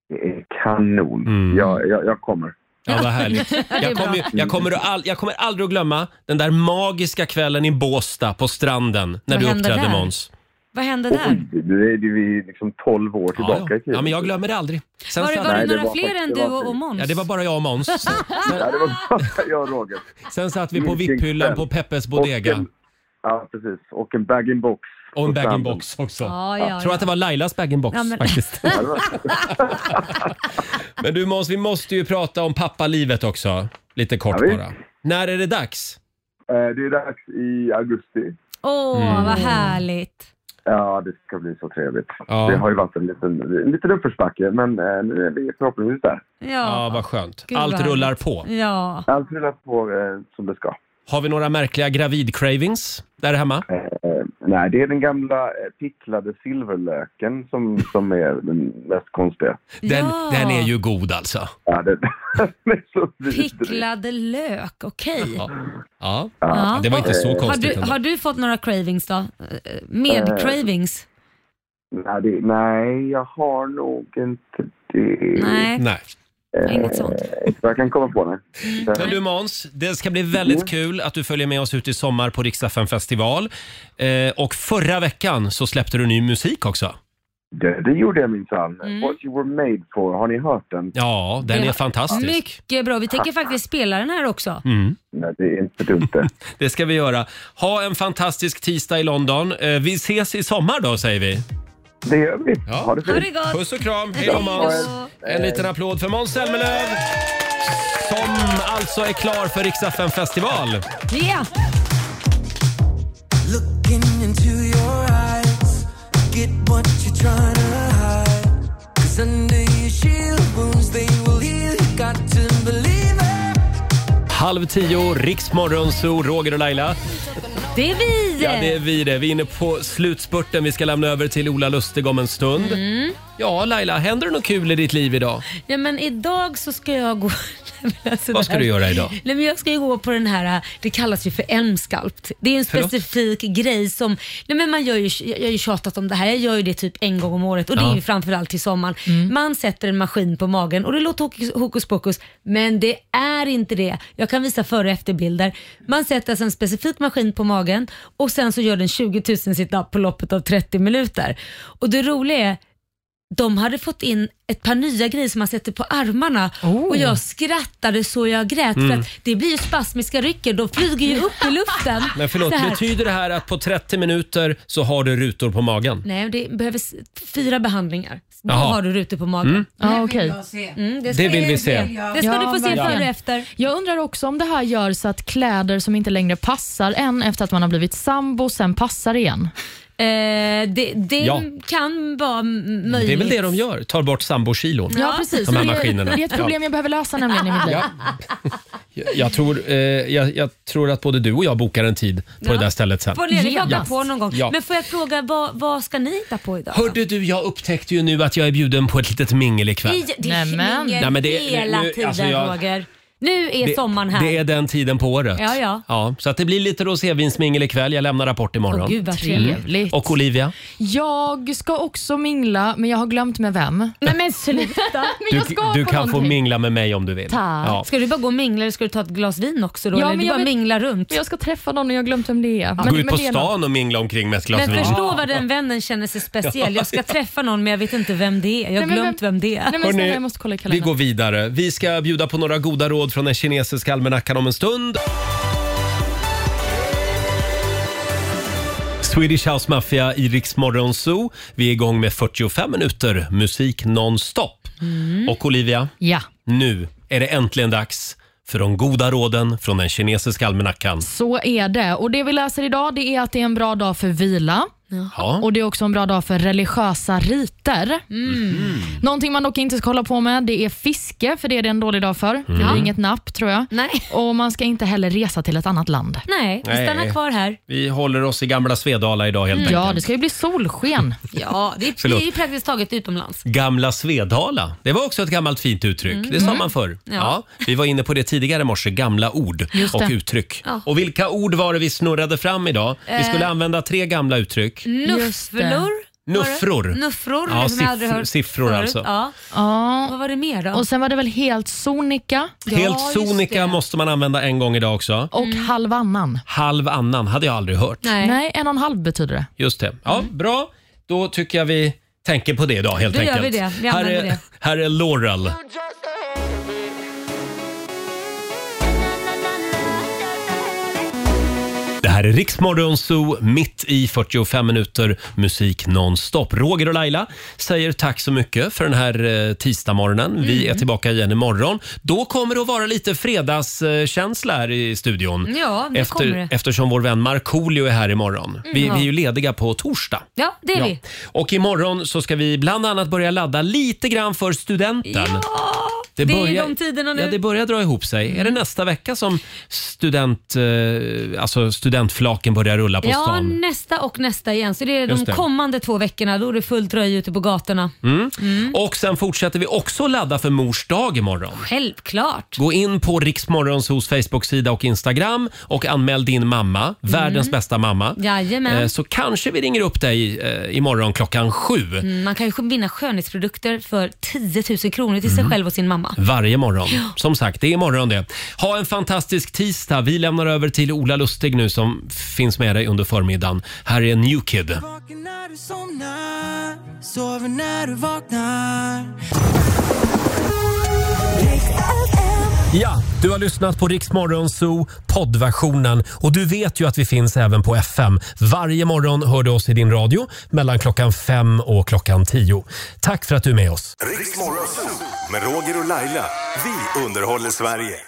Speaker 11: Det är kanon.
Speaker 1: Mm.
Speaker 11: Jag, jag, jag kommer.
Speaker 1: Ja, vad härligt.
Speaker 2: Det är
Speaker 1: Jag
Speaker 2: bra.
Speaker 1: kommer, ju- jag, kommer att all, jag kommer aldrig att glömma den där magiska kvällen i Båsta på stranden när
Speaker 2: Vad
Speaker 1: du
Speaker 2: hände
Speaker 1: uppträdde
Speaker 2: där?
Speaker 1: Måns.
Speaker 2: Vad hände där?
Speaker 11: Oj, nu är det vi liksom 12 år tillbaka i tiden.
Speaker 1: Ja, men jag glömmer det aldrig. Sen
Speaker 2: Var det,
Speaker 1: satt-
Speaker 2: var det några fler än du och, och Måns?
Speaker 1: Ja, det var bara jag och Måns. Sen,
Speaker 11: Ja, det var bara jag och Roger.
Speaker 1: sen satt vi på VIP-hyllan på Peppes Bodega.
Speaker 11: Ja, precis. Och en bag-in-box.
Speaker 1: Och en
Speaker 11: på stranden.
Speaker 1: bag-in-box också.
Speaker 2: Ja, ja,
Speaker 1: Tror
Speaker 2: ja.
Speaker 1: att det var Lailas bag-in-box
Speaker 2: Ja, men-
Speaker 1: faktiskt. men du Måns, vi måste ju prata om pappalivet också. Lite kort
Speaker 11: Ja, visst.
Speaker 1: bara. När är det dags?
Speaker 11: Eh, Det är dags i augusti.
Speaker 2: Åh,
Speaker 11: Mm.
Speaker 2: vad härligt.
Speaker 11: Ja, det ska bli så trevligt.
Speaker 1: Ja.
Speaker 11: Det har ju varit en liten, en liten uppförsbacke, men eh, nu är vi förhoppningsvis där.
Speaker 2: Ja,
Speaker 1: Ja, vad skönt.
Speaker 2: Gud, vad
Speaker 1: Allt
Speaker 2: härligt.
Speaker 1: rullar på.
Speaker 2: Ja.
Speaker 11: Allt rullar på eh, som det ska.
Speaker 1: Har vi några märkliga gravid-cravings där hemma?
Speaker 11: Eh, nej, det är den gamla eh, picklade silverlöken som, som är den mest konstiga.
Speaker 1: Den, den är ju god alltså.
Speaker 11: Ja, den, den är så vidrig.
Speaker 2: Picklad lök, okej.
Speaker 1: Ja.
Speaker 2: Ja.
Speaker 1: det var inte så konstigt
Speaker 2: Har du,
Speaker 1: ändå.
Speaker 2: har du fått några cravings då? Eh, Med
Speaker 11: Eh,
Speaker 2: cravings?
Speaker 11: Nej, det, nej, jag har nog inte det. Eh,
Speaker 2: Nej.
Speaker 1: Nej.
Speaker 2: Inget sånt.
Speaker 11: Jag kan komma på det.
Speaker 1: Men du Måns, det ska bli
Speaker 2: Mm.
Speaker 1: väldigt kul att du följer med oss ut i sommar på Riksdagen festival. Eh, och förra veckan så släppte du ny musik också.
Speaker 11: Det, det gjorde jag minsann. What you were made for, har ni hört den?
Speaker 1: Ja, den
Speaker 2: Det-
Speaker 1: är fantastisk. Mm.
Speaker 2: Mycket bra. Vi tänker faktiskt spela den här också.
Speaker 11: Nej, det är inte dumt det.
Speaker 1: det ska vi göra. Ha en fantastisk tisdag i London. Eh, vi ses i sommar då, säger vi.
Speaker 11: Det gör vi. Ha det
Speaker 1: fint.
Speaker 2: det gott.
Speaker 1: Puss och kram. Hej
Speaker 2: Hej
Speaker 1: då
Speaker 2: då.
Speaker 1: Måns. En liten applåd för Måns Zelmerlöw som alltså är klar för Riksdagen festival.
Speaker 2: Yeah.
Speaker 7: Looking into your eyes, get what you're trying to hide. Cause under your shield, wounds they will heal. You got to believe it.
Speaker 1: Halv tio, Riksmorgonzoo, Roger och Laila.
Speaker 2: Det är vi!
Speaker 1: Ja, det är vi det. Vi är inne på slutspurten. Vi ska lämna över till Ola Lustig om en stund.
Speaker 2: Mm.
Speaker 1: Ja, Laila, händer det något kul i ditt liv idag?
Speaker 2: Ja, men idag så ska jag gå... Nej, men alltså
Speaker 1: Vad
Speaker 2: det
Speaker 1: ska
Speaker 2: här-
Speaker 1: du göra idag?
Speaker 2: Nej, men jag ska ju gå på den här, det kallas ju för Elmsculpt. Det är ju en
Speaker 1: Förlåt?
Speaker 2: specifik grej som, nej men man gör ju, jag har ju tjatat om det här, jag gör ju det typ en gång om året och det
Speaker 6: Ja.
Speaker 2: är ju framförallt till sommaren.
Speaker 1: Mm.
Speaker 2: Man sätter en maskin på magen och det låter hokus, hokus pokus, men det är inte det. Jag kan visa före och efterbilder. Man sätter alltså en specifik maskin på magen och sen så gör den 20 000 sit-up på loppet av 30 minuter. Och det roliga är, de hade fått in ett par nya grejer som man sätter på armarna och jag skrattade så jag grät
Speaker 1: Oh. Mm.
Speaker 2: för att det blir ju spasmiska rycker, de flyger ju upp i luften.
Speaker 1: Men förlåt,
Speaker 2: Så här.
Speaker 1: betyder det här att på 30 minuter så har du rutor på magen?
Speaker 2: Nej, det behöver s- fyra behandlingar. Då
Speaker 1: Jaha.
Speaker 2: har du rutor på magen.
Speaker 1: Mm.
Speaker 5: Ja, okej.
Speaker 2: Mm, det, ska
Speaker 1: Det vill
Speaker 2: jag-
Speaker 1: vi se.
Speaker 2: Det ska du få se
Speaker 5: verkligen.
Speaker 2: före och efter.
Speaker 5: Jag undrar också om det här gör så att kläder som inte längre passar en efter att man har blivit sambo sen passar igen.
Speaker 2: Eh, det det
Speaker 1: Ja.
Speaker 2: kan vara m- möjligt.
Speaker 1: Det är väl det de gör, tar bort sambokilon.
Speaker 5: Ja, precis.
Speaker 1: De här
Speaker 5: Det är-
Speaker 1: maskinerna.
Speaker 5: Det är ett problem jag behöver lösa nämligen i mitt liv.
Speaker 1: Ja. Jag, tror, eh, jag, jag tror att både du och jag bokar en tid på
Speaker 2: Ja.
Speaker 1: det där stället sen.
Speaker 2: Får ni hitta på någon gång.
Speaker 1: Ja.
Speaker 2: Men får jag fråga, vad, vad ska ni hitta på idag?
Speaker 1: Hörde du, jag upptäckte ju nu att jag är bjuden på ett litet mingel ikväll.
Speaker 2: I, det är
Speaker 1: Nämen.
Speaker 2: mingel
Speaker 1: Nej, men det-
Speaker 2: hela
Speaker 1: nu-
Speaker 2: tiden
Speaker 1: alltså jag-
Speaker 2: Roger. Nu är
Speaker 1: Det-
Speaker 2: sommaren här.
Speaker 1: Det är den tiden på året.
Speaker 2: Ja, ja.
Speaker 1: så att det blir lite rosévinsmingel ikväll. Jag lämnar rapport imorgon.
Speaker 5: Åh, gud, vad trevligt.
Speaker 1: Mm. Och Olivia?
Speaker 5: Jag ska också mingla, men jag har glömt med vem.
Speaker 2: Nej men sluta.
Speaker 1: Du, du kan få mingla med mig om du vill.
Speaker 5: Tack.
Speaker 1: Ja.
Speaker 2: Ska du bara gå och mingla eller ska du ta ett glas vin också då?
Speaker 5: Ja,
Speaker 2: eller
Speaker 5: men
Speaker 2: du
Speaker 5: jag
Speaker 2: bara
Speaker 5: vet-
Speaker 2: mingla runt?
Speaker 5: Jag ska träffa någon och jag har glömt vem det är.
Speaker 1: Gå ut på stan och mingla omkring med ett glas
Speaker 2: Men
Speaker 1: vin.
Speaker 2: förstå vad den vännen känner sig speciell. Jag ska
Speaker 1: Ja,
Speaker 2: träffa någon men jag vet inte vem det är. Jag har
Speaker 5: Nej, men
Speaker 2: glömt vem det är.
Speaker 5: Nej, men snälla, jag måste kolla i
Speaker 1: Vi
Speaker 5: kalendern.
Speaker 1: går vidare. Vi ska bjuda på några goda råd från den kinesiska almanackan om en stund. Swedish House Mafia i Rix Morgon Zoo. Vi är igång med 45 minuter musik nonstop.
Speaker 5: Mm.
Speaker 1: Och Olivia,
Speaker 5: Ja.
Speaker 1: nu är det äntligen dags för de goda råden från den kinesiska almanackan.
Speaker 5: Så är det. Och Det vi läser idag det är att det är en bra dag för vila.
Speaker 1: Ja.
Speaker 5: Och Det är också en bra dag för religiösa riter. Någonting man dock inte ska hålla på med det är fiske, för det är det en dålig dag för. Det
Speaker 1: Mm.
Speaker 5: blir inget napp tror jag. Och Man ska inte heller resa till ett annat land.
Speaker 2: Nej,
Speaker 1: vi stannar Nej. kvar
Speaker 2: här.
Speaker 1: Vi håller oss i gamla Svedala idag helt
Speaker 5: Mm. Ja, det
Speaker 1: enkelt.
Speaker 5: ska ju bli solsken.
Speaker 2: Ja, det är,
Speaker 1: Förlåt.
Speaker 2: det är praktiskt taget utomlands.
Speaker 1: Gamla Svedala, det var också ett gammalt fint uttryck.
Speaker 2: Mm.
Speaker 1: Det sa
Speaker 2: Mm.
Speaker 1: man förr.
Speaker 2: Ja.
Speaker 1: Ja. vi var inne på det tidigare i morse, gamla ord
Speaker 2: Just
Speaker 1: och
Speaker 2: det.
Speaker 1: uttryck.
Speaker 2: Ja.
Speaker 1: Och vilka ord var det vi snurrade fram idag? Vi skulle
Speaker 2: Eh.
Speaker 1: använda tre gamla uttryck.
Speaker 5: Mm,
Speaker 2: Nufflor.
Speaker 1: Nuffror.
Speaker 2: Nuffror,
Speaker 1: Ja,
Speaker 2: som jag aldrig
Speaker 1: siffror-
Speaker 2: hört
Speaker 1: siffror
Speaker 2: förut.
Speaker 1: alltså.
Speaker 2: Ja.
Speaker 5: Ja.
Speaker 2: Vad var det mer då?
Speaker 5: Och Sen var det väl helt sonika
Speaker 1: Helt sonika måste man använda en gång idag också.
Speaker 5: och halv annan.
Speaker 1: Halv annan hade jag aldrig hört.
Speaker 5: Mm. Nej. en och en halv betyder det.
Speaker 1: Just det. Ja, Bra, då tycker jag vi tänker på det idag helt
Speaker 5: Då gör
Speaker 1: enkelt.
Speaker 5: vi det. Vi
Speaker 1: här,
Speaker 5: använder
Speaker 1: är,
Speaker 5: det.
Speaker 1: här är Laurel. Det här är Riksmorgon Zoo, mitt i 45 minuter musik nonstop. Roger och Laila säger tack så mycket för den här eh, tisdagmorgonen. Vi är
Speaker 2: Mm.
Speaker 1: tillbaka igen imorgon. Då kommer det att vara lite fredagskänsla här i studion.
Speaker 2: Ja, det kommer
Speaker 1: Efter,
Speaker 2: det. Mm.
Speaker 1: eftersom vår vän Markoolio är här imorgon. Vi,
Speaker 2: Ja.
Speaker 1: vi är ju lediga på torsdag.
Speaker 2: Ja, det är
Speaker 1: Ja.
Speaker 2: vi.
Speaker 1: Och imorgon så ska vi bland annat börja ladda lite grann för studenten.
Speaker 2: det är de tiderna nu. Mm.
Speaker 1: Ja, det börjar dra ihop sig. Är det nästa vecka som student, eh, alltså studentflaken börjar rulla på
Speaker 2: Ja,
Speaker 1: stan?
Speaker 2: nästa och nästa igen. Så det är de
Speaker 1: Just det.
Speaker 2: kommande två veckorna. Då är det fullt röj ute på gatorna.
Speaker 1: Mm. Och sen fortsätter vi också ladda för mors dag imorgon.
Speaker 2: Självklart.
Speaker 1: Gå in på Riksmorgons hos Facebook-sida och Instagram och anmäl din mamma, världens bästa mamma.
Speaker 2: Mm. Jajamän.
Speaker 1: Eh, Så kanske vi ringer upp dig eh, imorgon klockan sju.
Speaker 2: Mm, Man kan ju vinna skönhetsprodukter för 10 000 kronor till sig själv och sin mamma.
Speaker 1: Varje morgon. Som sagt, det är imorgon det. Ha en fantastisk tisdag. Vi lämnar över till Ola Lustig nu som finns med dig under förmiddagen. Här är New Kid.
Speaker 7: När du somnar, sover när du vaknar.
Speaker 1: Ja, du har lyssnat på Riksmorgon Zoo poddversionen och du vet ju att vi finns även på FM. Varje morgon hör du oss i din radio mellan klockan fem och klockan tio. Tack för att du är med oss.
Speaker 3: Riks Morgonzoo med Roger och Laila. Vi underhåller Sverige.